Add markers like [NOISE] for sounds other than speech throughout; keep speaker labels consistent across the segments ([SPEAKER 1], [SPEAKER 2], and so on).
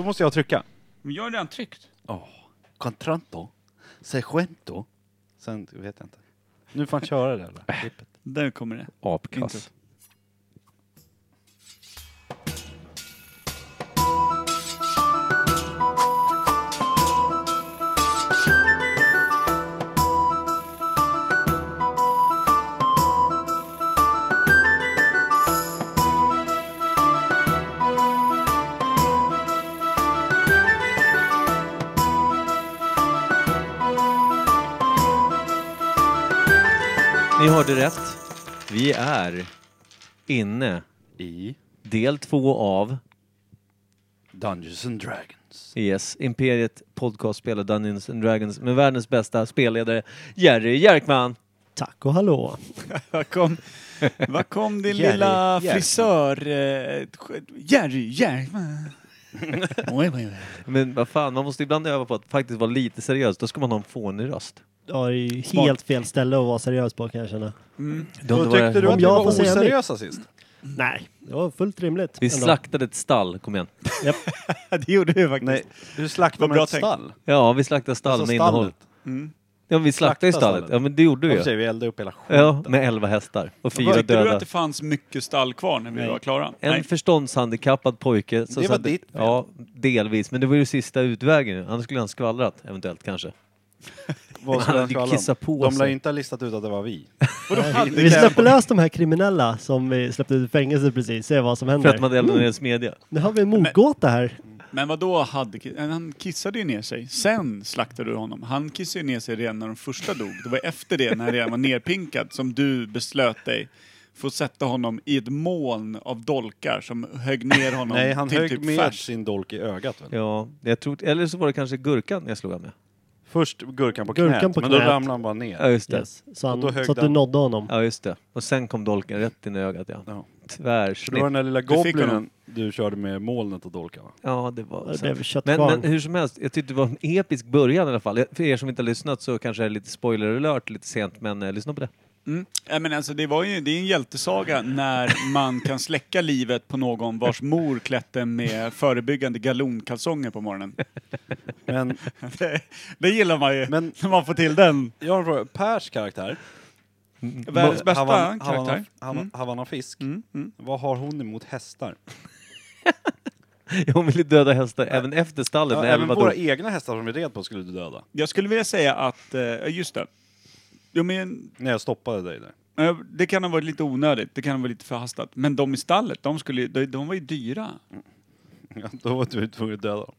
[SPEAKER 1] Då måste jag trycka.
[SPEAKER 2] Men jag har redan tryckt.
[SPEAKER 1] Oh. Contranto? Seguento? Sen jag vet jag inte. Nu får han köra det eller?
[SPEAKER 2] Äh,
[SPEAKER 1] Klippet.
[SPEAKER 2] Där kommer det.
[SPEAKER 3] Apkass. Ni hörde rätt. Vi är inne
[SPEAKER 1] I
[SPEAKER 3] del två av
[SPEAKER 1] Dungeons and Dragons.
[SPEAKER 3] Yes, Imperiet podcast spelar Dungeons and Dragons med världens bästa spelledare Jerry Jerkman. Tack och hallå.
[SPEAKER 2] Var kom, var kom din
[SPEAKER 3] Jerry
[SPEAKER 2] lilla
[SPEAKER 3] Jerkman.
[SPEAKER 2] frisör... Eh, sk- Jerry Jerkman. Oj, oj, oj.
[SPEAKER 3] Men vad fan, man måste ibland öva på att faktiskt vara lite seriös. Då ska man ha en fånig röst.
[SPEAKER 4] Ja, det är ju helt fel ställe att vara seriös på kan jag känna.
[SPEAKER 1] Då
[SPEAKER 3] Då
[SPEAKER 1] tyckte du
[SPEAKER 4] om
[SPEAKER 1] att vi
[SPEAKER 4] jag
[SPEAKER 1] var
[SPEAKER 4] får säga
[SPEAKER 1] oseriösa sist?
[SPEAKER 4] Nej, det var fullt rimligt.
[SPEAKER 3] Vi
[SPEAKER 4] ändå.
[SPEAKER 3] slaktade ett stall, kom igen.
[SPEAKER 4] Japp.
[SPEAKER 2] Det gjorde du faktiskt.
[SPEAKER 1] Nej, du slaktade
[SPEAKER 2] Vad
[SPEAKER 1] med
[SPEAKER 2] bra
[SPEAKER 1] ett
[SPEAKER 2] tänkt.
[SPEAKER 1] stall.
[SPEAKER 3] Ja, vi slaktade stall med innehåll. Ja, men vi slaktade i
[SPEAKER 1] Slakta
[SPEAKER 3] Mm. stallet.
[SPEAKER 1] stallet.
[SPEAKER 3] Ja, men det gjorde vi
[SPEAKER 1] Varför säger
[SPEAKER 3] ju.
[SPEAKER 1] vi eldade upp hela skiten?
[SPEAKER 3] Ja, med elva hästar och fyra
[SPEAKER 2] Märkte du att
[SPEAKER 3] döda.
[SPEAKER 2] det fanns mycket stall kvar när vi var klara?
[SPEAKER 3] En
[SPEAKER 2] Nej.
[SPEAKER 3] förståndshandikappad pojke. som
[SPEAKER 1] Det var
[SPEAKER 3] satt-
[SPEAKER 1] ditt fel.
[SPEAKER 3] Ja, delvis. Men det var ju sista utvägen. Annars skulle han skvallrat, eventuellt kanske.
[SPEAKER 1] Vad skulle
[SPEAKER 3] Han hade
[SPEAKER 1] han
[SPEAKER 3] ju
[SPEAKER 1] kalla dem?
[SPEAKER 3] kissat på
[SPEAKER 1] De lär
[SPEAKER 3] sig.
[SPEAKER 1] ju inte ha listat ut att det var vi.
[SPEAKER 4] Vi släpper lös de här kriminella som vi släppte ut i fängelse precis, se vad som
[SPEAKER 3] För
[SPEAKER 4] händer.
[SPEAKER 3] att man eldade ner en smedja.
[SPEAKER 4] Nu har vi en mordgåta här.
[SPEAKER 2] Men vad då hade ki- eh, Han kissade ju ner sig. Sen slaktade du honom. Han kissade ju ner sig redan när de första dog. Det var efter det, när han redan var nerpinkad, som du beslöt dig för att sätta honom i ett moln av dolkar som högg ner honom
[SPEAKER 1] Nej, han
[SPEAKER 2] till
[SPEAKER 1] högg
[SPEAKER 2] typ
[SPEAKER 1] med
[SPEAKER 2] färs.
[SPEAKER 1] sin dolk i ögat. Väl?
[SPEAKER 3] Ja, jag tror, eller så var det kanske gurkan jag slog av med.
[SPEAKER 1] Först gurkan på
[SPEAKER 4] Gurkan
[SPEAKER 1] knät,
[SPEAKER 4] på
[SPEAKER 1] men då
[SPEAKER 4] knät.
[SPEAKER 1] ramlade han bara ner.
[SPEAKER 2] Äh,
[SPEAKER 3] Ja, just det.
[SPEAKER 4] Yes. Så,
[SPEAKER 1] Och då
[SPEAKER 4] han,
[SPEAKER 1] högg
[SPEAKER 4] så att du
[SPEAKER 1] den.
[SPEAKER 4] nådde honom.
[SPEAKER 3] Ja, just det. Och sen kom dolken rätt in i ögat, ja.
[SPEAKER 1] Ja. Det var
[SPEAKER 3] Tvärsnitt.
[SPEAKER 1] den där lilla
[SPEAKER 2] Du fick
[SPEAKER 1] goblinen
[SPEAKER 2] honom.
[SPEAKER 1] du körde med molnet och dolken va?
[SPEAKER 3] Ja, det var...
[SPEAKER 4] Det
[SPEAKER 3] sen.
[SPEAKER 4] blev
[SPEAKER 3] Men,
[SPEAKER 4] köttkvarn.
[SPEAKER 3] men hur som helst, jag tyckte det var en episk början i alla fall. För er som inte har lyssnat så kanske det är lite spoiler alert lite sent, men eh, lyssna på det. [LAUGHS]
[SPEAKER 2] Mm. Ja, men alltså, det, var ju, det är en hjältesaga när man kan släcka livet på någon vars mor klätte med förebyggande galonkalsonger på morgonen. [LAUGHS]
[SPEAKER 1] Men
[SPEAKER 2] Det, det gillar man ju,
[SPEAKER 1] Men- Mm.
[SPEAKER 2] när man får till den.
[SPEAKER 1] jag har en fråga. Pers karaktär.
[SPEAKER 2] Världens bästa
[SPEAKER 1] Havan-
[SPEAKER 2] karaktär.
[SPEAKER 1] Havan- Havan- Havanna-fisk. Vad har hon emot hästar?
[SPEAKER 3] Hon ville döda hästar även efter stallet
[SPEAKER 1] Ja,
[SPEAKER 3] när
[SPEAKER 1] även
[SPEAKER 3] elva
[SPEAKER 1] våra
[SPEAKER 3] dog.
[SPEAKER 1] egna hästar som vi red på skulle du döda.
[SPEAKER 2] Jag skulle vilja säga att, eh, just det. Jo, men
[SPEAKER 1] När jag stoppade dig där. [LAUGHS]
[SPEAKER 2] Ja, Det kan ha varit lite onödigt, det kan ha varit lite förhastat. Men de i stallet, de, skulle, ju- de, de var ju dyra.
[SPEAKER 1] Ja, då var du tvungen att döda dem.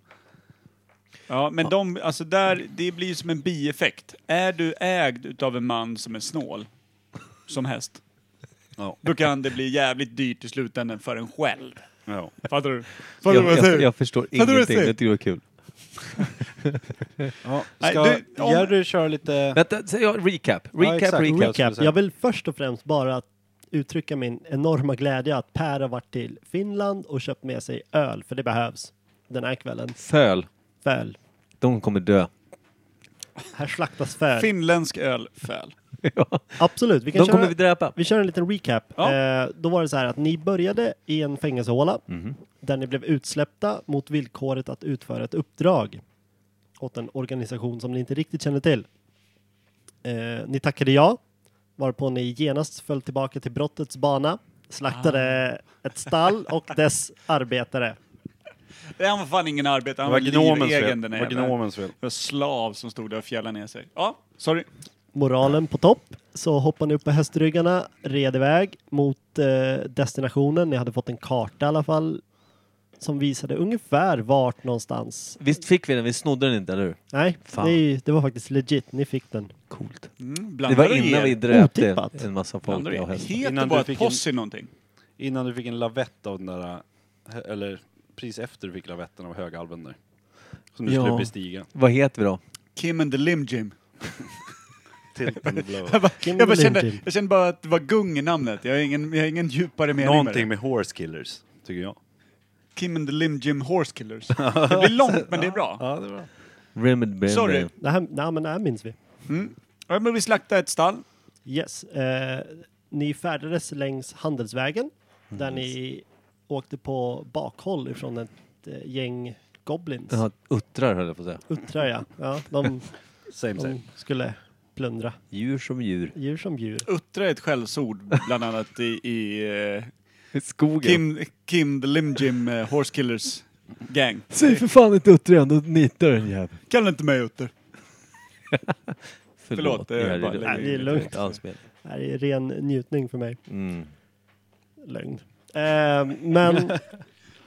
[SPEAKER 2] Ja, men de, alltså där, det blir ju som en bieffekt. Är du ägd utav en man som är snål, som häst,
[SPEAKER 1] Ja.
[SPEAKER 2] då kan det bli jävligt dyrt i slutändan för en själv.
[SPEAKER 1] Ja.
[SPEAKER 2] Fattar du? Fattar du
[SPEAKER 3] Jag,
[SPEAKER 2] vad jag
[SPEAKER 3] jag,
[SPEAKER 2] säger?
[SPEAKER 3] jag förstår
[SPEAKER 2] du vad jag
[SPEAKER 3] ingenting,
[SPEAKER 2] säger?
[SPEAKER 3] det tycker jag är kul.
[SPEAKER 1] Ja.
[SPEAKER 2] Nej,
[SPEAKER 1] Ska
[SPEAKER 2] du, om-
[SPEAKER 1] Jerry köra lite...
[SPEAKER 3] Vänta, säg jag recap.
[SPEAKER 1] Ja,
[SPEAKER 3] Recap,
[SPEAKER 1] exakt.
[SPEAKER 3] recap.
[SPEAKER 1] skulle
[SPEAKER 4] Recap.
[SPEAKER 1] säga.
[SPEAKER 4] Jag vill först och främst bara att uttrycka min enorma glädje att Per har varit till Finland och köpt med sig öl, för det behövs den här kvällen.
[SPEAKER 3] Föl.
[SPEAKER 4] Föl.
[SPEAKER 3] De kommer dö.
[SPEAKER 4] Här slaktas föl.
[SPEAKER 2] Finländsk öl, föl.
[SPEAKER 4] Absolut, vi kan
[SPEAKER 3] De
[SPEAKER 4] köra...
[SPEAKER 3] kommer vi dräpa.
[SPEAKER 4] Vi kör en liten recap.
[SPEAKER 2] Ja.
[SPEAKER 4] Eh, då var det så här att ni började i en fängelsehåla där ni blev utsläppta mot villkoret att utföra ett uppdrag åt en organisation som ni inte riktigt känner till. Eh, ni tackade ja, varpå ni genast föll tillbaka till brottets bana, slaktade ett stall och dess arbetare.
[SPEAKER 2] Det här var fan ingen arbetare,
[SPEAKER 1] Det
[SPEAKER 2] han
[SPEAKER 1] var
[SPEAKER 2] var
[SPEAKER 1] gnomens
[SPEAKER 2] livegen
[SPEAKER 1] fel.
[SPEAKER 2] den
[SPEAKER 1] Det
[SPEAKER 2] här
[SPEAKER 1] var
[SPEAKER 2] jäveln.
[SPEAKER 1] gnomens fel.
[SPEAKER 2] Det var slav som stod där och fjällade ner sig. Ja, sorry.
[SPEAKER 4] Moralen på topp, så hoppade ni upp på hästryggarna, red iväg mot eh, destinationen. Ni hade fått en karta i alla fall som visade ungefär vart någonstans
[SPEAKER 3] Visst fick vi den? Vi snodde den inte, eller hur?
[SPEAKER 4] Nej,
[SPEAKER 3] Fan.
[SPEAKER 4] det, det var faktiskt legit. Ni fick den.
[SPEAKER 3] Coolt.
[SPEAKER 2] Mm,
[SPEAKER 3] Det
[SPEAKER 2] blandar
[SPEAKER 3] var
[SPEAKER 2] du
[SPEAKER 3] innan
[SPEAKER 2] er?
[SPEAKER 3] vi dräpte
[SPEAKER 4] Otippat.
[SPEAKER 3] en massa folk.
[SPEAKER 2] Blandar du
[SPEAKER 3] Och
[SPEAKER 2] er?
[SPEAKER 3] hästar.
[SPEAKER 2] Heter
[SPEAKER 1] Innan
[SPEAKER 2] bara
[SPEAKER 1] du fick
[SPEAKER 2] ett
[SPEAKER 1] en-
[SPEAKER 2] posse någonting?
[SPEAKER 1] Innan du fick en lavett av den där... Eller precis efter du fick lavetten av högalven där. Som du
[SPEAKER 3] Ja.
[SPEAKER 1] skulle bestiga.
[SPEAKER 3] Vad heter vi då?
[SPEAKER 2] Kim and the Lim Jim.
[SPEAKER 1] Tilt and [LAUGHS] blow.
[SPEAKER 2] Jag, bara,
[SPEAKER 4] Kim
[SPEAKER 2] jag, bara
[SPEAKER 4] Lim
[SPEAKER 2] kände,
[SPEAKER 4] Jim.
[SPEAKER 2] jag kände bara att det var gung i namnet. Jag har ingen, jag har ingen djupare mening
[SPEAKER 1] Någonting
[SPEAKER 2] med
[SPEAKER 1] med horse killers, tycker jag.
[SPEAKER 2] det. Kim and the Lim Jim Horse [LAUGHS] Killers. Det blir långt men det är bra.
[SPEAKER 1] Ja, det var
[SPEAKER 3] Rimmed Bender.
[SPEAKER 2] Sorry.
[SPEAKER 4] Det här, nej, men det här minns vi.
[SPEAKER 2] Ja, men vi slaktade ett stall.
[SPEAKER 4] Yes. Eh, ni färdades längs handelsvägen där ni åkte på bakhåll ifrån ett eh, gäng goblins.
[SPEAKER 3] Jaha, uttrar höll jag på att säga.
[SPEAKER 4] Uttrar ja. ja de,
[SPEAKER 1] Same same.
[SPEAKER 4] de skulle plundra
[SPEAKER 3] Djur som djur.
[SPEAKER 4] djur som djur.
[SPEAKER 2] Uttra är ett skällsord, bland annat i, i eh,
[SPEAKER 3] I skogen.
[SPEAKER 2] Kim, Kim the Lim Jim eh, Horse Killers Gang.
[SPEAKER 3] Säg för fan inte utter igen, då nitar den jäveln.
[SPEAKER 2] Kalla inte mig utter.
[SPEAKER 3] Förlåt.
[SPEAKER 2] Förlåt, det är
[SPEAKER 3] Jerry.
[SPEAKER 2] bara-
[SPEAKER 4] Nej, det är lugnt.
[SPEAKER 3] Anspel.
[SPEAKER 4] Det här är ren njutning för mig.
[SPEAKER 3] Mm.
[SPEAKER 4] Lögn. Eh, men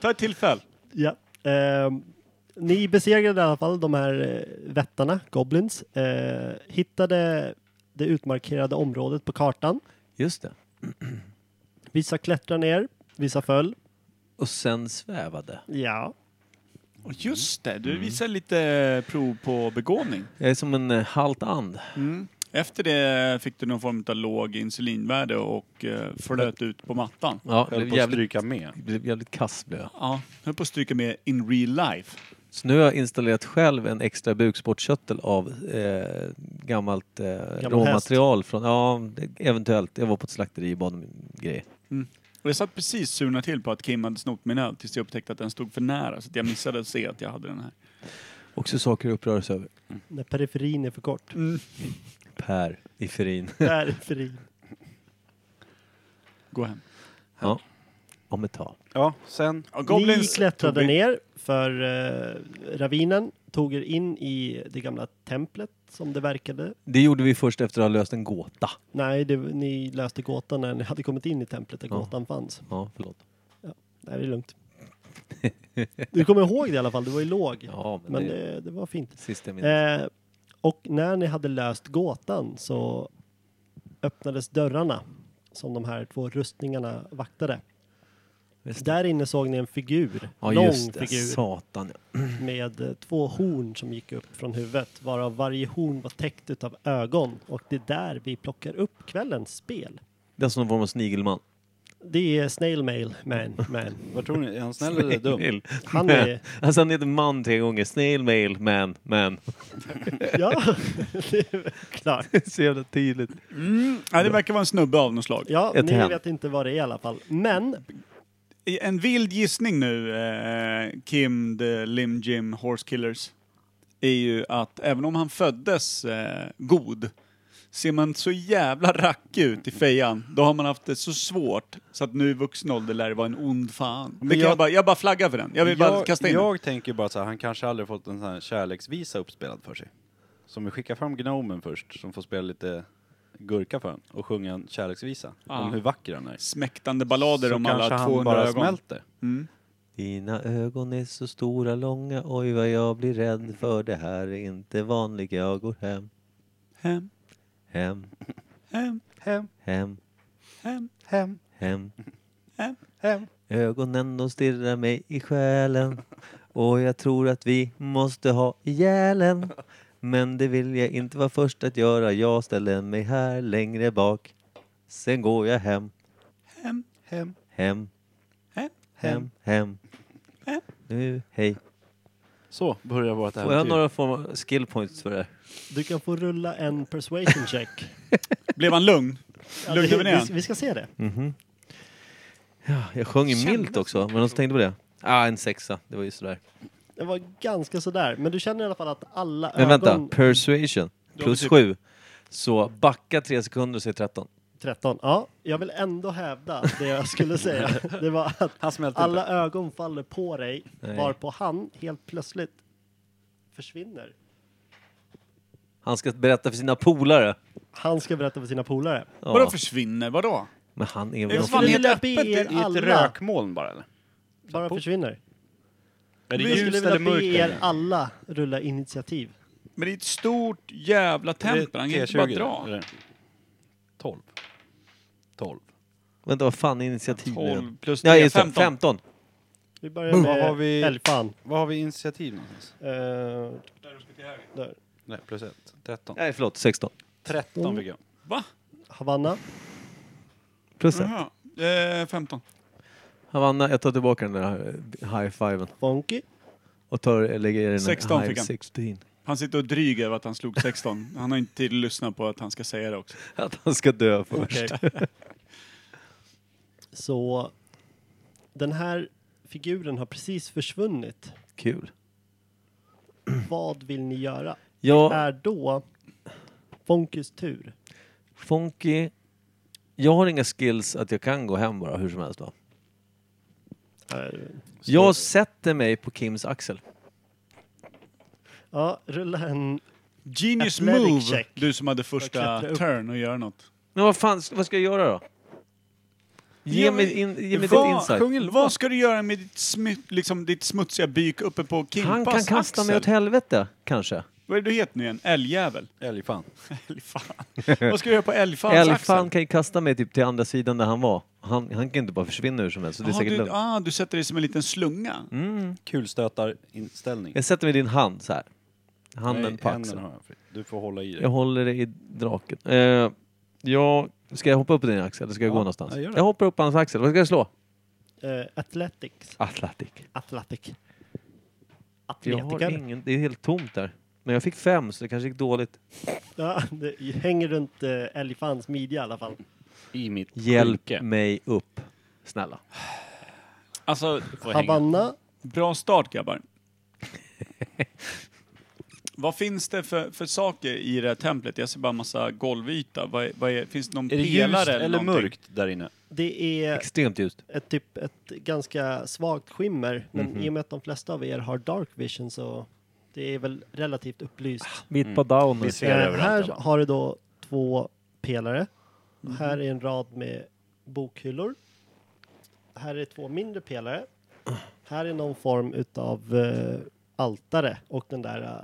[SPEAKER 2] Ta ett tillfälle.
[SPEAKER 4] Ja. ehm, ni besegrade i alla fall de här eh, vättarna, Goblins. Eh, hittade det utmarkerade området på kartan.
[SPEAKER 3] Just det.
[SPEAKER 4] Vissa klättrade ner, vissa föll.
[SPEAKER 3] Och sen svävade.
[SPEAKER 4] Ja.
[SPEAKER 2] Och Just det, du visar lite eh, prov på begåvning.
[SPEAKER 3] Jag är som en eh, halt and.
[SPEAKER 2] Efter det fick du någon form av låg insulinvärde och eh, flöt ut på mattan.
[SPEAKER 3] Ja,
[SPEAKER 1] Höll
[SPEAKER 3] blev
[SPEAKER 1] på att
[SPEAKER 3] jävligt,
[SPEAKER 1] stryka med.
[SPEAKER 3] blev jävligt kass blev jag.
[SPEAKER 2] Ja, höll på att stryka med in real life.
[SPEAKER 3] Så nu har jag installerat själv en extra bukspottkörtel av eh, gammalt eh, råmaterial från, ja, det- eventuellt. Jag var på ett slakteri och bad om grejer.
[SPEAKER 2] Och jag satt precis surna till på att Kim hade snott min öl tills jag upptäckte att den stod för nära så att jag missade att se att jag hade den här.
[SPEAKER 3] Också saker jag upprörs över.
[SPEAKER 4] När periferin är för kort. [LAUGHS]
[SPEAKER 3] Per i Ferin.
[SPEAKER 4] Periferin.
[SPEAKER 2] Gå hem.
[SPEAKER 3] ja. Om ett tag.
[SPEAKER 1] Ja, sen.
[SPEAKER 2] Ja,
[SPEAKER 4] Ni
[SPEAKER 2] Goblins
[SPEAKER 4] klättrade
[SPEAKER 2] tog vi-
[SPEAKER 4] ner för eh, ravinen, tog er in i det gamla templet som det verkade.
[SPEAKER 3] Det gjorde vi först efter att ha löst en gåta.
[SPEAKER 4] Nej, det, ni löste gåtan när ni hade kommit in i templet där
[SPEAKER 3] Ja.
[SPEAKER 4] gåtan fanns.
[SPEAKER 3] Ja, förlåt.
[SPEAKER 4] Nej, det är lugnt. Du kommer ihåg det i alla fall, du var ju låg.
[SPEAKER 3] Ja, men,
[SPEAKER 4] Men eh,
[SPEAKER 3] det,
[SPEAKER 4] det, det var fint.
[SPEAKER 3] sista jag minns.
[SPEAKER 4] Eh, och när ni hade löst gåtan så öppnades dörrarna som de här två rustningarna vaktade.
[SPEAKER 3] Just
[SPEAKER 4] Där inne såg ni en figur,
[SPEAKER 3] ja,
[SPEAKER 4] lång
[SPEAKER 3] just det.
[SPEAKER 4] figur,
[SPEAKER 3] Satan.
[SPEAKER 4] med eh, två horn som gick upp från huvudet, varav varje horn var täckt utav ögon. Och det är där vi plockar upp kvällens spel.
[SPEAKER 3] Det är som någon form av snigelman.
[SPEAKER 4] Det är Snail Mail Man. man.
[SPEAKER 1] Vad tror ni? Är han snäll eller dum?
[SPEAKER 3] Snail. [LAUGHS]
[SPEAKER 4] Han är...
[SPEAKER 3] Alltså han heter man tre gånger. Snail, mail, man, [LAUGHS] man.
[SPEAKER 4] Ja, [LAUGHS] det är väl klart.
[SPEAKER 3] Så jävla tydligt.
[SPEAKER 2] Mm, ja, det verkar vara en snubbe av något slag.
[SPEAKER 4] Ja,
[SPEAKER 3] Ett
[SPEAKER 4] ni
[SPEAKER 3] hem.
[SPEAKER 4] vet inte vad det är i alla fall. Men
[SPEAKER 2] I- En vild gissning nu, eh, Kim the Lim Jim Horse Killers, är ju att även om han föddes eh, god, ser man så jävla rackig ut i fejan, då har man haft det så svårt så att nu i vuxen ålder lär det vara en ond fan. Det kan jag,
[SPEAKER 1] jag-
[SPEAKER 2] bara, jag bara flaggar för den. Jag vill bara
[SPEAKER 1] Jag,
[SPEAKER 2] kasta in den.
[SPEAKER 1] jag tänker bara så här, han kanske aldrig fått en sån här kärleksvisa uppspelad för sig. Som vi skickar fram Gnomen först, som får spela lite gurka för honom och sjunga en kärleksvisa
[SPEAKER 2] Ja.
[SPEAKER 1] om hur vacker han är.
[SPEAKER 2] Smäktande ballader
[SPEAKER 1] så
[SPEAKER 2] om
[SPEAKER 1] kanske
[SPEAKER 2] alla
[SPEAKER 1] han bara
[SPEAKER 2] 200 ögon.
[SPEAKER 1] smälter.
[SPEAKER 2] Mm.
[SPEAKER 3] Dina ögon är så stora, långa. Oj vad jag blir rädd för det här är inte vanligt. Jag går hem,
[SPEAKER 2] Hem,
[SPEAKER 3] hem,
[SPEAKER 2] hem,
[SPEAKER 1] Hem,
[SPEAKER 3] hem,
[SPEAKER 2] hem.
[SPEAKER 1] hem,
[SPEAKER 3] hem.
[SPEAKER 1] hem.
[SPEAKER 3] Ögonen de stirrar mig i själen och jag tror att vi måste ha ihjäl en. Men det vill jag inte vara först att göra. Jag ställer mig här längre bak. Sen går jag hem,
[SPEAKER 2] Hem,
[SPEAKER 1] Hem.
[SPEAKER 3] hem,
[SPEAKER 2] hem.
[SPEAKER 3] hem, hem.
[SPEAKER 2] Hem.
[SPEAKER 3] Nu, hej.
[SPEAKER 1] Så börjar vårt
[SPEAKER 3] Får jag
[SPEAKER 1] äventyr.
[SPEAKER 3] några form av skill points för det här?
[SPEAKER 4] du kan få rulla en persuasion check.
[SPEAKER 2] Blev han lugn?
[SPEAKER 4] Ja,
[SPEAKER 2] Lugnar vi ner
[SPEAKER 4] vi,
[SPEAKER 2] han?
[SPEAKER 4] vi ska se det.
[SPEAKER 3] Ja, jag sjöng ju
[SPEAKER 2] Kändes
[SPEAKER 3] milt också, men de tänkte på det. Ah, en sexa. Det var ju sådär.
[SPEAKER 4] Det var ganska sådär, men du känner i alla fall att alla
[SPEAKER 3] Men vänta,
[SPEAKER 4] ögon...
[SPEAKER 3] persuasion. Plus
[SPEAKER 2] betyg.
[SPEAKER 3] sju. Så backa tre sekunder och säg 13.
[SPEAKER 4] 13. Ja, jag vill ändå hävda det jag skulle säga. Det var att
[SPEAKER 1] Han smälter inte.
[SPEAKER 4] alla ögon faller på dig,
[SPEAKER 3] Nej.
[SPEAKER 4] varpå han helt plötsligt försvinner.
[SPEAKER 3] Han ska berätta för sina polare.
[SPEAKER 4] Han ska berätta för sina polare.
[SPEAKER 3] Ja.
[SPEAKER 2] Vadå försvinner? Vadå?
[SPEAKER 3] Men han
[SPEAKER 2] Det
[SPEAKER 3] är väl
[SPEAKER 2] är
[SPEAKER 3] någon
[SPEAKER 2] fan helt
[SPEAKER 4] vilja
[SPEAKER 2] öppet.
[SPEAKER 4] be
[SPEAKER 2] Det
[SPEAKER 4] er
[SPEAKER 2] är
[SPEAKER 1] I ett
[SPEAKER 4] alla
[SPEAKER 1] rökmoln bara eller?
[SPEAKER 4] bara försvinner.
[SPEAKER 1] Är det
[SPEAKER 4] Jag skulle
[SPEAKER 1] ljust eller
[SPEAKER 4] vilja be
[SPEAKER 1] mörkt?
[SPEAKER 4] er
[SPEAKER 1] där?
[SPEAKER 4] alla rulla initiativ.
[SPEAKER 2] Men det är ett stort jävla tempel, han kan inte bara
[SPEAKER 1] T20
[SPEAKER 2] dra.
[SPEAKER 1] eller? 12. 12.
[SPEAKER 3] Vänta, vad fan är initiativet?
[SPEAKER 2] 12 plus
[SPEAKER 3] Ja,
[SPEAKER 2] tre,
[SPEAKER 3] just det.
[SPEAKER 2] 15.
[SPEAKER 3] 15.
[SPEAKER 4] Vi börjar
[SPEAKER 1] Boom. Vad har
[SPEAKER 4] med
[SPEAKER 1] vi-
[SPEAKER 4] Elfan.
[SPEAKER 1] Vad har vi i initiativ någonstans?
[SPEAKER 4] Eh, där.
[SPEAKER 1] Nej, plus ett. 13.
[SPEAKER 3] Nej, förlåt. 16.
[SPEAKER 1] 13 fick jag.
[SPEAKER 2] Va?
[SPEAKER 4] Havanna.
[SPEAKER 3] Plus ett.
[SPEAKER 2] Jaha. Eh, 15.
[SPEAKER 3] Havanna, jag tar tillbaka den där high-fiven.
[SPEAKER 4] Funky.
[SPEAKER 3] Och tar, lägger i den
[SPEAKER 2] 16
[SPEAKER 3] high
[SPEAKER 2] fick han.
[SPEAKER 3] 16.
[SPEAKER 2] Han sitter och dryg över att han slog 16. Han har inte tid att lyssna på att han ska säga det också.
[SPEAKER 3] Att han ska dö först.
[SPEAKER 4] Okej. [LAUGHS] Så den här figuren har precis försvunnit.
[SPEAKER 3] Kul.
[SPEAKER 1] Mm.
[SPEAKER 4] vad vill ni göra?
[SPEAKER 3] Jag,
[SPEAKER 4] Är då Fonkys tur.
[SPEAKER 3] Funky, jag har inga skills att jag kan gå hem bara hur som helst va?
[SPEAKER 4] Är-
[SPEAKER 3] Jag sätter mig på Kims axel.
[SPEAKER 4] Ja, rulla en...
[SPEAKER 2] Genius
[SPEAKER 4] Athletic
[SPEAKER 2] move,
[SPEAKER 4] check.
[SPEAKER 2] du som hade
[SPEAKER 4] Jag
[SPEAKER 2] första
[SPEAKER 4] klättrar upp.
[SPEAKER 2] turn och göra något.
[SPEAKER 3] Men vad fan, vad ska jag göra då? Ge
[SPEAKER 2] Ja,
[SPEAKER 3] mig,
[SPEAKER 2] men-
[SPEAKER 3] in, ge mig
[SPEAKER 2] vad,
[SPEAKER 3] ditt insight.
[SPEAKER 2] sjung en låt. vad ska du göra med ditt, smy, liksom, ditt smutsiga byk uppe på Kimpas
[SPEAKER 3] Han kan kasta
[SPEAKER 2] axel?
[SPEAKER 3] mig åt helvete, kanske.
[SPEAKER 2] Vad är det du heter nu igen? Älgjävel?
[SPEAKER 1] Älgfan.
[SPEAKER 2] Älgfan. vad ska du göra på älgfans
[SPEAKER 3] Älgfan
[SPEAKER 2] axel?
[SPEAKER 3] kan ju kasta mig typ till andra sidan där han var. Han, han kan inte bara försvinna hur som helst, så det är
[SPEAKER 2] Jaha,
[SPEAKER 3] säkert
[SPEAKER 2] du,
[SPEAKER 3] lugnt.
[SPEAKER 2] ah, du sätter dig som en liten slunga?
[SPEAKER 1] Mm. Kulstötarinställning.
[SPEAKER 3] Jag sätter mig i din hand så här. Handen
[SPEAKER 1] Nej,
[SPEAKER 3] på
[SPEAKER 1] handen
[SPEAKER 3] axeln.
[SPEAKER 1] har jag fri. Du får hålla i
[SPEAKER 3] Jag
[SPEAKER 1] det.
[SPEAKER 3] håller dig i draken. Eh, jag, ska jag hoppa upp på din axel eller ska jag
[SPEAKER 1] Ja,
[SPEAKER 3] gå någonstans?
[SPEAKER 1] ja, gör det.
[SPEAKER 3] jag hoppar upp på hans axel. Vad ska jag slå?
[SPEAKER 4] Uh, athletics.
[SPEAKER 3] Atlantic.
[SPEAKER 4] Athletic.
[SPEAKER 3] Jag har
[SPEAKER 4] Atletiker.
[SPEAKER 3] ingen, det är helt tomt där. Men jag fick fem så det kanske gick dåligt.
[SPEAKER 4] Ja, det hänger runt uh, Elifans midja i alla fall.
[SPEAKER 1] I mitt
[SPEAKER 3] Hjälp
[SPEAKER 1] skynke.
[SPEAKER 3] mig upp. Snälla.
[SPEAKER 2] Alltså,
[SPEAKER 4] Havanna.
[SPEAKER 2] bra start
[SPEAKER 1] [LAUGHS]
[SPEAKER 2] grabbar. vad finns det för, för saker i det här templet? Jag ser bara massa golvyta. Vad, är- vad är, finns det någon
[SPEAKER 1] Är det
[SPEAKER 2] pelare
[SPEAKER 1] ljust eller
[SPEAKER 2] någonting?
[SPEAKER 1] mörkt där inne?
[SPEAKER 4] Det är
[SPEAKER 3] Extremt ljust.
[SPEAKER 4] ett, typ, ett ganska svagt skimmer. Men i och med att de flesta av er har dark vision så det är väl relativt upplyst.
[SPEAKER 3] Mitt på down.
[SPEAKER 1] Vi ser
[SPEAKER 4] Eh,
[SPEAKER 1] överallt.
[SPEAKER 4] här
[SPEAKER 1] va?
[SPEAKER 4] har du då två pelare. Här är en rad med bokhyllor. Här är två mindre pelare. Här är någon form utav eh, altare och den där eh,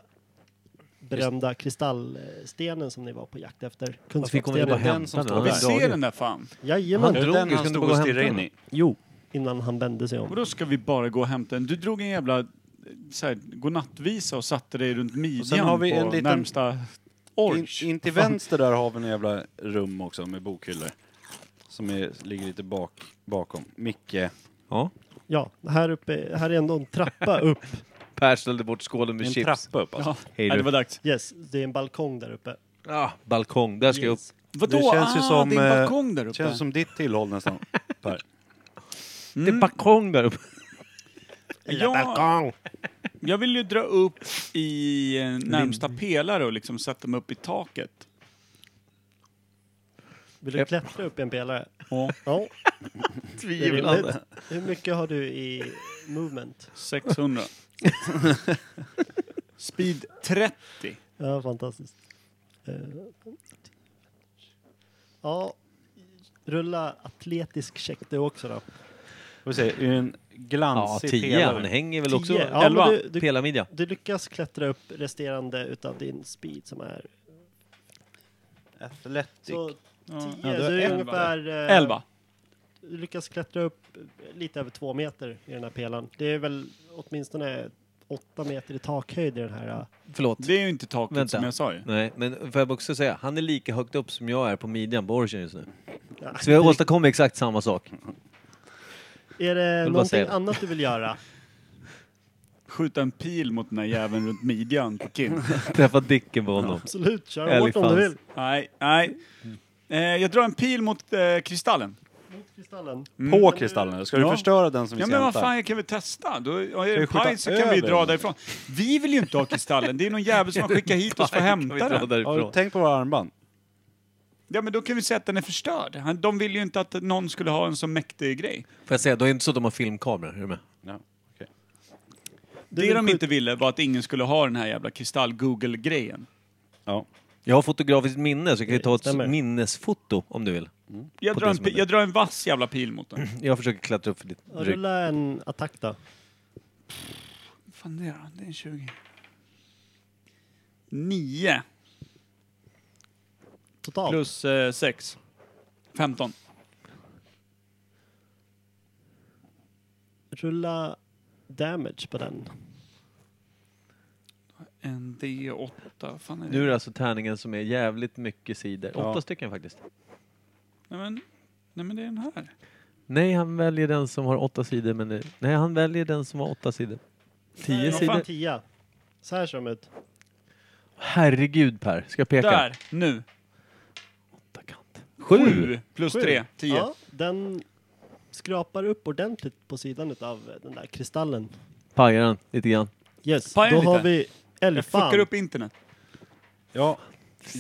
[SPEAKER 4] berömda kristallstenen som ni var på jakt efter.
[SPEAKER 3] Vi kommer inte
[SPEAKER 4] Kunskapsstenen.
[SPEAKER 3] bara
[SPEAKER 1] Den som
[SPEAKER 3] hämta
[SPEAKER 1] står
[SPEAKER 3] den.
[SPEAKER 2] Vi
[SPEAKER 1] där.
[SPEAKER 2] ser den där fan.
[SPEAKER 1] Är
[SPEAKER 4] Jajamän,
[SPEAKER 1] det
[SPEAKER 3] drog,
[SPEAKER 1] den
[SPEAKER 3] vi
[SPEAKER 1] han
[SPEAKER 3] skulle
[SPEAKER 1] stod
[SPEAKER 3] bara
[SPEAKER 1] och
[SPEAKER 3] hämta
[SPEAKER 1] stirrade in
[SPEAKER 3] den.
[SPEAKER 1] i?
[SPEAKER 4] jo, innan han vände sig
[SPEAKER 2] Och
[SPEAKER 4] om.
[SPEAKER 2] då ska vi bara gå och hämta en. Du drog en jävla eh, så här, godnattvisa och satte dig runt midjan
[SPEAKER 1] sen har vi
[SPEAKER 2] på
[SPEAKER 1] en liten-
[SPEAKER 2] närmsta
[SPEAKER 1] In,
[SPEAKER 2] orch.
[SPEAKER 1] in till vänster där har vi en jävla rum också med bokhyllor. Som är, ligger lite bak, bakom. Micke.
[SPEAKER 3] Ja.
[SPEAKER 4] Ja, här uppe, här är ändå
[SPEAKER 3] [LAUGHS]
[SPEAKER 4] en trappa upp.
[SPEAKER 3] Per ställde bort skålen med
[SPEAKER 1] En
[SPEAKER 3] chips.
[SPEAKER 1] trappa upp alltså.
[SPEAKER 2] Ja,
[SPEAKER 3] Hej
[SPEAKER 2] nej,
[SPEAKER 3] du.
[SPEAKER 2] det var dags.
[SPEAKER 4] Yes, det är en balkong där uppe.
[SPEAKER 3] Ah, balkong, där ska jag upp.
[SPEAKER 4] Yes.
[SPEAKER 2] Vadå?
[SPEAKER 1] Det känns ju
[SPEAKER 2] ah,
[SPEAKER 1] som,
[SPEAKER 2] det är
[SPEAKER 1] eh,
[SPEAKER 2] en balkong där uppe.
[SPEAKER 1] Känns som ditt tillhåll
[SPEAKER 3] [LAUGHS]
[SPEAKER 1] nästan, Per.
[SPEAKER 3] Det är balkong där uppe.
[SPEAKER 2] ja, jag vill ju dra upp i eh, närmsta pelare och liksom sätta mig upp i taket.
[SPEAKER 4] Vill du
[SPEAKER 3] Japp.
[SPEAKER 4] klättra upp i en pelare?
[SPEAKER 2] Ja,
[SPEAKER 4] Ja, det är rimligt.
[SPEAKER 3] [LAUGHS] Tvivlande.
[SPEAKER 4] Hur mycket har du i movement?
[SPEAKER 2] 600. Speed 30.
[SPEAKER 4] Ja, fantastiskt. Eh, Ja, rulla atletisk check du också då.
[SPEAKER 1] Får vi se, är det en
[SPEAKER 3] Ja,
[SPEAKER 1] glansig
[SPEAKER 3] tian
[SPEAKER 1] pelare?
[SPEAKER 3] hänger väl också.
[SPEAKER 4] Tio. Ja, men
[SPEAKER 2] Elva.
[SPEAKER 4] du, du,
[SPEAKER 3] Pelarmidja.
[SPEAKER 4] du lyckas klättra upp resterande utav din speed som är...
[SPEAKER 1] Athletic.
[SPEAKER 4] Så 10,
[SPEAKER 2] Ja.
[SPEAKER 1] Ja, du har
[SPEAKER 4] du är
[SPEAKER 1] elva.
[SPEAKER 4] ungefär... eh,
[SPEAKER 2] 11.
[SPEAKER 4] Du lyckas klättra upp lite över två meter i den här pelaren. Det är väl åtminstone åtta meter i takhöjd i den här. eh,
[SPEAKER 3] Förlåt.
[SPEAKER 2] Det är ju inte taket
[SPEAKER 3] Vänta.
[SPEAKER 2] som jag sa ju.
[SPEAKER 3] Nej, men får jag också säga, han är lika högt upp som jag är på midjan på orchen just nu.
[SPEAKER 4] Ja.
[SPEAKER 3] Så vi har åstadkommit exakt samma sak.
[SPEAKER 4] Är det
[SPEAKER 3] bara
[SPEAKER 4] någonting
[SPEAKER 3] säga det.
[SPEAKER 4] annat du
[SPEAKER 2] [LAUGHS]
[SPEAKER 4] vill göra?
[SPEAKER 2] Skjuta en pil mot den där jäveln runt midjan på Kim.
[SPEAKER 3] Träffa dicken på honom.
[SPEAKER 4] Absolut, kör hårt om
[SPEAKER 3] Elefants.
[SPEAKER 4] du vill.
[SPEAKER 2] Nej, nej. Eh, jag drar en pil mot eh, kristallen.
[SPEAKER 4] Mot kristallen.
[SPEAKER 2] Mm.
[SPEAKER 1] På kristallen? Ska du
[SPEAKER 2] Ja.
[SPEAKER 1] förstöra den som vi
[SPEAKER 2] Ja
[SPEAKER 1] ska
[SPEAKER 2] men vad
[SPEAKER 1] hämta?
[SPEAKER 2] fan, jag kan väl testa. Då, och är
[SPEAKER 1] vi
[SPEAKER 2] det
[SPEAKER 1] skjuta
[SPEAKER 2] paj så kan vi
[SPEAKER 1] över
[SPEAKER 2] dra
[SPEAKER 1] den?
[SPEAKER 2] därifrån. Vi vill ju inte ha kristallen. Det är någon jävel som har skickat hit
[SPEAKER 3] [LAUGHS]
[SPEAKER 2] oss för att
[SPEAKER 3] Kan vi
[SPEAKER 2] hämta den.
[SPEAKER 3] dra
[SPEAKER 1] Har du
[SPEAKER 3] därifrån?
[SPEAKER 1] tänkt på våra armband?
[SPEAKER 2] Ja men då kan vi säga att den är förstörd. Han- De vill ju inte att någon skulle ha en så mäktig grej.
[SPEAKER 3] Får jag säga, då är det inte så att de har filmkameror, är du med?
[SPEAKER 1] Ja. okej.
[SPEAKER 4] Du
[SPEAKER 2] det
[SPEAKER 4] vill
[SPEAKER 2] de
[SPEAKER 4] skjuta-
[SPEAKER 2] inte ville var att ingen skulle ha den här jävla kristall-Google-grejen.
[SPEAKER 1] ja.
[SPEAKER 3] Jag har fotografiskt minne, så jag kan ju ta ett
[SPEAKER 4] Stämmer.
[SPEAKER 3] minnesfoto om du vill.
[SPEAKER 2] Jag,
[SPEAKER 3] På
[SPEAKER 2] drar
[SPEAKER 3] det
[SPEAKER 2] en,
[SPEAKER 3] som
[SPEAKER 2] pi-
[SPEAKER 3] är det.
[SPEAKER 2] jag drar en vass jävla pil mot
[SPEAKER 3] [CLEARS THROAT]
[SPEAKER 2] den.
[SPEAKER 3] Jag försöker klättra upp för ditt rygg.
[SPEAKER 4] Rulla en attack då.
[SPEAKER 2] fan det är då? Det är en 20. 9
[SPEAKER 4] Totalt.
[SPEAKER 2] plus eh, 6. 15.
[SPEAKER 4] Rulla damage på den.
[SPEAKER 2] En D8. Fan är det?
[SPEAKER 3] Nu är det alltså tärningen som är jävligt mycket sidor.
[SPEAKER 1] Ja.
[SPEAKER 3] Åtta stycken faktiskt.
[SPEAKER 2] Nej, men, nej men det är den här.
[SPEAKER 3] Nej, han väljer den som har åtta sidor. Men det... Nej, han väljer den som har åtta sidor.
[SPEAKER 4] Där är
[SPEAKER 3] Tio
[SPEAKER 2] vad
[SPEAKER 3] sidor.
[SPEAKER 2] fan.
[SPEAKER 4] Tia. Så här ser de ut.
[SPEAKER 3] Herregud Per, ska jag peka?
[SPEAKER 2] Där, nu.
[SPEAKER 3] Åtta kant. Sju!
[SPEAKER 2] 7 plus
[SPEAKER 4] Sju.
[SPEAKER 2] 3, 10.
[SPEAKER 4] Ja, den skrapar upp ordentligt på sidan utav den där kristallen.
[SPEAKER 3] Pajar den lite grann. [LAUGHS]
[SPEAKER 4] Yes,
[SPEAKER 2] Paja
[SPEAKER 4] då
[SPEAKER 2] lite.
[SPEAKER 4] har vi
[SPEAKER 2] Jag
[SPEAKER 4] Älgfan.
[SPEAKER 2] fuckar upp internet.
[SPEAKER 1] Ja,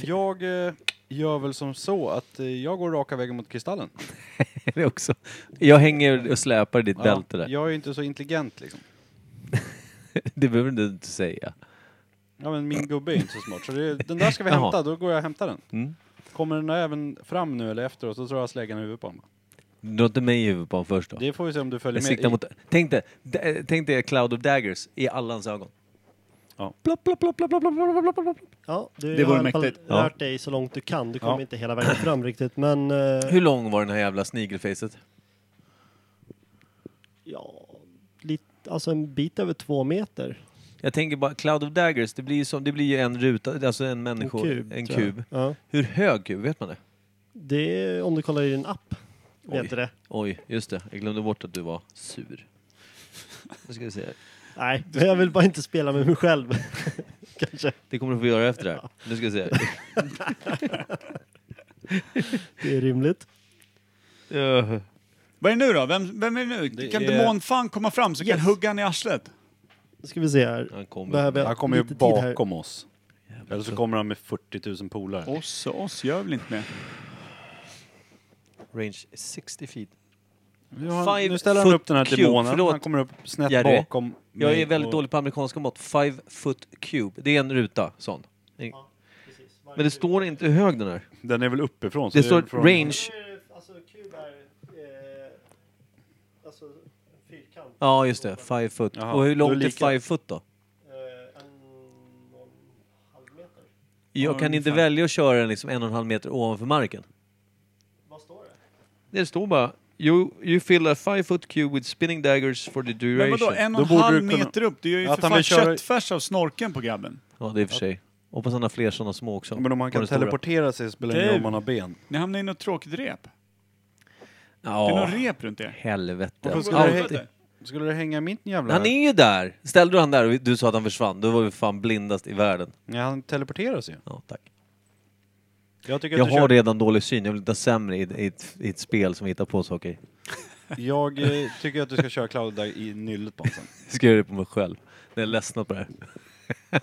[SPEAKER 1] jag eh, gör väl som så att eh, jag går raka vägen mot Kristallen.
[SPEAKER 3] Är det också. Jag hänger och släpar i ditt
[SPEAKER 1] Ja,
[SPEAKER 3] bälte där.
[SPEAKER 1] Jag är ju inte så intelligent liksom.
[SPEAKER 3] Det behöver du inte säga.
[SPEAKER 1] Ja men min gubbe är ju inte så smart. Så det, den där ska vi
[SPEAKER 3] Jaha.
[SPEAKER 1] hämta, då går jag och hämtar den.
[SPEAKER 3] Mm.
[SPEAKER 1] Kommer den där även fram nu eller efter och så tror jag släggan i huvudet på honom.
[SPEAKER 3] Du inte mig i huvudet på honom först då.
[SPEAKER 1] Det får vi se om du följer med.
[SPEAKER 3] Jag siktar mot... Tänk dig, d- tänk dig Cloud of Daggers i allans ögon.
[SPEAKER 1] Ja.
[SPEAKER 3] Plopp, plopp, plopp, plopp, plopp, plopp, plopp, plopp, plopp.
[SPEAKER 4] Ja, du
[SPEAKER 2] Det
[SPEAKER 4] har
[SPEAKER 2] vore
[SPEAKER 4] i alla fall
[SPEAKER 2] mäktigt.
[SPEAKER 3] Ja.
[SPEAKER 4] rört dig så långt du kan. Du kommer
[SPEAKER 1] Ja.
[SPEAKER 4] inte hela vägen fram riktigt, men... eh,
[SPEAKER 3] Hur lång var den här jävla snigelfejset?
[SPEAKER 4] Ja, lite, alltså en bit över två meter.
[SPEAKER 3] Jag tänker bara, Cloud of Daggers, det blir ju, som, det blir ju en ruta, alltså en
[SPEAKER 4] En
[SPEAKER 3] människa,
[SPEAKER 4] kub.
[SPEAKER 3] En
[SPEAKER 4] tror jag.
[SPEAKER 3] kub.
[SPEAKER 4] Ja.
[SPEAKER 3] Hur hög kub, vet man det?
[SPEAKER 4] Det är, om du kollar i din app.
[SPEAKER 3] Oj.
[SPEAKER 4] Vet du det?
[SPEAKER 3] Oj, just det. Jag glömde bort att du var sur. Nu ska vi se.
[SPEAKER 4] Nej, [LAUGHS] men jag vill bara inte spela med mig själv. [LAUGHS] Kanske.
[SPEAKER 3] Det kommer du få göra efter det här. Nu ska vi se.
[SPEAKER 4] Det är rimligt.
[SPEAKER 3] Ja.
[SPEAKER 2] Vad är det nu då? Vem, vem är det nu?
[SPEAKER 1] Det
[SPEAKER 2] kan
[SPEAKER 1] är-
[SPEAKER 2] demonfan komma fram så kan jag hugga han i arslet?
[SPEAKER 4] Nu ska vi se här.
[SPEAKER 3] Han kommer.
[SPEAKER 4] Behöver jag
[SPEAKER 1] Han kommer ju
[SPEAKER 4] lite tid här?
[SPEAKER 1] bakom oss. Eller så kommer han med 40 000 polare.
[SPEAKER 2] Oss och oss gör väl inte med.
[SPEAKER 3] Range 60 feet.
[SPEAKER 1] Nu, har han,
[SPEAKER 3] Five
[SPEAKER 1] nu ställer han
[SPEAKER 3] foot
[SPEAKER 1] upp den här
[SPEAKER 3] cube,
[SPEAKER 1] demonen.
[SPEAKER 3] förlåt.
[SPEAKER 1] Han kommer upp snett
[SPEAKER 3] Jerry.
[SPEAKER 1] bakom
[SPEAKER 3] Jag
[SPEAKER 1] mig
[SPEAKER 3] är väldigt
[SPEAKER 1] och-
[SPEAKER 3] dålig på amerikanska mått. Five foot cube. Det är en ruta, sån. Men det står inte hur hög den är.
[SPEAKER 1] Den är väl uppifrån? så
[SPEAKER 3] Det står
[SPEAKER 1] från-
[SPEAKER 3] range.
[SPEAKER 4] Alltså kub är... alltså fyrkant. Eh,
[SPEAKER 3] Ja, just det. Five foot.
[SPEAKER 1] Jaha,
[SPEAKER 3] Och hur
[SPEAKER 1] då är
[SPEAKER 3] långt är
[SPEAKER 1] lika.
[SPEAKER 3] five foot då?
[SPEAKER 4] en och en halv meter.
[SPEAKER 3] Jag
[SPEAKER 2] Ja,
[SPEAKER 3] kan inte
[SPEAKER 2] ungefär.
[SPEAKER 3] välja att köra den liksom en och en halv meter ovanför marken.
[SPEAKER 4] Vad står det?
[SPEAKER 3] Det står bara you, you fill a five foot cube with spinning daggers for the
[SPEAKER 2] Men
[SPEAKER 3] duration.
[SPEAKER 2] vadå, en och
[SPEAKER 1] Då
[SPEAKER 2] en
[SPEAKER 1] borde
[SPEAKER 2] halv
[SPEAKER 1] du kunna-
[SPEAKER 2] meter upp? Det är ju
[SPEAKER 1] Att
[SPEAKER 2] för
[SPEAKER 1] han
[SPEAKER 2] fan
[SPEAKER 1] vill köra-
[SPEAKER 2] köttfärs av snorken på grabben.
[SPEAKER 3] Ja, det är i och för sig. Hoppas han har fler sådana små också.
[SPEAKER 1] Men om
[SPEAKER 3] På
[SPEAKER 1] han kan
[SPEAKER 3] den stora.
[SPEAKER 1] teleportera sig spelar det ingen roll om
[SPEAKER 2] Du.
[SPEAKER 1] han har ben.
[SPEAKER 2] Ni hamnar i något tråkigt rep. Det är
[SPEAKER 3] Ja,
[SPEAKER 2] något rep runt er.
[SPEAKER 3] helvete.
[SPEAKER 1] Varför skulle
[SPEAKER 3] Alltid.
[SPEAKER 1] det hänga- Skulle det hänga i mitt jävla...
[SPEAKER 3] Han är ju där! Ställde du han där och du sa att han försvann, då var vi fan blindast i världen.
[SPEAKER 1] Nej, han teleporterar sig ju.
[SPEAKER 3] Ja, tack.
[SPEAKER 1] Jag, tycker
[SPEAKER 3] Jag
[SPEAKER 1] att du kör-
[SPEAKER 3] har redan dålig syn, jag vill inte ha sämre i, i, ett, i ett spel som vi hittar på saker.
[SPEAKER 1] jag eh, tycker att du ska köra Cloud där i nyllet på honom sen.
[SPEAKER 3] Jag ska göra det på mig själv. Jag är ledsnat på det här.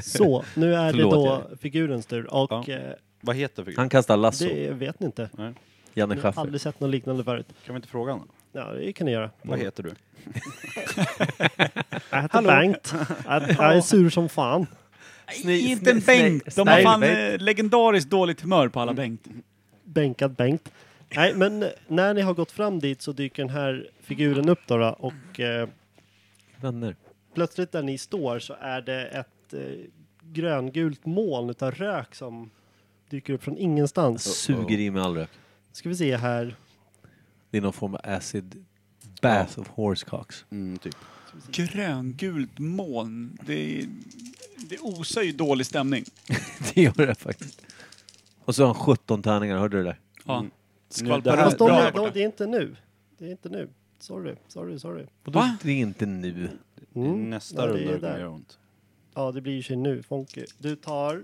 [SPEAKER 4] Så, nu är det
[SPEAKER 3] Förlåt,
[SPEAKER 4] då figurens tur och
[SPEAKER 1] Ja.
[SPEAKER 4] eh,
[SPEAKER 1] Vad heter figuren?
[SPEAKER 3] Han kastar lasso,
[SPEAKER 4] det vet ni inte.
[SPEAKER 3] Janne
[SPEAKER 4] Ni har
[SPEAKER 3] Schaffer.
[SPEAKER 4] aldrig sett något liknande förut.
[SPEAKER 1] Kan vi inte fråga honom?
[SPEAKER 4] Ja, det kan ni göra.
[SPEAKER 1] Vad heter du?
[SPEAKER 4] Jag heter Bengt. Jag, jag är sur som fan.
[SPEAKER 3] Sni-
[SPEAKER 2] inte en
[SPEAKER 3] sni-
[SPEAKER 2] Bengt! De har
[SPEAKER 3] sni-
[SPEAKER 2] fan
[SPEAKER 3] sni-
[SPEAKER 2] eh, legendariskt dåligt humör på alla
[SPEAKER 1] Mm.
[SPEAKER 2] Bengt.
[SPEAKER 4] Bänkad Bengt. Nej, men eh, när ni har gått fram dit så dyker den här figuren upp då, då och eh,
[SPEAKER 3] Vänner.
[SPEAKER 4] plötsligt där ni står så är det ett eh, gröngult moln utav rök som dyker upp från ingenstans.
[SPEAKER 3] Suger i mig all rök.
[SPEAKER 4] Ska vi se här.
[SPEAKER 3] Det är någon form av acid bath of horsecocks.
[SPEAKER 1] Mm, typ.
[SPEAKER 2] Gröngult moln. Det, är- det osar ju dålig stämning.
[SPEAKER 3] [LAUGHS] Det gör det faktiskt. Och så har han 17 tärningar, hörde du det där?
[SPEAKER 2] Ja.
[SPEAKER 1] Mm.
[SPEAKER 2] Skvalpar
[SPEAKER 1] det här-
[SPEAKER 4] Fast
[SPEAKER 2] runt
[SPEAKER 4] de,
[SPEAKER 2] bra
[SPEAKER 1] här
[SPEAKER 2] här
[SPEAKER 4] de,
[SPEAKER 2] borta.
[SPEAKER 4] det är inte nu. Det är inte nu. Sorry, sorry, sorry.
[SPEAKER 3] Vadå?
[SPEAKER 2] Va?
[SPEAKER 3] Det är inte nu.
[SPEAKER 4] Mm.
[SPEAKER 1] Nästa
[SPEAKER 4] Ja, det
[SPEAKER 1] runda
[SPEAKER 4] är
[SPEAKER 1] det kommer
[SPEAKER 4] där.
[SPEAKER 1] göra ont.
[SPEAKER 4] Ja, det blir ju sig nu, Fonky. Du tar,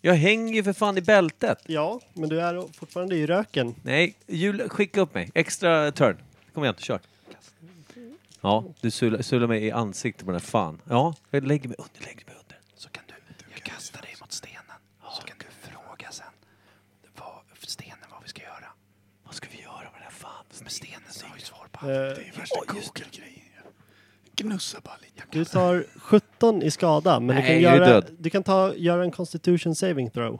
[SPEAKER 3] Jag hänger ju för fan i bältet.
[SPEAKER 4] ja, men du är fortfarande i röken.
[SPEAKER 3] Nej, jul, skicka upp mig. Extra turn. Kom igen, kör. Ja, du sular, sular mig i ansiktet på den här fan. Ja, jag lägger mig under, lägger mig under.
[SPEAKER 5] Så kan du, jag kastar dig mot stenen. Så kan du fråga sen vad, stenen vad vi ska göra.
[SPEAKER 3] Vad ska vi göra med den här fan?
[SPEAKER 5] Men stenen har ju svar på
[SPEAKER 4] Eh,
[SPEAKER 2] Det är värsta Google-grejen. Gnussa bara lite.
[SPEAKER 4] Du tar 17 i skada, men
[SPEAKER 3] Nej,
[SPEAKER 4] du
[SPEAKER 3] jag
[SPEAKER 4] kan,
[SPEAKER 3] är
[SPEAKER 4] göra,
[SPEAKER 3] död.
[SPEAKER 4] du kan ta, göra en constitution saving throw.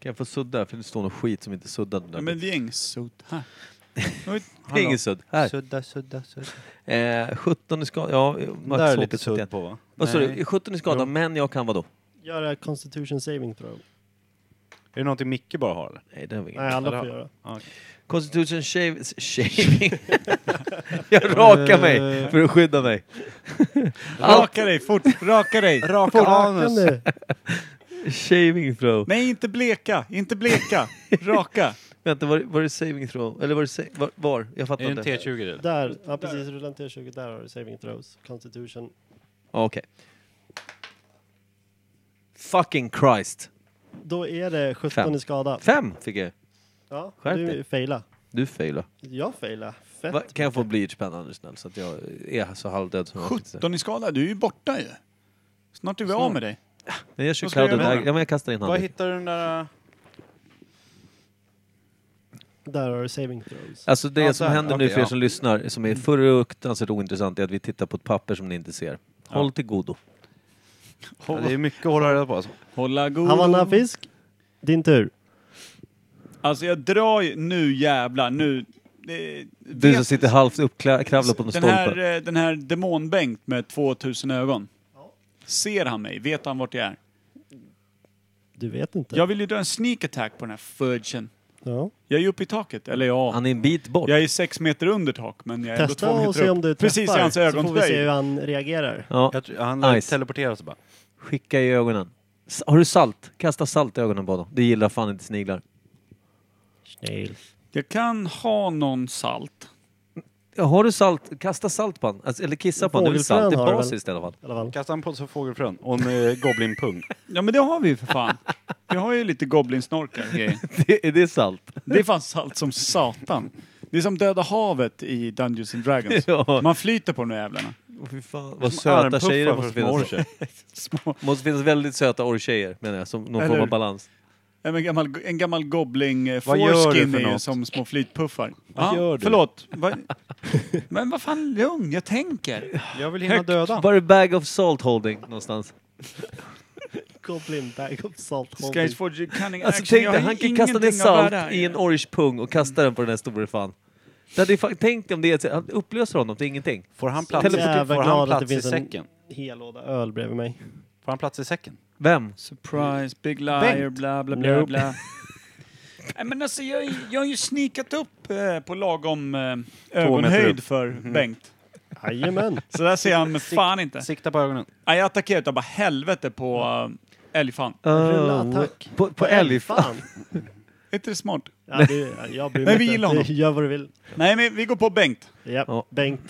[SPEAKER 3] Kan jag få sudda? För det står någon skit som inte är suddad.
[SPEAKER 2] Ja,
[SPEAKER 3] där.
[SPEAKER 2] men vi är ängsot här.
[SPEAKER 3] det är ingen sudd. Här.
[SPEAKER 1] Sudda, sudda, sudda.
[SPEAKER 3] Eh, 17 i skada. Ja,
[SPEAKER 1] Där är lite sudd på va?
[SPEAKER 3] Vad sa
[SPEAKER 1] Nej.
[SPEAKER 3] du? 17 i skada,
[SPEAKER 1] Jo.
[SPEAKER 3] men jag kan vadå?
[SPEAKER 4] Göra constitution saving throw.
[SPEAKER 1] Är det någonting Micke bara har eller?
[SPEAKER 3] Nej, det har vi
[SPEAKER 4] Nej, alla får göra.
[SPEAKER 3] Constitution shave, shaving. jag
[SPEAKER 1] Eh,
[SPEAKER 3] rakar mig för att skydda mig.
[SPEAKER 2] Raka dig fort! Raka dig!
[SPEAKER 1] Raka
[SPEAKER 4] Får
[SPEAKER 1] anus!
[SPEAKER 4] nu.
[SPEAKER 3] Shaving throw.
[SPEAKER 2] Nej, inte bleka! Inte bleka! Raka!
[SPEAKER 3] Vänta, var, var det saving throw? Eller var det sa- var, var? Jag fattar
[SPEAKER 1] Är det en
[SPEAKER 3] inte. Ja,
[SPEAKER 1] T20 eller?
[SPEAKER 4] Där, ja precis, rulla en T20, där har du saving throws. Constitution.
[SPEAKER 3] Okej. Fucking Christ.
[SPEAKER 4] Då är det 17
[SPEAKER 3] Fem.
[SPEAKER 4] i skada.
[SPEAKER 3] Fem fick jag.
[SPEAKER 4] Ja,
[SPEAKER 3] Skärp
[SPEAKER 4] du
[SPEAKER 3] dig.
[SPEAKER 4] faila.
[SPEAKER 3] Du failade.
[SPEAKER 4] Jag faila. Fett.
[SPEAKER 3] Va, kan jag få blyertspennan nu snäll så att jag är så halvdöd som jag faktiskt är.
[SPEAKER 2] 17 i skala, du är ju borta ju. Snart är vi av med dig.
[SPEAKER 3] Men jag kör
[SPEAKER 2] Vad ska jag
[SPEAKER 3] Cloud of
[SPEAKER 2] göra?
[SPEAKER 3] Dagger. Ja, men jag kastar in
[SPEAKER 1] Vad
[SPEAKER 3] handen.
[SPEAKER 1] hittar du den där... äh,
[SPEAKER 4] Där har du saving throws.
[SPEAKER 3] Alltså det
[SPEAKER 1] Ja,
[SPEAKER 3] som
[SPEAKER 1] där.
[SPEAKER 3] händer nu
[SPEAKER 1] Okej,
[SPEAKER 3] för er
[SPEAKER 1] ja.
[SPEAKER 3] som lyssnar, som är fruktansvärt ointressant, är att vi tittar på ett papper som ni inte ser. Håll till godo.
[SPEAKER 1] Ja, det är mycket att hålla reda på alltså.
[SPEAKER 2] Hålla god.
[SPEAKER 4] Havanna Fisk, din tur.
[SPEAKER 2] Alltså jag drar ju, nu jävlar, nu. Det,
[SPEAKER 3] Du som
[SPEAKER 2] vet-
[SPEAKER 3] sitter halvt uppkravlad på en
[SPEAKER 2] den
[SPEAKER 3] stolpe.
[SPEAKER 2] här, eh, den här demonbänkt med 2000 ögon. Ser han mig? Vet han vart jag är?
[SPEAKER 4] Du vet inte.
[SPEAKER 2] Jag vill ju dra en sneak attack på den här fudgen.
[SPEAKER 4] Ja.
[SPEAKER 2] Jag är ju uppe i taket, eller ja.
[SPEAKER 3] Han är en bit bort.
[SPEAKER 2] Jag är sex meter under tak, men jag är ändå två
[SPEAKER 4] Testa
[SPEAKER 2] meter
[SPEAKER 4] och se
[SPEAKER 2] upp.
[SPEAKER 4] om du träffar.
[SPEAKER 2] Precis i hans
[SPEAKER 4] så får vi se hur
[SPEAKER 2] ögonböj.
[SPEAKER 4] han reagerar.
[SPEAKER 3] Ja,
[SPEAKER 1] Jag tror, han nice.
[SPEAKER 3] Nice.
[SPEAKER 1] teleporteras bara.
[SPEAKER 3] skicka i ögonen. S- Har du salt? Kasta salt i ögonen på honom. Det gillar fan inte sniglar.
[SPEAKER 4] Snail.
[SPEAKER 2] Jag kan ha någon salt.
[SPEAKER 3] Ja, har du salt, kasta salt på honom. Alltså, eller kissa på honom. Det är väl
[SPEAKER 4] Fågelfrön
[SPEAKER 3] salt i
[SPEAKER 4] har du väl?
[SPEAKER 3] basiskt i alla fall. [LAUGHS]
[SPEAKER 4] I alla fall.
[SPEAKER 1] Kastar han på sig fågelfrön och en eh, goblinpung.
[SPEAKER 2] Ja men det har vi ju för fan. Vi har ju lite goblinsnorkar och grejer.
[SPEAKER 3] Det, är det salt?
[SPEAKER 2] Det är fan salt som satan. Det är som Döda havet i Dungeons and Dragons.
[SPEAKER 3] [LAUGHS] Ja.
[SPEAKER 2] Man flyter på de där jävlarna.
[SPEAKER 3] Fy fan. Vad söta
[SPEAKER 1] Armpuffar
[SPEAKER 3] tjejer det
[SPEAKER 1] för
[SPEAKER 3] måste
[SPEAKER 1] små
[SPEAKER 3] finnas.
[SPEAKER 1] orcher.
[SPEAKER 2] Små,
[SPEAKER 3] måste finnas väldigt söta orrtjejer menar jag, som någon
[SPEAKER 2] Eller
[SPEAKER 3] form av
[SPEAKER 2] hur?
[SPEAKER 3] balans.
[SPEAKER 2] en gammal, en gammal gobbling eh,
[SPEAKER 1] Vad gör du
[SPEAKER 2] foreskin
[SPEAKER 1] för
[SPEAKER 2] är ju
[SPEAKER 1] något?
[SPEAKER 2] som små flytpuffar.
[SPEAKER 1] Vad gör du?
[SPEAKER 2] Förlåt.
[SPEAKER 3] [LAUGHS]
[SPEAKER 2] Va, men vad fan, lugn, jag tänker.
[SPEAKER 1] Jag vill hinna
[SPEAKER 2] Högt.
[SPEAKER 1] döda.
[SPEAKER 3] Var är bag of salt holding någonstans?
[SPEAKER 4] Goblin bag of salt holding.
[SPEAKER 2] Skies Forge cunning
[SPEAKER 3] Alltså
[SPEAKER 2] action.
[SPEAKER 3] tänk dig, han kan kasta ner salt i en orrspung och kasta den på den här store fan. Det hade ju fan- Tänk dig om det är, han upplöser honom till ingenting.
[SPEAKER 1] Får han plats,
[SPEAKER 4] Jävla
[SPEAKER 1] får
[SPEAKER 4] glad
[SPEAKER 1] han
[SPEAKER 4] att
[SPEAKER 1] plats
[SPEAKER 4] det
[SPEAKER 1] i
[SPEAKER 4] finns en-
[SPEAKER 1] säcken?
[SPEAKER 4] Hel låda öl bredvid mig.
[SPEAKER 1] Får han plats i säcken?
[SPEAKER 3] Vem?
[SPEAKER 2] Surprise, big liar, bla bla bla
[SPEAKER 4] Nope.
[SPEAKER 2] bla. Nej men alltså jag, är- jag har ju sneakat upp eh, på lagom eh, ögonhöjd
[SPEAKER 1] upp.
[SPEAKER 2] för
[SPEAKER 3] Mm-hmm.
[SPEAKER 2] Bengt.
[SPEAKER 4] [LAUGHS] Jajamän.
[SPEAKER 2] Så där ser
[SPEAKER 3] [LAUGHS]
[SPEAKER 2] han men fan inte.
[SPEAKER 1] Sikta på ögonen.
[SPEAKER 2] Nej, jag attackerar utav bara helvete på äh, älgfan.
[SPEAKER 4] Rulla
[SPEAKER 3] Oh,
[SPEAKER 4] attack.
[SPEAKER 3] På, på älg?
[SPEAKER 4] [LAUGHS] Fan.
[SPEAKER 2] Är inte det smart?
[SPEAKER 4] Ja, du, jag bryr
[SPEAKER 2] Nej,
[SPEAKER 4] mig
[SPEAKER 2] vi
[SPEAKER 4] inte.
[SPEAKER 2] gillar honom.
[SPEAKER 4] Gör vad du vill.
[SPEAKER 2] Nej men vi går på Bengt.
[SPEAKER 4] Ja.
[SPEAKER 3] Ja.
[SPEAKER 4] Bengt.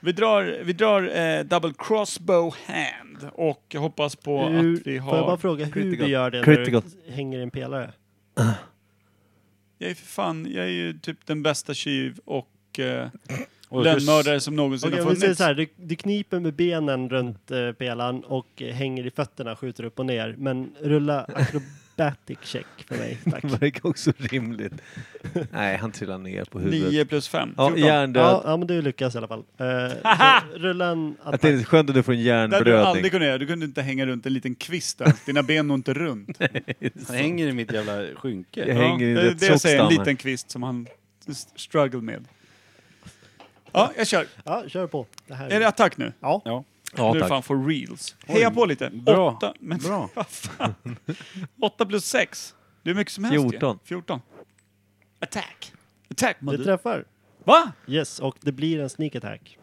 [SPEAKER 2] Vi drar, vi drar eh, double crossbow hand och jag hoppas på
[SPEAKER 4] Hur,
[SPEAKER 2] att vi
[SPEAKER 4] Eh, Får jag bara
[SPEAKER 2] har...
[SPEAKER 4] fråga hur
[SPEAKER 3] Critical.
[SPEAKER 4] du gör det
[SPEAKER 3] Critical.
[SPEAKER 4] när du hänger i en pelare?
[SPEAKER 2] Jag är för fan, jag är ju typ den bästa tjuv och eh,
[SPEAKER 1] Och
[SPEAKER 2] lönnmördare som någonsin
[SPEAKER 4] Okej,
[SPEAKER 2] har
[SPEAKER 4] om vi säger
[SPEAKER 2] funnits.
[SPEAKER 4] så här, du, du kniper med benen runt eh, pelaren och eh, hänger i fötterna, skjuter upp och ner. Men rulla acrobatic check för mig,
[SPEAKER 3] [LAUGHS]
[SPEAKER 4] tack.
[SPEAKER 3] Det verkar också rimligt. [LAUGHS] Nej, han trillar ner på huvudet.
[SPEAKER 2] 9 plus 5,
[SPEAKER 3] Ja,
[SPEAKER 2] 14.
[SPEAKER 3] hjärndöd.
[SPEAKER 4] Ja, ja, men du lyckas i alla fall. Eh,
[SPEAKER 2] Haha!
[SPEAKER 4] så rulla en
[SPEAKER 3] Jag
[SPEAKER 4] attack.
[SPEAKER 3] tänkte, skönt att du får en
[SPEAKER 2] Det hade du
[SPEAKER 3] hjärnblödning.
[SPEAKER 2] aldrig kunnat göra, du kunde inte hänga runt en liten kvist där.
[SPEAKER 3] [LAUGHS]
[SPEAKER 2] Dina ben når inte runt.
[SPEAKER 1] Han hänger i mitt jävla skynke.
[SPEAKER 3] Jag hänger i
[SPEAKER 2] det är
[SPEAKER 3] rätt
[SPEAKER 2] det jag
[SPEAKER 3] tjock
[SPEAKER 2] säger, en
[SPEAKER 3] stam här.
[SPEAKER 2] liten kvist som han s- struggle med. Ja, jag kör.
[SPEAKER 4] Ja, kör på. Det här
[SPEAKER 2] Är det attack nu?
[SPEAKER 4] Ja,
[SPEAKER 1] Ja.
[SPEAKER 3] Ja,
[SPEAKER 2] nu är det
[SPEAKER 3] tack.
[SPEAKER 2] fan for reals. Heja på lite.
[SPEAKER 1] bra.
[SPEAKER 2] Åtta, men
[SPEAKER 1] Bra.
[SPEAKER 2] [LAUGHS] vad fan. Åtta plus sex. Det är mycket som helst ju.
[SPEAKER 3] 14.
[SPEAKER 2] 14. Attack. Attack,
[SPEAKER 4] du
[SPEAKER 2] mother.
[SPEAKER 4] träffar.
[SPEAKER 2] Va?
[SPEAKER 4] Yes, och det blir en sneak attack.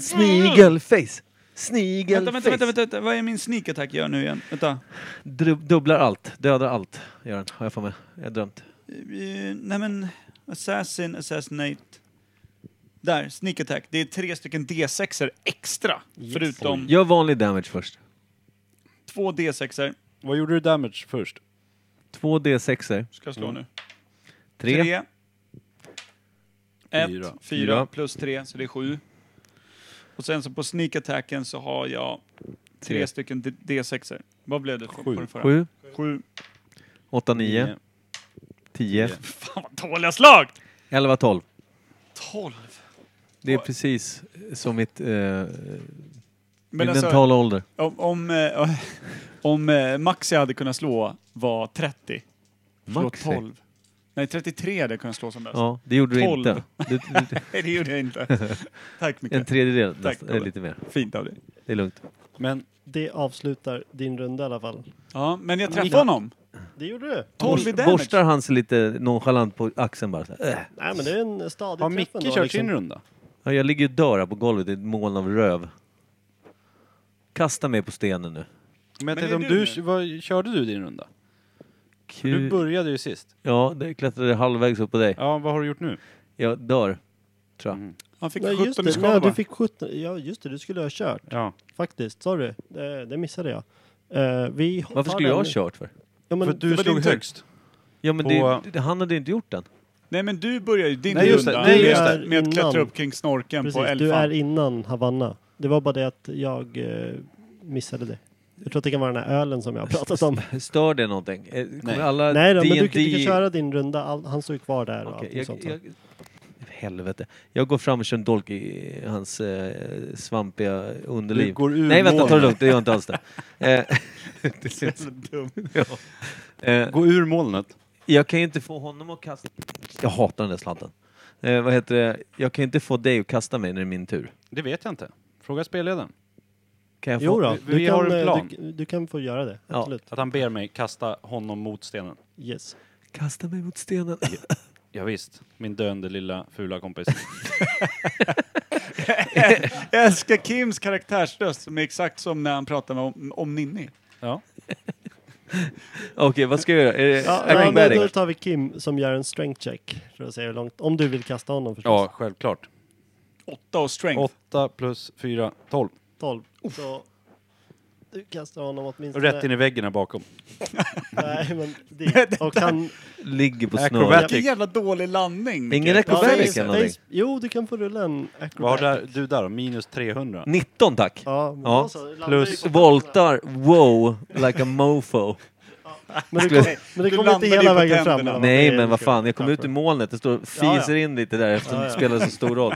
[SPEAKER 3] Snigelface!
[SPEAKER 2] Vänta,
[SPEAKER 3] Snigelface!
[SPEAKER 2] vänta, vänta, vänta, vänta. Vad är min sneak attack gör nu igen? Vänta.
[SPEAKER 3] Dru- Dubblar allt, dödar allt, gör han. Har jag för mig. Jag har drömt.
[SPEAKER 2] Eh, nej men, assassin, assassinate. Där, sneak attack. Det är tre stycken D6er extra. Förutom
[SPEAKER 3] Gör vanlig damage först.
[SPEAKER 2] två D6er.
[SPEAKER 1] Vad gjorde du damage först?
[SPEAKER 3] Två D6er.
[SPEAKER 2] Ska jag slå
[SPEAKER 1] Mm.
[SPEAKER 2] nu?
[SPEAKER 3] Tre.
[SPEAKER 2] Tre. Ett,
[SPEAKER 1] Fyra.
[SPEAKER 2] fyra,
[SPEAKER 3] Fyra.
[SPEAKER 2] plus tre, så det är sju. Och sen så på sneak attacken så har jag tre
[SPEAKER 3] Tre.
[SPEAKER 2] stycken D- D6er. Vad blev det? På, på
[SPEAKER 1] Sju.
[SPEAKER 2] den förra?
[SPEAKER 3] Sju.
[SPEAKER 2] Sju.
[SPEAKER 3] Åtta, nio.
[SPEAKER 1] Nio.
[SPEAKER 3] Tio.
[SPEAKER 2] Fan vad dåliga slag!
[SPEAKER 3] Elva, tolv.
[SPEAKER 2] Tolv.
[SPEAKER 3] Det är
[SPEAKER 2] Oj.
[SPEAKER 3] precis som mitt... Eh,
[SPEAKER 2] Men
[SPEAKER 3] min
[SPEAKER 2] alltså,
[SPEAKER 3] mentala ålder.
[SPEAKER 2] om, om, eh, om eh, Maxi hade kunnat slå var 30. Max
[SPEAKER 3] Maxi.
[SPEAKER 2] 12. Nej, 33 hade jag kunnat slå som bäst.
[SPEAKER 3] Ja, det gjorde du
[SPEAKER 2] Tolv.
[SPEAKER 3] inte. Du, du,
[SPEAKER 2] Nej, det gjorde jag
[SPEAKER 3] [LAUGHS]
[SPEAKER 2] inte. [LAUGHS] Tack
[SPEAKER 3] en
[SPEAKER 2] mycket.
[SPEAKER 3] tredjedel nästan,
[SPEAKER 2] Olle.
[SPEAKER 3] eller lite mer.
[SPEAKER 2] Fint av dig.
[SPEAKER 3] Det är lugnt.
[SPEAKER 1] Men
[SPEAKER 4] Det avslutar din runda i alla fall.
[SPEAKER 2] Ja, men jag
[SPEAKER 4] Vilka-
[SPEAKER 2] träffade honom.
[SPEAKER 4] Det gjorde du.
[SPEAKER 2] 12 i damage.
[SPEAKER 3] Borstar han sig lite nonchalant på axeln bara. Så här, äh.
[SPEAKER 4] Nej, men det är en stadig
[SPEAKER 1] har
[SPEAKER 4] träff
[SPEAKER 1] Micke
[SPEAKER 4] ändå, liksom.
[SPEAKER 1] kört
[SPEAKER 2] liksom.
[SPEAKER 1] sin runda?
[SPEAKER 3] Ja, jag ligger och dör här på golvet i ett moln av röv. Kasta mig på stenen nu.
[SPEAKER 1] Men jag
[SPEAKER 2] Men är
[SPEAKER 1] tänkte om
[SPEAKER 2] du
[SPEAKER 1] du, vad, körde du din runda? Du
[SPEAKER 3] Kul.
[SPEAKER 1] började ju sist.
[SPEAKER 3] Ja, det klättrade halvvägs upp på dig.
[SPEAKER 1] Ja, vad har du gjort nu?
[SPEAKER 3] Jag dör, tror jag.
[SPEAKER 2] Han fick
[SPEAKER 4] Nej, just
[SPEAKER 2] 17 i
[SPEAKER 4] det.
[SPEAKER 2] skada
[SPEAKER 4] Nej,
[SPEAKER 2] bara.
[SPEAKER 4] du fick 17. Ja, just det. Du skulle ha kört.
[SPEAKER 1] Ja.
[SPEAKER 4] Faktiskt, sorry. Det, det missade jag. Eh, vi hoppar
[SPEAKER 3] Varför skulle jag ha
[SPEAKER 4] den-
[SPEAKER 3] kört för?
[SPEAKER 4] Ja, men,
[SPEAKER 1] För att du
[SPEAKER 2] var
[SPEAKER 1] slog
[SPEAKER 2] din tur.
[SPEAKER 1] högst.
[SPEAKER 3] Ja, men
[SPEAKER 1] På-
[SPEAKER 3] det, det, han hade ju inte gjort den.
[SPEAKER 2] Nej men du börjar ju din
[SPEAKER 1] Nej, just det.
[SPEAKER 2] runda
[SPEAKER 1] Nej, just
[SPEAKER 2] med,
[SPEAKER 4] det.
[SPEAKER 2] med att klättra
[SPEAKER 4] Innan.
[SPEAKER 2] upp kring snorken [LAUGHS]
[SPEAKER 4] precis,
[SPEAKER 2] på
[SPEAKER 4] du är
[SPEAKER 2] älfan.
[SPEAKER 4] innan Havanna. Det var bara det att jag eh, missade det. Jag tror att det kan vara den här ölen som jag har pratat om.
[SPEAKER 3] Stör det någonting? Eh, Kommer
[SPEAKER 1] Nej.
[SPEAKER 3] alla
[SPEAKER 4] Nej då, men du,
[SPEAKER 3] D&D
[SPEAKER 4] du kan köra din runda. All, han står ju kvar där och
[SPEAKER 3] Okej,
[SPEAKER 4] allting sånt.
[SPEAKER 3] jag, jag, helvete. Jag går fram och kör en dolk i hans eh, svampiga underliv.
[SPEAKER 1] Du går ur
[SPEAKER 3] Nej vänta, ta det
[SPEAKER 1] molnet.
[SPEAKER 3] lugnt. Det gör jag inte alls
[SPEAKER 4] [LAUGHS]
[SPEAKER 3] det. Eh, [LAUGHS] det ser ut som-
[SPEAKER 2] Dum.
[SPEAKER 3] ja. eh,
[SPEAKER 1] Gå ur molnet.
[SPEAKER 3] jag kan ju inte få honom att kasta... Jag hatar den där slanten. Eh, vad heter det? Jag kan ju inte få dig att kasta mig när det är min tur.
[SPEAKER 1] Det vet jag inte. Fråga spelledaren.
[SPEAKER 3] Kan jag få...
[SPEAKER 4] Jo då,
[SPEAKER 1] Vi-
[SPEAKER 4] du
[SPEAKER 1] vi har
[SPEAKER 4] kan,
[SPEAKER 1] en
[SPEAKER 4] eh,
[SPEAKER 1] plan.
[SPEAKER 4] Du, du kan få göra det.
[SPEAKER 3] Ja.
[SPEAKER 4] Absolut.
[SPEAKER 1] Att han ber mig kasta honom mot stenen.
[SPEAKER 4] Yes.
[SPEAKER 3] Kasta mig mot stenen. [LAUGHS]
[SPEAKER 1] Ja, visst. min döende lilla fula kompis.
[SPEAKER 2] Jag älskar Kims karaktärsröst som är exakt som när han pratar med om, om Ninni.
[SPEAKER 1] Ja.
[SPEAKER 3] Okej, vad ska jag göra? Är det
[SPEAKER 4] Ja, nej, men
[SPEAKER 3] acrobatics?
[SPEAKER 4] då tar vi Kim som gör en strength check. För att se hur långt, om du vill kasta honom förstås.
[SPEAKER 1] ja, självklart.
[SPEAKER 2] Åtta och strength.
[SPEAKER 1] 8 plus 4, 12.
[SPEAKER 4] 12. Så du kastar honom
[SPEAKER 1] Och
[SPEAKER 4] åtminstone...
[SPEAKER 1] rätt in i väggen här bakom.
[SPEAKER 4] Nej, men dit. Och han...
[SPEAKER 3] Ligger på snöret.
[SPEAKER 1] Acrobat-
[SPEAKER 2] Vilken jävla dålig landning. Micke.
[SPEAKER 3] Ingen
[SPEAKER 4] Ja,
[SPEAKER 3] acrobatics
[SPEAKER 4] face-
[SPEAKER 3] eller någonting?
[SPEAKER 4] face- jo, du kan få rulla en acrobat.
[SPEAKER 1] Vad har där, du där då? Minus 300?
[SPEAKER 3] 19 tack.
[SPEAKER 4] Ja, men
[SPEAKER 3] Ja.
[SPEAKER 4] då så, landar
[SPEAKER 1] Plus
[SPEAKER 4] du på-
[SPEAKER 3] Voltar, wow, like a mofo.
[SPEAKER 4] Men det kom, men det
[SPEAKER 2] Du
[SPEAKER 4] kom inte
[SPEAKER 2] landar ju
[SPEAKER 4] hela
[SPEAKER 2] på
[SPEAKER 4] vägen
[SPEAKER 2] tänderna.
[SPEAKER 4] fram. eller
[SPEAKER 3] Nej
[SPEAKER 4] Det är-
[SPEAKER 3] men vad fan, jag kom ut i molnet, det står fiser in lite där eftersom det spelar så stor roll.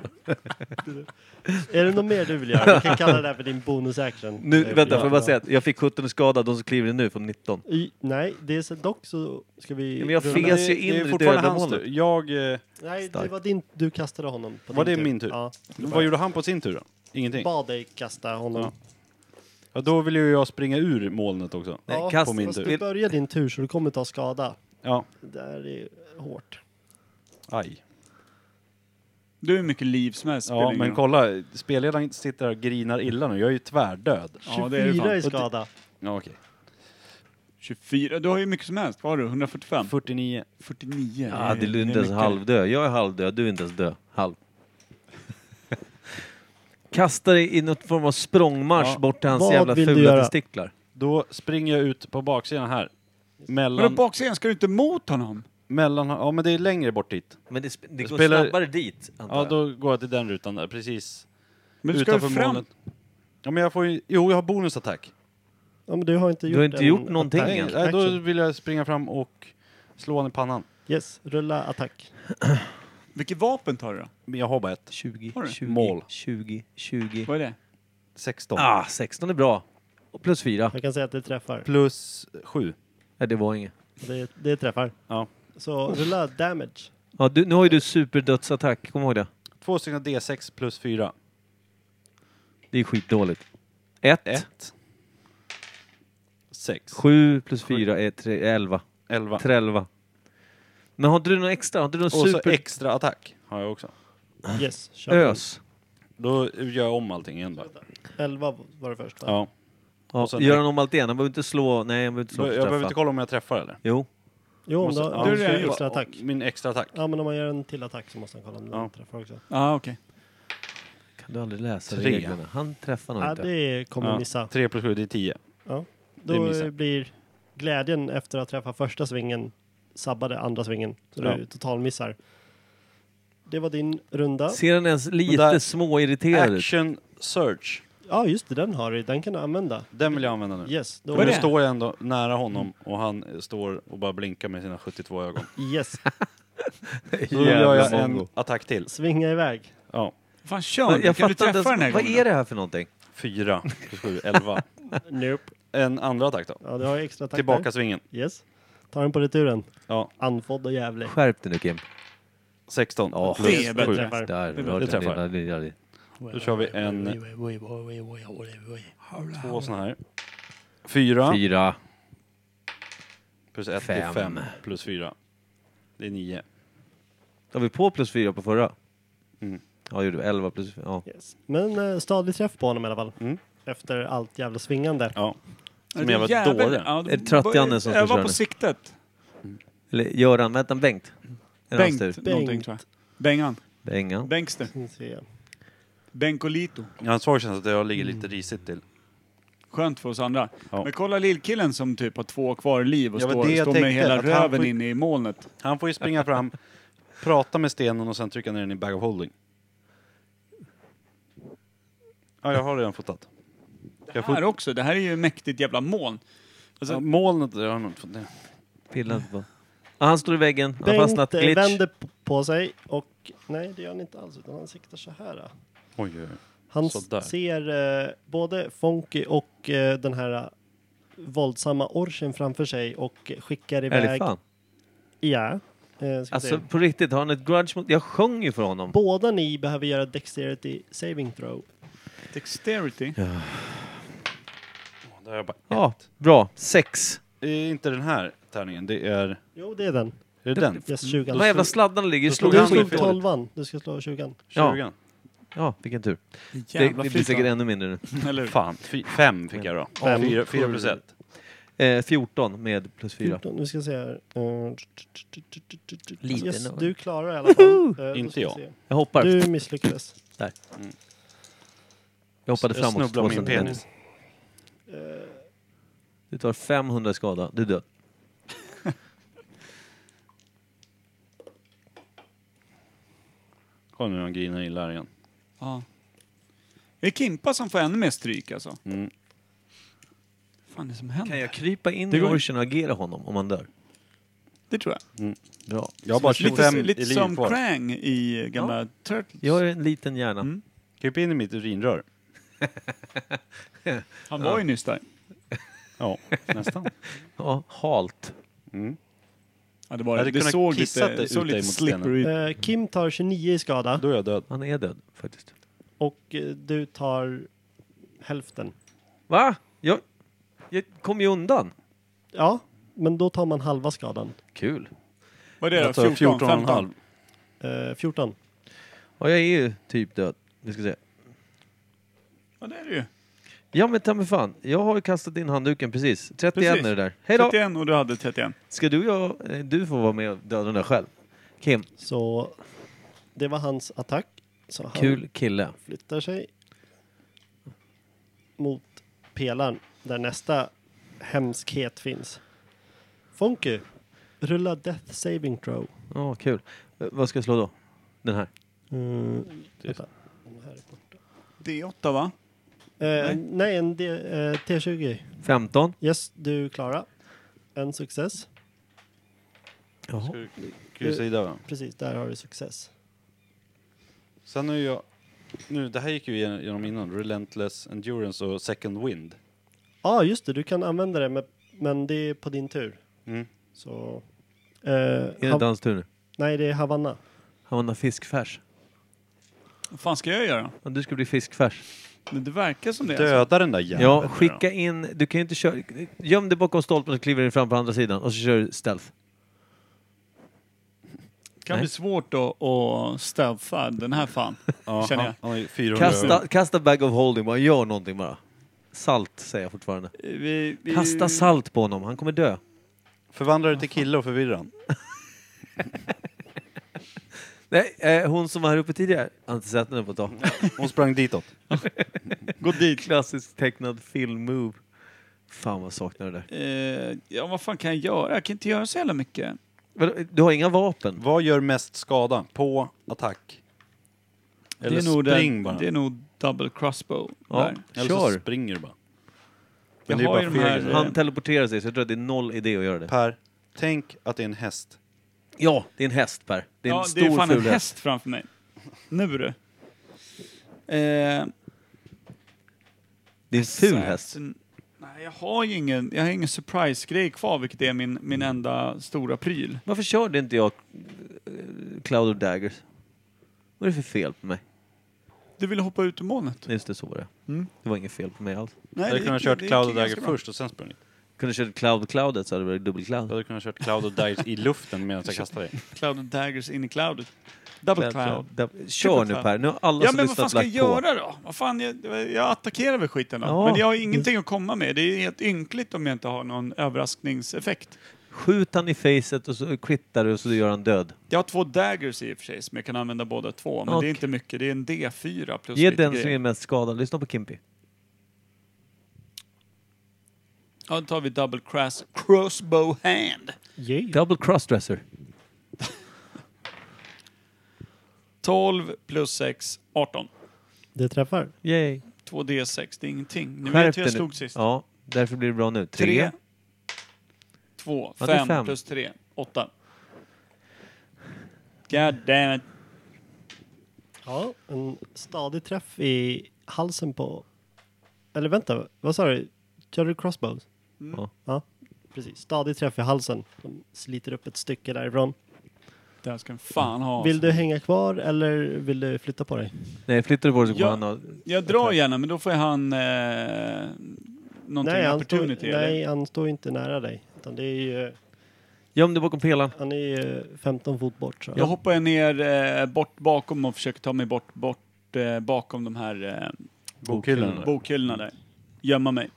[SPEAKER 4] Är det något mer du vill göra? Vi kan kalla det här för din bonus action.
[SPEAKER 3] Nu,
[SPEAKER 4] Det är-
[SPEAKER 3] vänta, får
[SPEAKER 4] ja.
[SPEAKER 3] jag bara säga att jag fick 17 i skada, de som kliver in nu får 19.
[SPEAKER 4] I, nej, det är så, dock så ska vi...
[SPEAKER 3] Ja, men jag
[SPEAKER 4] rulla-
[SPEAKER 1] Men
[SPEAKER 3] fes- ju in i det
[SPEAKER 1] fortfarande
[SPEAKER 3] döda
[SPEAKER 1] hans
[SPEAKER 3] molnet.
[SPEAKER 1] tur. Jag... Eh,
[SPEAKER 4] Nej, det
[SPEAKER 3] Starkt.
[SPEAKER 4] var din... Du kastade honom. på
[SPEAKER 1] Var
[SPEAKER 4] din
[SPEAKER 1] det min tur?
[SPEAKER 4] Ja.
[SPEAKER 1] vad gjorde han på sin tur då? Ingenting?
[SPEAKER 4] Bad dig kasta honom.
[SPEAKER 1] Ja. Ja, då vill ju jag springa ur molnet också.
[SPEAKER 3] Nej,
[SPEAKER 4] Ja,
[SPEAKER 3] kast
[SPEAKER 1] på min
[SPEAKER 4] Fast
[SPEAKER 1] tur.
[SPEAKER 4] du börjar din tur så du kommer ta skada.
[SPEAKER 1] Ja,
[SPEAKER 4] Det där är hårt.
[SPEAKER 1] aj.
[SPEAKER 2] Du har hur mycket liv som helst. spelar
[SPEAKER 1] Ja,
[SPEAKER 2] ingen
[SPEAKER 1] men
[SPEAKER 2] roll.
[SPEAKER 1] kolla. Spelledaren sitter här och grinar illa nu. Jag är ju tvärdöd.
[SPEAKER 2] Ja, det är det
[SPEAKER 4] 24 i
[SPEAKER 2] fan.
[SPEAKER 4] skada.
[SPEAKER 1] Ja, okej.
[SPEAKER 2] 24. Du har ju mycket som helst. Vad har du? 145?
[SPEAKER 1] 49.
[SPEAKER 2] 49.
[SPEAKER 3] Ja, det är inte
[SPEAKER 2] mycket.
[SPEAKER 3] ens halvdöd. Jag är halvdöd, du är inte ens död. Halv. Kastar dig i något form av språngmarsch
[SPEAKER 1] Ja.
[SPEAKER 3] bort till hans
[SPEAKER 4] Vad
[SPEAKER 3] jävla
[SPEAKER 4] vill du
[SPEAKER 3] fula
[SPEAKER 4] göra?
[SPEAKER 3] testiklar.
[SPEAKER 1] Då springer jag ut på baksidan här.
[SPEAKER 2] Vadå
[SPEAKER 1] Mellan...
[SPEAKER 2] baksidan? Ska du inte mot honom?
[SPEAKER 1] mellan ja, men det är längre bort dit.
[SPEAKER 3] Men det, sp- det går
[SPEAKER 1] Spelar-
[SPEAKER 3] snabbare dit, antar
[SPEAKER 1] Ja,
[SPEAKER 3] jag.
[SPEAKER 1] då går jag till den rutan där. Precis
[SPEAKER 2] Men du ska
[SPEAKER 1] utanför
[SPEAKER 2] ju fram.
[SPEAKER 1] molnet. Ja, men jag får ju... Jo, jag har bonusattack.
[SPEAKER 4] Ja, men du har inte
[SPEAKER 3] Du
[SPEAKER 4] gjort,
[SPEAKER 3] har inte
[SPEAKER 4] en
[SPEAKER 3] gjort någonting
[SPEAKER 4] attack
[SPEAKER 1] Nej,
[SPEAKER 3] än.
[SPEAKER 1] nej, då
[SPEAKER 4] action.
[SPEAKER 1] vill jag springa fram och slå honom i pannan.
[SPEAKER 4] Yes, rulla attack.
[SPEAKER 2] Vilket vapen tar du då?
[SPEAKER 1] Men jag har bara ett.
[SPEAKER 3] 20,
[SPEAKER 2] Har du?
[SPEAKER 3] 20,
[SPEAKER 1] Mål.
[SPEAKER 3] 20, 20.
[SPEAKER 2] Vad är det?
[SPEAKER 1] 16.
[SPEAKER 3] Ah, 16 är bra. Och plus 4.
[SPEAKER 4] Jag kan säga att det träffar.
[SPEAKER 1] Plus 7.
[SPEAKER 3] Nej, det var inget.
[SPEAKER 4] Det, det träffar.
[SPEAKER 1] Ja.
[SPEAKER 4] Så rulla damage.
[SPEAKER 3] Ja, du, nu har ju du superdödsattack, kom ihåg det.
[SPEAKER 1] Två stycken D6 plus 4.
[SPEAKER 3] Det är skitdåligt. 1,
[SPEAKER 1] 1. 6.
[SPEAKER 3] 7 plus 4 är 3, 11.
[SPEAKER 1] 11.
[SPEAKER 3] 13. Men har inte du någon extra? Har inte du någon
[SPEAKER 1] Och så
[SPEAKER 3] super...
[SPEAKER 1] extra attack har jag också.
[SPEAKER 4] Yes, kör.
[SPEAKER 3] Ös?
[SPEAKER 1] Då gör jag om allting igen bara.
[SPEAKER 4] 11 var det först va?
[SPEAKER 1] Ja.
[SPEAKER 3] Ja,
[SPEAKER 1] sen-
[SPEAKER 3] gör han om allt igen? Han behöver inte slå... Nej, han behöver inte
[SPEAKER 1] Jag
[SPEAKER 3] slå för
[SPEAKER 1] behöver
[SPEAKER 3] träffa.
[SPEAKER 1] inte kolla om jag träffar eller?
[SPEAKER 3] Jo.
[SPEAKER 4] Jo, om
[SPEAKER 1] Måste-
[SPEAKER 4] du
[SPEAKER 1] ja.
[SPEAKER 4] har
[SPEAKER 2] Du är
[SPEAKER 4] du ska
[SPEAKER 2] redan
[SPEAKER 4] göra
[SPEAKER 2] gjort.
[SPEAKER 4] extra attack.
[SPEAKER 1] Min extra attack.
[SPEAKER 4] Ja, men om man gör en till attack så måste han kolla om den
[SPEAKER 1] Ja.
[SPEAKER 4] träffar också.
[SPEAKER 2] Ja, ah, okej.
[SPEAKER 3] Kan du aldrig läsa
[SPEAKER 1] Tre.
[SPEAKER 3] reglerna? Han träffar nog
[SPEAKER 4] Ja,
[SPEAKER 3] inte.
[SPEAKER 4] det kommer
[SPEAKER 1] Ja.
[SPEAKER 4] missa.
[SPEAKER 1] 3 plus 7, det är 10. det
[SPEAKER 4] Då
[SPEAKER 1] missar.
[SPEAKER 4] blir glädjen efter att träffa första svingen sabbade andra svingen. Så
[SPEAKER 1] Ja.
[SPEAKER 4] du totalmissar. Det var din runda.
[SPEAKER 3] Ser han ens lite
[SPEAKER 1] där-
[SPEAKER 3] småirriterad ut?
[SPEAKER 1] Action Search.
[SPEAKER 4] Ja, just det, den har du. Den kan du använda.
[SPEAKER 1] Den vill jag använda nu.
[SPEAKER 4] Yes, då
[SPEAKER 1] För
[SPEAKER 2] Vad
[SPEAKER 1] nu
[SPEAKER 2] är det?
[SPEAKER 1] står jag ändå nära honom och han eh, står och bara blinkar med sina 72
[SPEAKER 3] [LAUGHS]
[SPEAKER 1] ögon.
[SPEAKER 4] yes.
[SPEAKER 1] Då gör jag
[SPEAKER 3] Jävla
[SPEAKER 1] en
[SPEAKER 3] mongo.
[SPEAKER 1] attack till.
[SPEAKER 4] svinga iväg.
[SPEAKER 1] Ja.
[SPEAKER 2] Fan kör
[SPEAKER 3] Jag
[SPEAKER 2] nu. Kan
[SPEAKER 3] fattar
[SPEAKER 2] du
[SPEAKER 3] inte
[SPEAKER 2] träffa
[SPEAKER 3] ens...
[SPEAKER 2] den här
[SPEAKER 3] Vad
[SPEAKER 2] gången?
[SPEAKER 3] är det här för någonting?
[SPEAKER 1] 4 plus 7,
[SPEAKER 3] [LAUGHS]
[SPEAKER 1] 11.
[SPEAKER 4] Nope.
[SPEAKER 1] En andra attack då.
[SPEAKER 4] Ja, du har extra attack
[SPEAKER 1] Tillbaka svingen.
[SPEAKER 4] Där. Yes. Ta den på returen.
[SPEAKER 1] Ja,
[SPEAKER 4] Anfodd och jävlig.
[SPEAKER 3] Skärp dig nu Kim.
[SPEAKER 1] 16
[SPEAKER 3] Ja,
[SPEAKER 1] plus
[SPEAKER 2] det är bättre.
[SPEAKER 1] 7.
[SPEAKER 4] Träffar.
[SPEAKER 3] Där,
[SPEAKER 2] Det
[SPEAKER 3] rör
[SPEAKER 1] träffar.
[SPEAKER 3] den lilla- lilla-
[SPEAKER 1] Då kör vi en, två såna här. 4
[SPEAKER 3] Fyra.
[SPEAKER 1] plus 1
[SPEAKER 3] Fem.
[SPEAKER 1] är 5 plus 4. Det är 9.
[SPEAKER 3] Har vi på plus fyra på förra?
[SPEAKER 1] Mm.
[SPEAKER 3] Ja, gjorde vi. Elva plus fyra. Ja.
[SPEAKER 4] Yes. Men eh, stadig träff på honom i alla fall.
[SPEAKER 1] Mm.
[SPEAKER 4] Efter allt jävla svingande.
[SPEAKER 1] Ja.
[SPEAKER 2] Ja,
[SPEAKER 1] Som
[SPEAKER 2] det är
[SPEAKER 1] jävla
[SPEAKER 2] jävel-
[SPEAKER 1] dåre.
[SPEAKER 2] Ja, du-
[SPEAKER 3] Är det Tratt-Janne som ska
[SPEAKER 2] Öva
[SPEAKER 3] köra
[SPEAKER 2] på
[SPEAKER 3] nu?
[SPEAKER 2] siktet.
[SPEAKER 3] Eller Göran, vänta, Bengt. Är det hans
[SPEAKER 2] Bengt,
[SPEAKER 3] tur?
[SPEAKER 2] någonting tror jag. Bengan.
[SPEAKER 3] Bengan.
[SPEAKER 2] Bengster.
[SPEAKER 4] Ska vi se.
[SPEAKER 2] Benkolito.
[SPEAKER 1] Jag har en svag känsla att jag ligger lite risigt till.
[SPEAKER 2] Skönt för oss andra.
[SPEAKER 1] Ja.
[SPEAKER 2] Men kolla lillkillen som typ har två kvar liv och
[SPEAKER 1] Ja, men det
[SPEAKER 2] står,
[SPEAKER 1] jag
[SPEAKER 2] står med
[SPEAKER 1] tänkte,
[SPEAKER 2] hela
[SPEAKER 1] att han
[SPEAKER 2] röven
[SPEAKER 1] får-
[SPEAKER 2] inne i molnet.
[SPEAKER 1] Han får ju springa fram, [LAUGHS] prata med stenen och sen trycka ner den i bag of holding. Ja, jag har redan fotat. Jag
[SPEAKER 2] Här
[SPEAKER 1] får,
[SPEAKER 2] också, det här är ju mäktigt jävla moln. Alltså,
[SPEAKER 1] ja, molnet, det har jag nog inte fått ner.
[SPEAKER 3] Pilla inte på. Ah, han står i väggen. Han har
[SPEAKER 4] Bengt
[SPEAKER 3] fastnat.
[SPEAKER 4] eh,
[SPEAKER 3] Glitch.
[SPEAKER 4] vänder p- på sig och nej, det gör han inte alls utan han siktar så här. eh.
[SPEAKER 1] Oj, oj, oj.
[SPEAKER 4] Han s-
[SPEAKER 1] Sådär.
[SPEAKER 4] ser eh, både Fonky och eh, den här eh, våldsamma orchen framför sig och skickar
[SPEAKER 3] Är det
[SPEAKER 4] iväg...
[SPEAKER 3] fan?
[SPEAKER 4] Ja. Eh, ska
[SPEAKER 3] Alltså
[SPEAKER 4] alltså...
[SPEAKER 3] på riktigt, har han ett grudge mot... Jag sjöng ju för honom.
[SPEAKER 4] Båda ni behöver göra Dexterity Saving Throw.
[SPEAKER 2] dexterity.
[SPEAKER 1] Åh, Där har jag bara...
[SPEAKER 3] Ja, bra. Sex.
[SPEAKER 1] Det är inte den här tärningen, det är...
[SPEAKER 4] Jo, det är den.
[SPEAKER 1] Är det den?
[SPEAKER 4] Yes, 20.
[SPEAKER 3] De här Mm. jävla sladdarna ligger ju
[SPEAKER 1] då slog
[SPEAKER 3] slog
[SPEAKER 4] Du
[SPEAKER 3] han
[SPEAKER 1] han
[SPEAKER 4] slog
[SPEAKER 1] fel.
[SPEAKER 3] skitdåligt.
[SPEAKER 4] 12 du ska slå 20
[SPEAKER 3] Ja.
[SPEAKER 1] 20.
[SPEAKER 3] Ja, vilken tur. Det,
[SPEAKER 2] Jävla
[SPEAKER 3] det blir säkert ännu mindre nu.
[SPEAKER 2] Eller hur?
[SPEAKER 1] Fan, fy, fem fick jag då.
[SPEAKER 4] Fem.
[SPEAKER 1] Fyra, fyra plus ett.
[SPEAKER 3] Eh, 14 med plus 4.
[SPEAKER 4] 14, vi ska se här. Eh,
[SPEAKER 3] Lite
[SPEAKER 4] yes,
[SPEAKER 3] nog.
[SPEAKER 4] du klarar det i alla fall. Eh, då
[SPEAKER 1] Inte
[SPEAKER 4] ska vi
[SPEAKER 1] jag.
[SPEAKER 4] se.
[SPEAKER 3] Jag hoppar.
[SPEAKER 4] Du misslyckades.
[SPEAKER 3] jag
[SPEAKER 1] Jag
[SPEAKER 3] hoppade framåt
[SPEAKER 1] snubblar
[SPEAKER 3] två
[SPEAKER 1] med min
[SPEAKER 3] centimeter.
[SPEAKER 1] penis.
[SPEAKER 3] Du tar 500 skada. Du är död.
[SPEAKER 1] Kolla nu, han grinar illa igen.
[SPEAKER 2] Ja. Det är Kimpa som får ännu mer stryk alltså.
[SPEAKER 1] Mm.
[SPEAKER 2] fan är det som händer?
[SPEAKER 3] Kan jag krypa in
[SPEAKER 2] Det
[SPEAKER 3] i
[SPEAKER 2] går-
[SPEAKER 3] orchen och agera honom om han dör?
[SPEAKER 2] Det tror jag.
[SPEAKER 3] Bra.
[SPEAKER 1] Jag har bara
[SPEAKER 2] Lite,
[SPEAKER 1] 25 i
[SPEAKER 2] lite
[SPEAKER 1] liv
[SPEAKER 2] som
[SPEAKER 1] kvar.
[SPEAKER 2] Krang i gamla Turtles.
[SPEAKER 3] Jag har en liten hjärna.
[SPEAKER 2] Mm.
[SPEAKER 1] Kryp in i mitt urinrör.
[SPEAKER 2] Han var ju nyss där.
[SPEAKER 1] Ja, nästan.
[SPEAKER 3] Ja, halt.
[SPEAKER 1] Mm.
[SPEAKER 2] Ja, det, var,
[SPEAKER 1] Jag hade
[SPEAKER 2] det, det
[SPEAKER 1] kunnat
[SPEAKER 2] såg
[SPEAKER 1] kissat
[SPEAKER 2] lite,
[SPEAKER 1] det
[SPEAKER 2] såg
[SPEAKER 1] ut
[SPEAKER 2] lite
[SPEAKER 1] dig mot stenen.
[SPEAKER 2] slippery ut.
[SPEAKER 4] Eh, Kim tar 29 i skada
[SPEAKER 1] Då är jag död.
[SPEAKER 3] Han är död faktiskt.
[SPEAKER 4] och eh, du tar hälften.
[SPEAKER 3] Va? Jag, jag kom ju undan.
[SPEAKER 4] Ja, men då tar man halva skadan.
[SPEAKER 3] Kul.
[SPEAKER 2] Vad är det
[SPEAKER 1] Jag
[SPEAKER 2] då?
[SPEAKER 1] tar
[SPEAKER 2] 14,
[SPEAKER 1] 14 och en
[SPEAKER 2] 15?
[SPEAKER 1] halv.
[SPEAKER 4] Eh, 14.
[SPEAKER 3] Ja, jag är ju typ död. Vi ska se.
[SPEAKER 2] Ja, det är det ju.
[SPEAKER 3] Ja men ta mig fan, jag har ju kastat in handduken precis. 31
[SPEAKER 2] Precis.
[SPEAKER 3] är det där. Hej då!
[SPEAKER 2] 31 och du hade 31.
[SPEAKER 3] Ska du och jag, eh, du får vara med och döda den där själv. Kim,
[SPEAKER 4] Så det var hans attack. Så han
[SPEAKER 3] kul kille.
[SPEAKER 4] flyttar sig mot pelaren där nästa hemskhet finns. Fonky, rulla Death Saving Throw.
[SPEAKER 3] Ja, kul. Eh, Vad ska jag slå då? Den här?
[SPEAKER 4] Mm,
[SPEAKER 1] Det-
[SPEAKER 4] vänta. Den här är borta.
[SPEAKER 2] D8 va?
[SPEAKER 4] Eh, nej, en D, eh, T20.
[SPEAKER 3] 15?
[SPEAKER 4] Yes, du Klara. En success.
[SPEAKER 3] Jaha.
[SPEAKER 1] Q-sida va?
[SPEAKER 4] Precis, där har du success.
[SPEAKER 1] Sen har ju jag... Nu, det här gick ju igen- genom innan. Relentless Endurance och Second Wind.
[SPEAKER 4] Ja, just det, du kan använda det, men, men det är på din tur.
[SPEAKER 1] Mm.
[SPEAKER 4] Så... eh,
[SPEAKER 3] Är det
[SPEAKER 4] Hav-
[SPEAKER 3] dans tur nu?
[SPEAKER 4] nej, det är Havanna.
[SPEAKER 3] Havanna fiskfärs.
[SPEAKER 2] Vad fan ska jag göra?
[SPEAKER 3] Ja, du ska bli fiskfärs.
[SPEAKER 2] Men det verkar som det. Alltså.
[SPEAKER 1] Döda den där
[SPEAKER 3] Ja,
[SPEAKER 1] jäveln.
[SPEAKER 3] skicka in... Du kan ju inte köra... Göm dig bakom stolpen och kliver in fram på andra sidan och så kör du stealth.
[SPEAKER 2] Det kan
[SPEAKER 3] Nej.
[SPEAKER 2] bli svårt då att stealtha den här fan.
[SPEAKER 1] Ja,
[SPEAKER 2] känner
[SPEAKER 1] han-
[SPEAKER 2] jag.
[SPEAKER 1] Han har ju 400
[SPEAKER 3] Kasta, kasta bag of holding bara, gör någonting bara. Salt säger jag fortfarande.
[SPEAKER 2] Vi, vi...
[SPEAKER 3] Kasta salt på honom, han kommer dö.
[SPEAKER 1] Förvandla dig till kille och förvirra han.
[SPEAKER 3] Nej, eh, hon som var här uppe tidigare. Jag har inte sett henne på
[SPEAKER 2] [LAUGHS]
[SPEAKER 3] ett tag.
[SPEAKER 1] Hon sprang ditåt.
[SPEAKER 2] Gå dit.
[SPEAKER 3] Klassisk tecknad film-move. Fan vad saknar det där.
[SPEAKER 2] Eh, ja, vad fan kan jag göra? Jag kan inte göra så jävla mycket.
[SPEAKER 3] Vadå, Du har inga vapen?
[SPEAKER 1] Vad gör mest skada? På, attack? Eller
[SPEAKER 2] det är nog
[SPEAKER 1] spring
[SPEAKER 2] den,
[SPEAKER 1] bara.
[SPEAKER 2] Det är nog double crossbow.
[SPEAKER 3] Ja.
[SPEAKER 2] Där.
[SPEAKER 1] Eller så
[SPEAKER 3] Kör.
[SPEAKER 1] springer du bara.
[SPEAKER 2] Jag
[SPEAKER 1] Men det är
[SPEAKER 2] har
[SPEAKER 1] bara
[SPEAKER 2] ju de
[SPEAKER 1] fel
[SPEAKER 2] här...
[SPEAKER 1] grejer.
[SPEAKER 3] Han teleporterar sig så jag tror att det är noll idé att göra det.
[SPEAKER 1] Per, tänk att det är en häst.
[SPEAKER 3] Ja, det är en häst Per. Det är en
[SPEAKER 2] ja,
[SPEAKER 3] stor
[SPEAKER 2] det är fan en
[SPEAKER 3] ful
[SPEAKER 2] häst, framför mig. Nu du. Eh,
[SPEAKER 3] Det är en ful häst.
[SPEAKER 2] sen- Nej, jag har ju ingen, jag har ingen surprise-grej kvar, vilket är min,
[SPEAKER 3] Mm.
[SPEAKER 2] min enda stora pryl.
[SPEAKER 3] Varför körde inte jag eh, Cloud of Daggers? Vad är det för fel på mig?
[SPEAKER 2] Du ville hoppa ut ur molnet?
[SPEAKER 3] Just det, så var det.
[SPEAKER 2] Mm.
[SPEAKER 3] Det var inget fel på mig alls.
[SPEAKER 2] Nej,
[SPEAKER 1] Jag hade
[SPEAKER 2] det
[SPEAKER 1] kunnat
[SPEAKER 2] gick-
[SPEAKER 1] kört
[SPEAKER 2] det gick
[SPEAKER 1] Cloud och
[SPEAKER 2] ganska
[SPEAKER 1] Dagger
[SPEAKER 2] bra.
[SPEAKER 1] först och sen sprungit.
[SPEAKER 3] Kunde kört Cloud Cloudet så hade det varit
[SPEAKER 1] Jag
[SPEAKER 3] dubbelcloud.
[SPEAKER 1] hade kunnat kört Cloud och Dice i luften medan jag kastade dig.
[SPEAKER 2] Cloud and Daggers in i cloudet. Double cloud.
[SPEAKER 3] Dubb- Kör nu
[SPEAKER 2] cloud.
[SPEAKER 3] Per, nu har alla
[SPEAKER 2] Ja
[SPEAKER 3] som
[SPEAKER 2] men vad
[SPEAKER 3] lyssnat
[SPEAKER 2] fan ska jag
[SPEAKER 3] lagt på.
[SPEAKER 2] göra då? Vad fan, jag, jag attackerar väl skiten då.
[SPEAKER 3] Ja.
[SPEAKER 2] Men jag har ingenting att komma med. Det är helt ynkligt om jag inte har någon överraskningseffekt.
[SPEAKER 3] Skjut han i facet och så kvittar du och så gör han död.
[SPEAKER 2] Jag har två daggers i och för sig som jag kan använda båda två. Men
[SPEAKER 3] Okej.
[SPEAKER 2] det är inte mycket. Det är en D4 plus
[SPEAKER 3] Ge
[SPEAKER 2] lite
[SPEAKER 3] den som
[SPEAKER 2] grejer.
[SPEAKER 3] är mest skadad. Lyssna på Kimpy.
[SPEAKER 2] Ja, då tar vi double cross, crossbow hand.
[SPEAKER 3] Double crossdresser.
[SPEAKER 2] 12 plus 6, 18.
[SPEAKER 4] Det träffar.
[SPEAKER 3] Yay.
[SPEAKER 2] Två D6, det är ingenting. Nu
[SPEAKER 3] Skärp
[SPEAKER 2] vet jag hur
[SPEAKER 3] dig
[SPEAKER 2] jag slog
[SPEAKER 3] nu.
[SPEAKER 2] sist.
[SPEAKER 3] Ja, därför blir det bra nu. Tre.
[SPEAKER 2] Tre. Två.
[SPEAKER 3] Ja, det är
[SPEAKER 2] fem,
[SPEAKER 3] fem.
[SPEAKER 2] plus tre. Åtta. God damn it.
[SPEAKER 4] Ja, en stadig träff i halsen på... Eller vänta, vad sa du? Körde du crossbows?
[SPEAKER 2] Mm.
[SPEAKER 3] Ja.
[SPEAKER 4] Ja, precis. Stadig träff i halsen. De sliter upp ett stycke därifrån.
[SPEAKER 2] Det här ska en fan ha.
[SPEAKER 4] Vill du hänga kvar eller vill du flytta på dig?
[SPEAKER 3] Nej, flyttar du på det så kommer
[SPEAKER 2] Ja.
[SPEAKER 3] han ha...
[SPEAKER 2] alltså. Jag drar gärna, men då får han eh, någonting
[SPEAKER 4] Nej, han, står,
[SPEAKER 2] opportunity, eller?
[SPEAKER 4] nej han står ju inte nära dig. Utan det är ju,
[SPEAKER 3] Göm dig bakom pelaren.
[SPEAKER 4] han är ju 15 fot bort. Så.
[SPEAKER 2] Då hoppar jag ner eh, bort bakom och försöker ta mig bort, bort eh, bakom de här eh,
[SPEAKER 1] Bokhyllan.
[SPEAKER 2] bokhyllorna där. Gömma mig.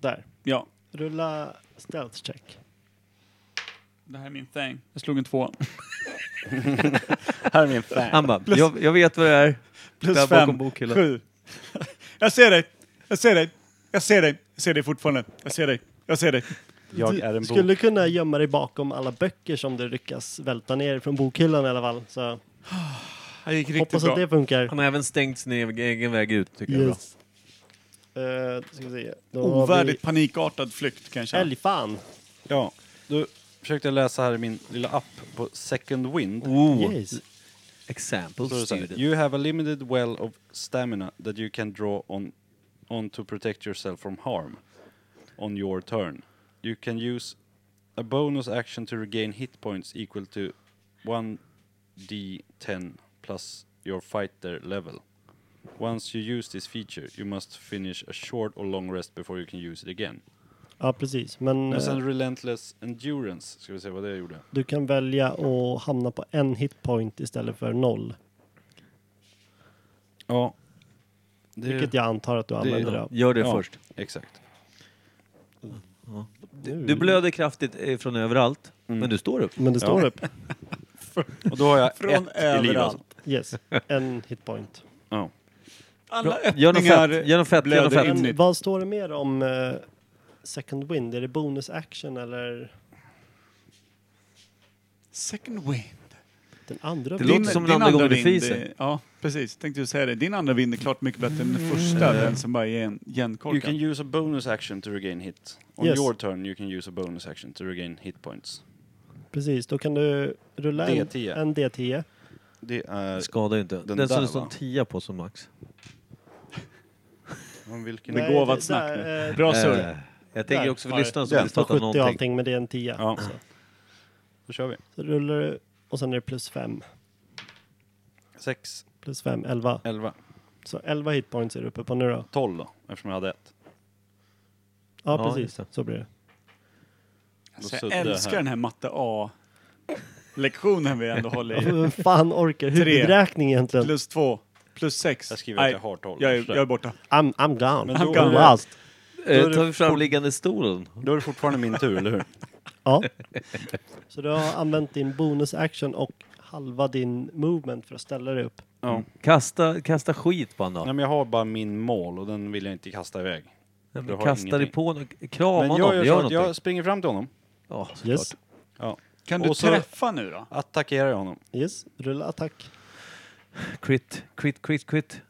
[SPEAKER 4] Där.
[SPEAKER 2] Ja.
[SPEAKER 4] Rulla stealth check.
[SPEAKER 2] Det här är min thing. Jag slog en två.
[SPEAKER 1] Här är min fan.
[SPEAKER 3] Han bara, jag, jag vet vad det är.
[SPEAKER 2] Plus
[SPEAKER 3] Där bakom
[SPEAKER 2] fem.
[SPEAKER 3] bokhyllan.
[SPEAKER 2] Sju. [LAUGHS] Jag ser dig. Jag ser dig. Jag ser dig. Jag ser dig fortfarande. Jag ser dig. Jag ser dig.
[SPEAKER 1] Jag
[SPEAKER 4] Du
[SPEAKER 1] är en bok.
[SPEAKER 4] skulle kunna gömma dig bakom alla böcker som du lyckas välta ner från bokhyllan i alla fall. Så
[SPEAKER 2] Det gick riktigt
[SPEAKER 4] hoppas att
[SPEAKER 2] bra.
[SPEAKER 4] det funkar.
[SPEAKER 3] Han har även stängt sin egen- egen väg ut, tycker jag är bra.
[SPEAKER 4] Yes. Eh, ska vi se. Då har
[SPEAKER 2] Ovärdigt
[SPEAKER 4] vi
[SPEAKER 2] panikartad flykt kanske.
[SPEAKER 4] Älgfan.
[SPEAKER 1] Ja, då försökte jag läsa här i min lilla app på Second Wind.
[SPEAKER 3] Oh,
[SPEAKER 4] Yes.
[SPEAKER 3] example
[SPEAKER 1] Så är det så här,
[SPEAKER 3] student.
[SPEAKER 1] You have a limited well of stamina that you can draw on, on to protect yourself from harm on your turn. You can use a bonus action to regain hit points equal to 1d10 plus your fighter level. Once you use this feature, you must finish a short or long rest before you can use it again.
[SPEAKER 4] Ja, precis. Men
[SPEAKER 1] Och sen
[SPEAKER 4] eh,
[SPEAKER 1] relentless endurance, ska vi se vad det gjorde.
[SPEAKER 4] du kan välja att hamna på en hitpoint istället för noll.
[SPEAKER 1] Ja. Det,
[SPEAKER 4] Vilket jag antar att du använder dig av.
[SPEAKER 3] Gör det
[SPEAKER 1] Ja.
[SPEAKER 3] först.
[SPEAKER 1] Exakt.
[SPEAKER 3] Du blöder kraftigt eh, från överallt, men du står upp.
[SPEAKER 4] Men det står
[SPEAKER 1] Ja.
[SPEAKER 4] upp.
[SPEAKER 1] Och då har jag
[SPEAKER 2] Från
[SPEAKER 1] ett i liv alltså.
[SPEAKER 2] överallt.
[SPEAKER 4] Yes, en hitpoint.
[SPEAKER 1] Ja.
[SPEAKER 2] Alla
[SPEAKER 3] Gör något
[SPEAKER 2] öppningar
[SPEAKER 3] fett, gör något fett, gör något
[SPEAKER 2] blöder
[SPEAKER 3] fett.
[SPEAKER 2] in.
[SPEAKER 4] Men
[SPEAKER 2] Nytt.
[SPEAKER 4] vad står det mer om eh, second wind? Är det bonus action eller
[SPEAKER 2] Second wind.
[SPEAKER 4] den andra?
[SPEAKER 3] Det
[SPEAKER 4] wind?
[SPEAKER 3] låter som en andra gången i
[SPEAKER 2] vind
[SPEAKER 3] fisen.
[SPEAKER 2] är- Ja, precis. Tänkte ju säga det. Din andra vind är klart mycket bättre än
[SPEAKER 3] Mm.
[SPEAKER 2] den första. Den som bara är en
[SPEAKER 1] You can
[SPEAKER 2] igenkorkad.
[SPEAKER 1] use a bonus action to regain hit. On
[SPEAKER 4] Yes.
[SPEAKER 1] your turn you can use a bonus action to regain hit points.
[SPEAKER 4] Precis, då kan du rulla en,
[SPEAKER 1] D10.
[SPEAKER 4] en D10.
[SPEAKER 1] Det är...
[SPEAKER 3] Skadar ju inte. Den,
[SPEAKER 1] där,
[SPEAKER 3] som det
[SPEAKER 1] va?
[SPEAKER 3] står en tia på som max.
[SPEAKER 1] Om vilken...
[SPEAKER 4] Nej,
[SPEAKER 2] Begåvat
[SPEAKER 4] det-
[SPEAKER 2] snack
[SPEAKER 4] där,
[SPEAKER 2] nu.
[SPEAKER 4] eh,
[SPEAKER 2] Bra
[SPEAKER 3] Eh,
[SPEAKER 2] surr.
[SPEAKER 3] jag tänker
[SPEAKER 4] Där.
[SPEAKER 3] också för lyssnarna som
[SPEAKER 1] Den.
[SPEAKER 3] vill
[SPEAKER 4] På
[SPEAKER 3] starta
[SPEAKER 4] 70 och
[SPEAKER 3] någonting.
[SPEAKER 4] allting, men det är en 10.
[SPEAKER 1] Ja.
[SPEAKER 4] Så.
[SPEAKER 1] Då kör vi.
[SPEAKER 4] så rullar du och sen är det plus 5.
[SPEAKER 1] 6,
[SPEAKER 4] Plus 5, 11.
[SPEAKER 1] 11,
[SPEAKER 4] Så 11 hitpoints är du uppe på nu då.
[SPEAKER 1] 12 då, eftersom jag hade ett.
[SPEAKER 4] Ja,
[SPEAKER 3] Ja, just
[SPEAKER 4] precis.
[SPEAKER 3] det.
[SPEAKER 4] Så blir det.
[SPEAKER 2] Alltså,
[SPEAKER 1] Då
[SPEAKER 2] jag
[SPEAKER 1] sudda här.
[SPEAKER 2] älskar den här matte A-lektionen vi ändå
[SPEAKER 1] [LAUGHS]
[SPEAKER 2] håller i.
[SPEAKER 4] Vem fan orkar huvudräkning egentligen?
[SPEAKER 2] Plus två, plus sex.
[SPEAKER 1] Jag skriver att jag har 12.
[SPEAKER 2] jag är, jag är borta.
[SPEAKER 4] I'm, I'm gone.
[SPEAKER 1] Men då-
[SPEAKER 4] I'm gone lost.
[SPEAKER 1] Då är
[SPEAKER 3] Eh,
[SPEAKER 1] det
[SPEAKER 3] tar vi fram liggande stolen.
[SPEAKER 1] Mm. Då är det fortfarande min tur, eller [LAUGHS] hur?
[SPEAKER 4] Ja. Så du har använt din bonus action och halva din movement för att ställa dig upp.
[SPEAKER 1] Ja.
[SPEAKER 3] Kasta, kasta skit på honom
[SPEAKER 1] Nej
[SPEAKER 3] då.
[SPEAKER 1] men jag har bara min mål och den vill jag inte kasta iväg.
[SPEAKER 3] Nej,
[SPEAKER 1] jag
[SPEAKER 3] men
[SPEAKER 1] har
[SPEAKER 3] Kasta dig
[SPEAKER 1] ingenting.
[SPEAKER 3] på honom. Krama
[SPEAKER 1] Men
[SPEAKER 3] honom.
[SPEAKER 1] jag
[SPEAKER 3] Gör,
[SPEAKER 1] gör så att
[SPEAKER 3] någonting.
[SPEAKER 1] jag springer fram till honom.
[SPEAKER 3] Ja, såklart.
[SPEAKER 4] Yes.
[SPEAKER 1] Ja.
[SPEAKER 2] Kan du
[SPEAKER 1] Och så-
[SPEAKER 2] träffa nu då?
[SPEAKER 1] Attackerar jag honom.
[SPEAKER 4] Yes. Rulla attack.
[SPEAKER 3] Crit, crit, crit, crit.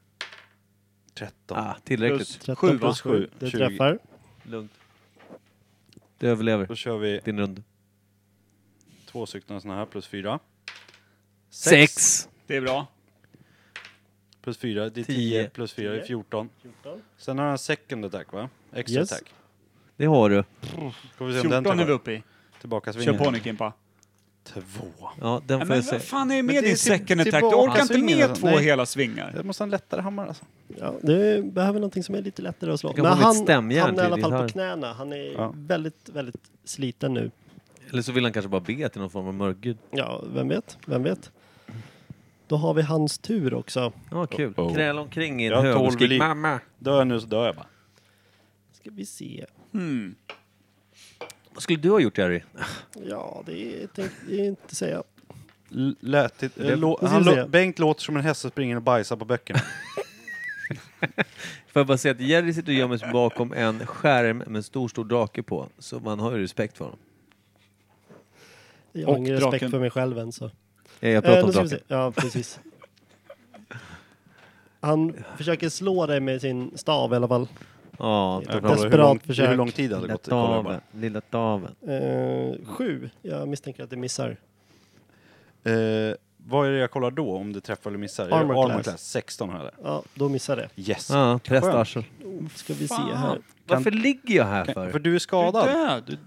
[SPEAKER 1] 13.
[SPEAKER 3] Ah, tillräckligt.
[SPEAKER 2] Plus
[SPEAKER 4] 13
[SPEAKER 2] sju, va?
[SPEAKER 4] plus 7. Det
[SPEAKER 1] 20.
[SPEAKER 4] träffar.
[SPEAKER 3] Lugnt. Du överlever
[SPEAKER 1] Då kör vi
[SPEAKER 3] din runda.
[SPEAKER 1] två stycken såna här plus fyra.
[SPEAKER 3] Sex!
[SPEAKER 2] Det är bra.
[SPEAKER 1] Plus fyra, det är
[SPEAKER 3] Tio.
[SPEAKER 1] 10. Plus fyra, det är
[SPEAKER 4] Tio.
[SPEAKER 1] 14. Sen har jag en second attack va? Extra
[SPEAKER 4] Yes.
[SPEAKER 1] attack.
[SPEAKER 3] Det har du.
[SPEAKER 1] Får vi se om den
[SPEAKER 2] 14 är vi
[SPEAKER 1] träffar.
[SPEAKER 2] uppe i.
[SPEAKER 1] Tillbaka
[SPEAKER 2] Kör på nu Kimpa.
[SPEAKER 1] Två.
[SPEAKER 3] Ja, den
[SPEAKER 2] Nej,
[SPEAKER 3] får
[SPEAKER 2] Men
[SPEAKER 3] jag säga.
[SPEAKER 2] vad fan är
[SPEAKER 1] Men
[SPEAKER 2] med
[SPEAKER 1] det är
[SPEAKER 2] din second
[SPEAKER 1] till-
[SPEAKER 2] attack? Du orkar inte
[SPEAKER 1] tillbaka-
[SPEAKER 2] med två
[SPEAKER 1] Nej.
[SPEAKER 2] hela svingar.
[SPEAKER 1] Jag måste ha en lättare hammare alltså.
[SPEAKER 4] Ja, du behöver någonting som är lite lättare att slå.
[SPEAKER 3] Jag kan
[SPEAKER 4] Men
[SPEAKER 3] få mitt
[SPEAKER 4] han, han
[SPEAKER 3] stämjärn
[SPEAKER 4] är i
[SPEAKER 3] till
[SPEAKER 4] alla
[SPEAKER 3] din
[SPEAKER 4] fall
[SPEAKER 3] här.
[SPEAKER 4] på knäna. Han är
[SPEAKER 1] Ja.
[SPEAKER 4] väldigt, väldigt sliten nu.
[SPEAKER 3] Eller så vill han kanske bara be till någon form av mörkgud.
[SPEAKER 4] Ja, vem vet? Vem vet? Då har vi hans tur också.
[SPEAKER 3] Ja, kul.
[SPEAKER 1] Oh, oh.
[SPEAKER 3] Kräla omkring i en
[SPEAKER 1] Jag har
[SPEAKER 3] hög och
[SPEAKER 1] tolv i
[SPEAKER 3] skrik
[SPEAKER 1] liv.
[SPEAKER 3] mamma.
[SPEAKER 1] Dör jag nu så dör jag bara.
[SPEAKER 4] Ska vi se.
[SPEAKER 2] Hmm.
[SPEAKER 3] Vad skulle du ha gjort Jerry?
[SPEAKER 4] Ja, det är- tänkte jag inte säga.
[SPEAKER 1] L- lät, det- eh, lå-
[SPEAKER 4] ska
[SPEAKER 1] han
[SPEAKER 4] vi
[SPEAKER 1] lå-
[SPEAKER 4] se.
[SPEAKER 1] Bengt låter som en häst som springer och bajsar på böckerna.
[SPEAKER 3] Får jag bara säga att Jerry sitter och gömmer sig bakom en skärm med en stor, stor drake på. Så man har ju respekt för honom.
[SPEAKER 4] Jag har
[SPEAKER 2] Och
[SPEAKER 4] ingen
[SPEAKER 2] draken.
[SPEAKER 4] respekt för mig själv än så.
[SPEAKER 3] Eh, Jag pratar
[SPEAKER 4] Eh,
[SPEAKER 3] om
[SPEAKER 4] nu ska vi
[SPEAKER 3] draken.
[SPEAKER 4] se. Ja, precis. Han försöker slå dig med sin stav i alla fall.
[SPEAKER 3] Ja,
[SPEAKER 4] Ett
[SPEAKER 1] Jag
[SPEAKER 3] ta
[SPEAKER 1] kollar
[SPEAKER 3] fram
[SPEAKER 1] hur
[SPEAKER 4] desperat
[SPEAKER 1] lång,
[SPEAKER 4] försök.
[SPEAKER 1] Hur lång tid hade det
[SPEAKER 3] lilla
[SPEAKER 1] gått? Jag kollar bara.
[SPEAKER 3] taven. Lilla taven.
[SPEAKER 4] Eh, sju. Jag misstänker att det missar.
[SPEAKER 1] Eh, vad är det jag kollar då om det träffar eller missar? Är det
[SPEAKER 4] Armor class.
[SPEAKER 1] 16 har jag där.
[SPEAKER 4] Ja, då missar det.
[SPEAKER 1] Yes.
[SPEAKER 3] Ja, prästarsel.
[SPEAKER 4] Ska vi se här.
[SPEAKER 3] Varför ligger jag här
[SPEAKER 1] För
[SPEAKER 3] för?
[SPEAKER 1] du är
[SPEAKER 2] Du är
[SPEAKER 1] skadad.
[SPEAKER 2] död.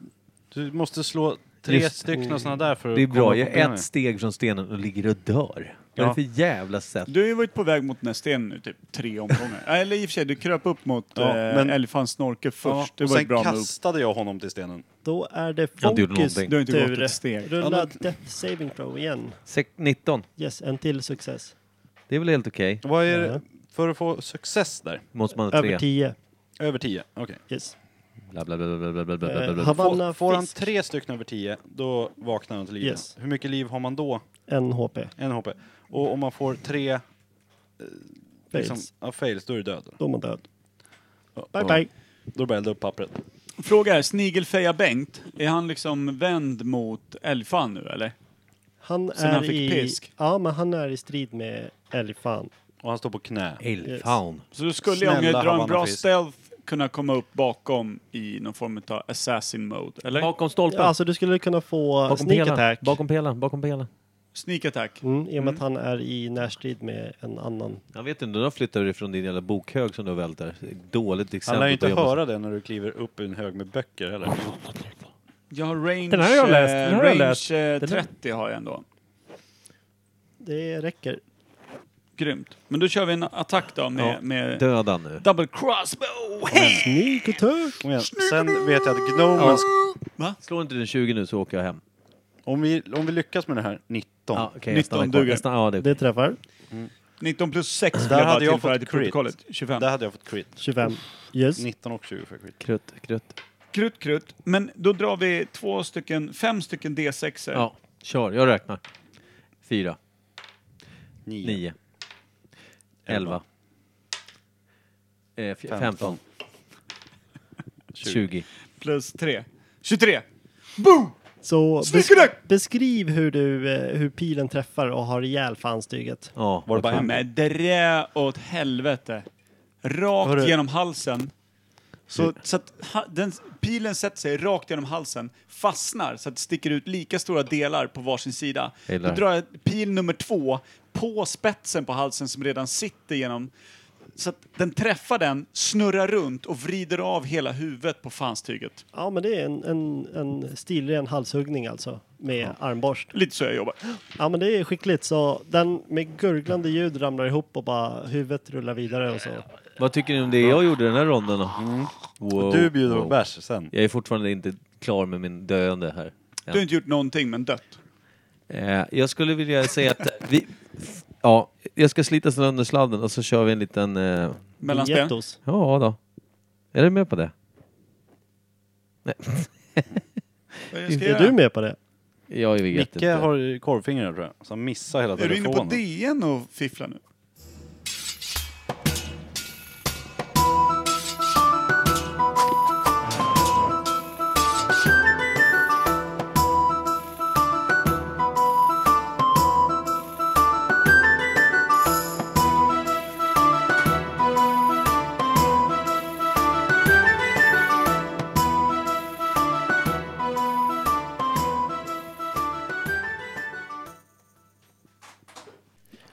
[SPEAKER 2] Du-
[SPEAKER 1] Du måste slå tre
[SPEAKER 3] Just-
[SPEAKER 1] stycken sådana där för att
[SPEAKER 3] Det är
[SPEAKER 1] komma
[SPEAKER 3] bra,
[SPEAKER 1] på
[SPEAKER 3] jag är
[SPEAKER 1] benen.
[SPEAKER 3] ett steg från stenen och ligger och dör. Vad är
[SPEAKER 1] Ja.
[SPEAKER 3] det för jävla sätt?
[SPEAKER 2] Du har ju varit på väg mot den här stenen nu typ tre omgångar. [LAUGHS] Eller i och för sig, du kröp upp mot
[SPEAKER 1] Ja,
[SPEAKER 2] eh,
[SPEAKER 1] men-
[SPEAKER 2] Elefants snorke först.
[SPEAKER 1] Ja,
[SPEAKER 2] det
[SPEAKER 1] och
[SPEAKER 2] var ett
[SPEAKER 1] sen
[SPEAKER 2] bra move.
[SPEAKER 1] kastade jag honom till stenen.
[SPEAKER 4] Då är det
[SPEAKER 3] Jag har inte gjort
[SPEAKER 4] Fonkys
[SPEAKER 3] någonting.
[SPEAKER 2] Du har inte gått ett
[SPEAKER 4] tur.
[SPEAKER 2] steg.
[SPEAKER 4] Rulla
[SPEAKER 1] Ja,
[SPEAKER 4] Death Saving Throw igen.
[SPEAKER 3] Sek- 19.
[SPEAKER 4] Yes, en till success.
[SPEAKER 3] Det är väl helt okej?
[SPEAKER 1] Vad är
[SPEAKER 4] Ja.
[SPEAKER 1] det för att få success där?
[SPEAKER 3] Måste man ha
[SPEAKER 4] Över
[SPEAKER 3] tre?
[SPEAKER 4] tio.
[SPEAKER 1] Över 10? Okej.
[SPEAKER 4] Yes.
[SPEAKER 3] Bla, bla, bla, bla, bla, bla, bla, bla,
[SPEAKER 4] Eh,
[SPEAKER 3] bla.
[SPEAKER 1] Får,
[SPEAKER 4] Havanna
[SPEAKER 1] får han
[SPEAKER 4] Fisk.
[SPEAKER 1] tre stycken över 10, då vaknar han till liv.
[SPEAKER 4] Yes.
[SPEAKER 1] Hur mycket liv har man då?
[SPEAKER 4] En HP.
[SPEAKER 1] En HP. Och om man får tre
[SPEAKER 4] Fails.
[SPEAKER 1] liksom, ja, fails, då är du död.
[SPEAKER 4] Då är man död. Bye
[SPEAKER 1] Ja.
[SPEAKER 4] bye.
[SPEAKER 1] Då börjar jag elda upp pappret.
[SPEAKER 2] Fråga är, Snigelfeja Bengt, är han liksom vänd mot Elfan nu eller?
[SPEAKER 4] Han
[SPEAKER 2] Sen
[SPEAKER 4] är
[SPEAKER 2] han fick
[SPEAKER 4] i...
[SPEAKER 2] pisk.
[SPEAKER 4] Ja, men han är i strid med Elifan.
[SPEAKER 1] Och han står på knä.
[SPEAKER 3] Elfaun.
[SPEAKER 2] Så du skulle
[SPEAKER 1] Snälla,
[SPEAKER 2] om jag drar en
[SPEAKER 1] Havanna
[SPEAKER 2] bra
[SPEAKER 1] Fisk.
[SPEAKER 2] stealth kunna komma upp bakom i någon form av assassin mode, eller?
[SPEAKER 3] Bakom
[SPEAKER 4] Ja,
[SPEAKER 3] stolpen.
[SPEAKER 4] alltså du skulle kunna få
[SPEAKER 3] bakom
[SPEAKER 4] sneak
[SPEAKER 3] pelaren.
[SPEAKER 4] attack.
[SPEAKER 3] Bakom pelaren. Bakom pelaren.
[SPEAKER 2] Sneak attack.
[SPEAKER 4] Mm, I och med att han är i närstrid med en annan.
[SPEAKER 3] Jag vet inte, då flyttar du ifrån din jävla bokhög som du har vält där. Dåligt exempel.
[SPEAKER 1] Han lär ju inte
[SPEAKER 3] på att jobba
[SPEAKER 1] höra det när du kliver upp i en hög med böcker heller.
[SPEAKER 2] Jag har range,
[SPEAKER 6] Den här har jag läst, den
[SPEAKER 2] eh,
[SPEAKER 6] här har jag
[SPEAKER 2] range
[SPEAKER 6] läst.
[SPEAKER 2] eh,
[SPEAKER 6] Den här-
[SPEAKER 2] 30 har jag ändå.
[SPEAKER 4] Det räcker.
[SPEAKER 2] Grymt. Men då kör vi en attack då med,
[SPEAKER 3] Ja.
[SPEAKER 2] med
[SPEAKER 3] som- Döda nu.
[SPEAKER 2] double crossbow!
[SPEAKER 4] Sneak attack!
[SPEAKER 1] Kom igen. Sen vet jag att gnomen...
[SPEAKER 3] Slår inte den 20 nu så åker jag hem.
[SPEAKER 1] Om, vi, om vi lyckas med det här, 19.
[SPEAKER 3] Ja, okay,
[SPEAKER 2] 19
[SPEAKER 3] jag stannar kvar.
[SPEAKER 2] duger.
[SPEAKER 3] Jag stannar- ja, det är
[SPEAKER 4] Det träffar.
[SPEAKER 2] 19 plus 6 vill
[SPEAKER 1] Där
[SPEAKER 2] jag bara
[SPEAKER 1] hade jag
[SPEAKER 2] tillföra
[SPEAKER 1] fått
[SPEAKER 2] till
[SPEAKER 1] crit.
[SPEAKER 2] protokollet. 25.
[SPEAKER 1] Där hade jag fått crit.
[SPEAKER 4] 25. Yes.
[SPEAKER 1] 19 och 20 för crit.
[SPEAKER 3] krutt, krutt.
[SPEAKER 2] Krut, krut. Men då drar vi två stycken, fem stycken d 6
[SPEAKER 3] Ja, kör. Jag räknar. Fyra,
[SPEAKER 1] 9.
[SPEAKER 3] nio, elva, eh, f- femton,
[SPEAKER 1] [LAUGHS] Femton.
[SPEAKER 3] tjugo.
[SPEAKER 2] plus 3. 23!
[SPEAKER 4] Så
[SPEAKER 2] Sneak
[SPEAKER 4] besk
[SPEAKER 2] attack!
[SPEAKER 4] beskriv hur, du, eh, hur pilen träffar och har ihjäl fanstyget.
[SPEAKER 3] Ja,
[SPEAKER 1] Var det bara en?
[SPEAKER 2] Men dra åt helvete. Rakt
[SPEAKER 1] Hörru.
[SPEAKER 2] genom halsen. Så, så att ha, den, pilen sätter sig rakt genom halsen, fastnar så att det sticker ut lika stora delar på varsin sida. Då
[SPEAKER 3] Gillar.
[SPEAKER 2] drar jag pil nummer två på spetsen på halsen som redan sitter genom så att den träffar den, snurrar runt och vrider av hela huvudet på fanstyget.
[SPEAKER 4] Ja, men det är en, en, en stilren halshuggning alltså. Med armborst.
[SPEAKER 2] Lite så jag jobbar.
[SPEAKER 4] Ja, men det är skickligt. Så den med gurglande ljud ramlar ihop och bara huvudet rullar vidare och så.
[SPEAKER 3] Vad tycker ni om det jag gjorde den här ronden då? Wow,
[SPEAKER 1] Mm. Du bjuder på
[SPEAKER 3] wow.
[SPEAKER 1] bärs sen.
[SPEAKER 3] Jag är fortfarande inte klar med min döende här.
[SPEAKER 2] Du har inte gjort någonting men dött.
[SPEAKER 3] Eh, jag skulle vilja säga att vi... Ja, jag ska slita sönder sladden och så kör vi en liten... Eh,
[SPEAKER 2] Mellanspel.
[SPEAKER 4] Gettos.
[SPEAKER 3] ja då. Är du med på det?
[SPEAKER 2] Vad är det jag ska
[SPEAKER 4] Är
[SPEAKER 2] göra?
[SPEAKER 4] du med på det?
[SPEAKER 3] Jag vet
[SPEAKER 1] Micke
[SPEAKER 3] inte.
[SPEAKER 1] har korvfingrar tror jag, så han missar hela
[SPEAKER 2] Är du inne på
[SPEAKER 1] telefonen.
[SPEAKER 2] DN och fifflar nu?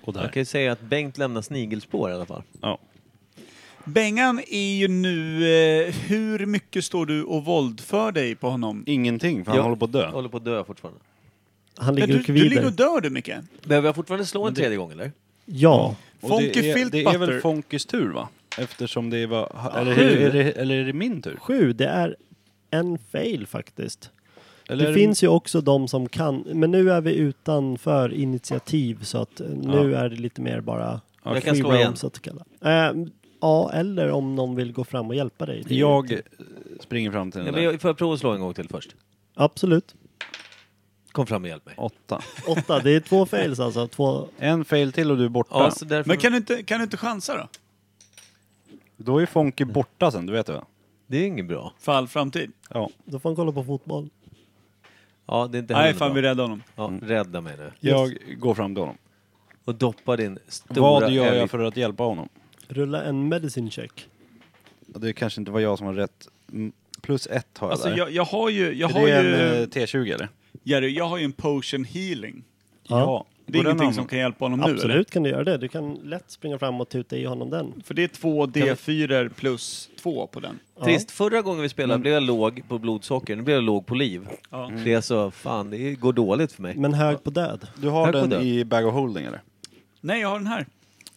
[SPEAKER 1] Och där.
[SPEAKER 3] Jag kan ju säga att Bengt lämnar snigelspår i alla fall.
[SPEAKER 1] Ja.
[SPEAKER 2] Bengan är ju nu... Eh, hur mycket står du och våldför dig på honom?
[SPEAKER 1] Ingenting, för han
[SPEAKER 3] Ja.
[SPEAKER 1] håller på att dö.
[SPEAKER 3] Jag håller på att dö fortfarande.
[SPEAKER 4] Han
[SPEAKER 2] Men
[SPEAKER 4] ligger
[SPEAKER 2] du,
[SPEAKER 4] och
[SPEAKER 2] du ligger och
[SPEAKER 4] kvider.
[SPEAKER 2] dör du, Micke.
[SPEAKER 3] Behöver jag fortfarande slå en tredje gång eller?
[SPEAKER 2] Mm.
[SPEAKER 4] Ja.
[SPEAKER 1] Och
[SPEAKER 2] Funky
[SPEAKER 1] det är,
[SPEAKER 2] Filt
[SPEAKER 1] det är väl
[SPEAKER 2] Butter.
[SPEAKER 1] Fonkys tur va? Eftersom det var... Eller är det, eller är det min tur?
[SPEAKER 4] Sju, det är en fail faktiskt.
[SPEAKER 1] Eller är
[SPEAKER 4] det finns ju också de som kan, men nu är vi utanför initiativ så att eh, nu är det lite mer bara
[SPEAKER 3] Jag kan
[SPEAKER 4] free
[SPEAKER 3] slå
[SPEAKER 4] roam,
[SPEAKER 3] igen.
[SPEAKER 4] Så att kalla. Eh, ja, eller om någon vill gå fram och hjälpa dig. Det är-
[SPEAKER 1] Jag eh, springer fram till
[SPEAKER 3] Nej,
[SPEAKER 1] den
[SPEAKER 3] men
[SPEAKER 1] där.
[SPEAKER 3] jag, får jag prova att slå en gång till först?
[SPEAKER 4] Absolut.
[SPEAKER 3] Kom fram och hjälp mig.
[SPEAKER 1] Åtta.
[SPEAKER 4] Åtta, det är två fails alltså. Två,
[SPEAKER 1] En fail till och du är borta.
[SPEAKER 3] Ja, så därför...
[SPEAKER 2] Men kan du inte, kan du inte chansa då?
[SPEAKER 1] Då är Fonky borta sen, du vet det va?
[SPEAKER 3] Det är inget bra.
[SPEAKER 2] För all framtid?
[SPEAKER 1] Ja.
[SPEAKER 4] då får han kolla på fotboll.
[SPEAKER 3] Ja, det är inte
[SPEAKER 2] Nej,
[SPEAKER 3] heller
[SPEAKER 2] fan vi
[SPEAKER 3] bra.
[SPEAKER 2] räddar honom.
[SPEAKER 3] Ja, rädda mig nu.
[SPEAKER 1] Jag går fram till honom.
[SPEAKER 3] och doppar din stora
[SPEAKER 1] Vad gör
[SPEAKER 3] älg-
[SPEAKER 1] jag för att hjälpa honom?
[SPEAKER 4] Rulla en medicine check.
[SPEAKER 1] Det kanske inte var jag som har rätt. Mm, Plus ett har jag
[SPEAKER 2] Alltså
[SPEAKER 1] där.
[SPEAKER 2] jag, jag har ju, jag
[SPEAKER 1] Är
[SPEAKER 2] har
[SPEAKER 1] det en
[SPEAKER 2] ju,
[SPEAKER 1] eh, T20 eller?
[SPEAKER 2] Jerry, jag har ju en potion healing. Det är
[SPEAKER 1] Går den
[SPEAKER 2] ingenting
[SPEAKER 1] an-
[SPEAKER 2] som kan hjälpa honom nu eller?
[SPEAKER 4] Absolut kan du göra det. Du kan lätt springa fram och tuta i honom den.
[SPEAKER 2] För det är två D4 plus två på den.
[SPEAKER 4] Ja.
[SPEAKER 3] Trist, förra gången vi spelade blev jag låg på blodsocker, nu blev jag låg på liv.
[SPEAKER 2] Mm. Ja.
[SPEAKER 3] Det är alltså, fan det går dåligt för mig.
[SPEAKER 4] Men hög på död.
[SPEAKER 1] Du har
[SPEAKER 3] Här går
[SPEAKER 1] den
[SPEAKER 3] det.
[SPEAKER 1] i bag of holding eller?
[SPEAKER 2] Nej, jag har den här.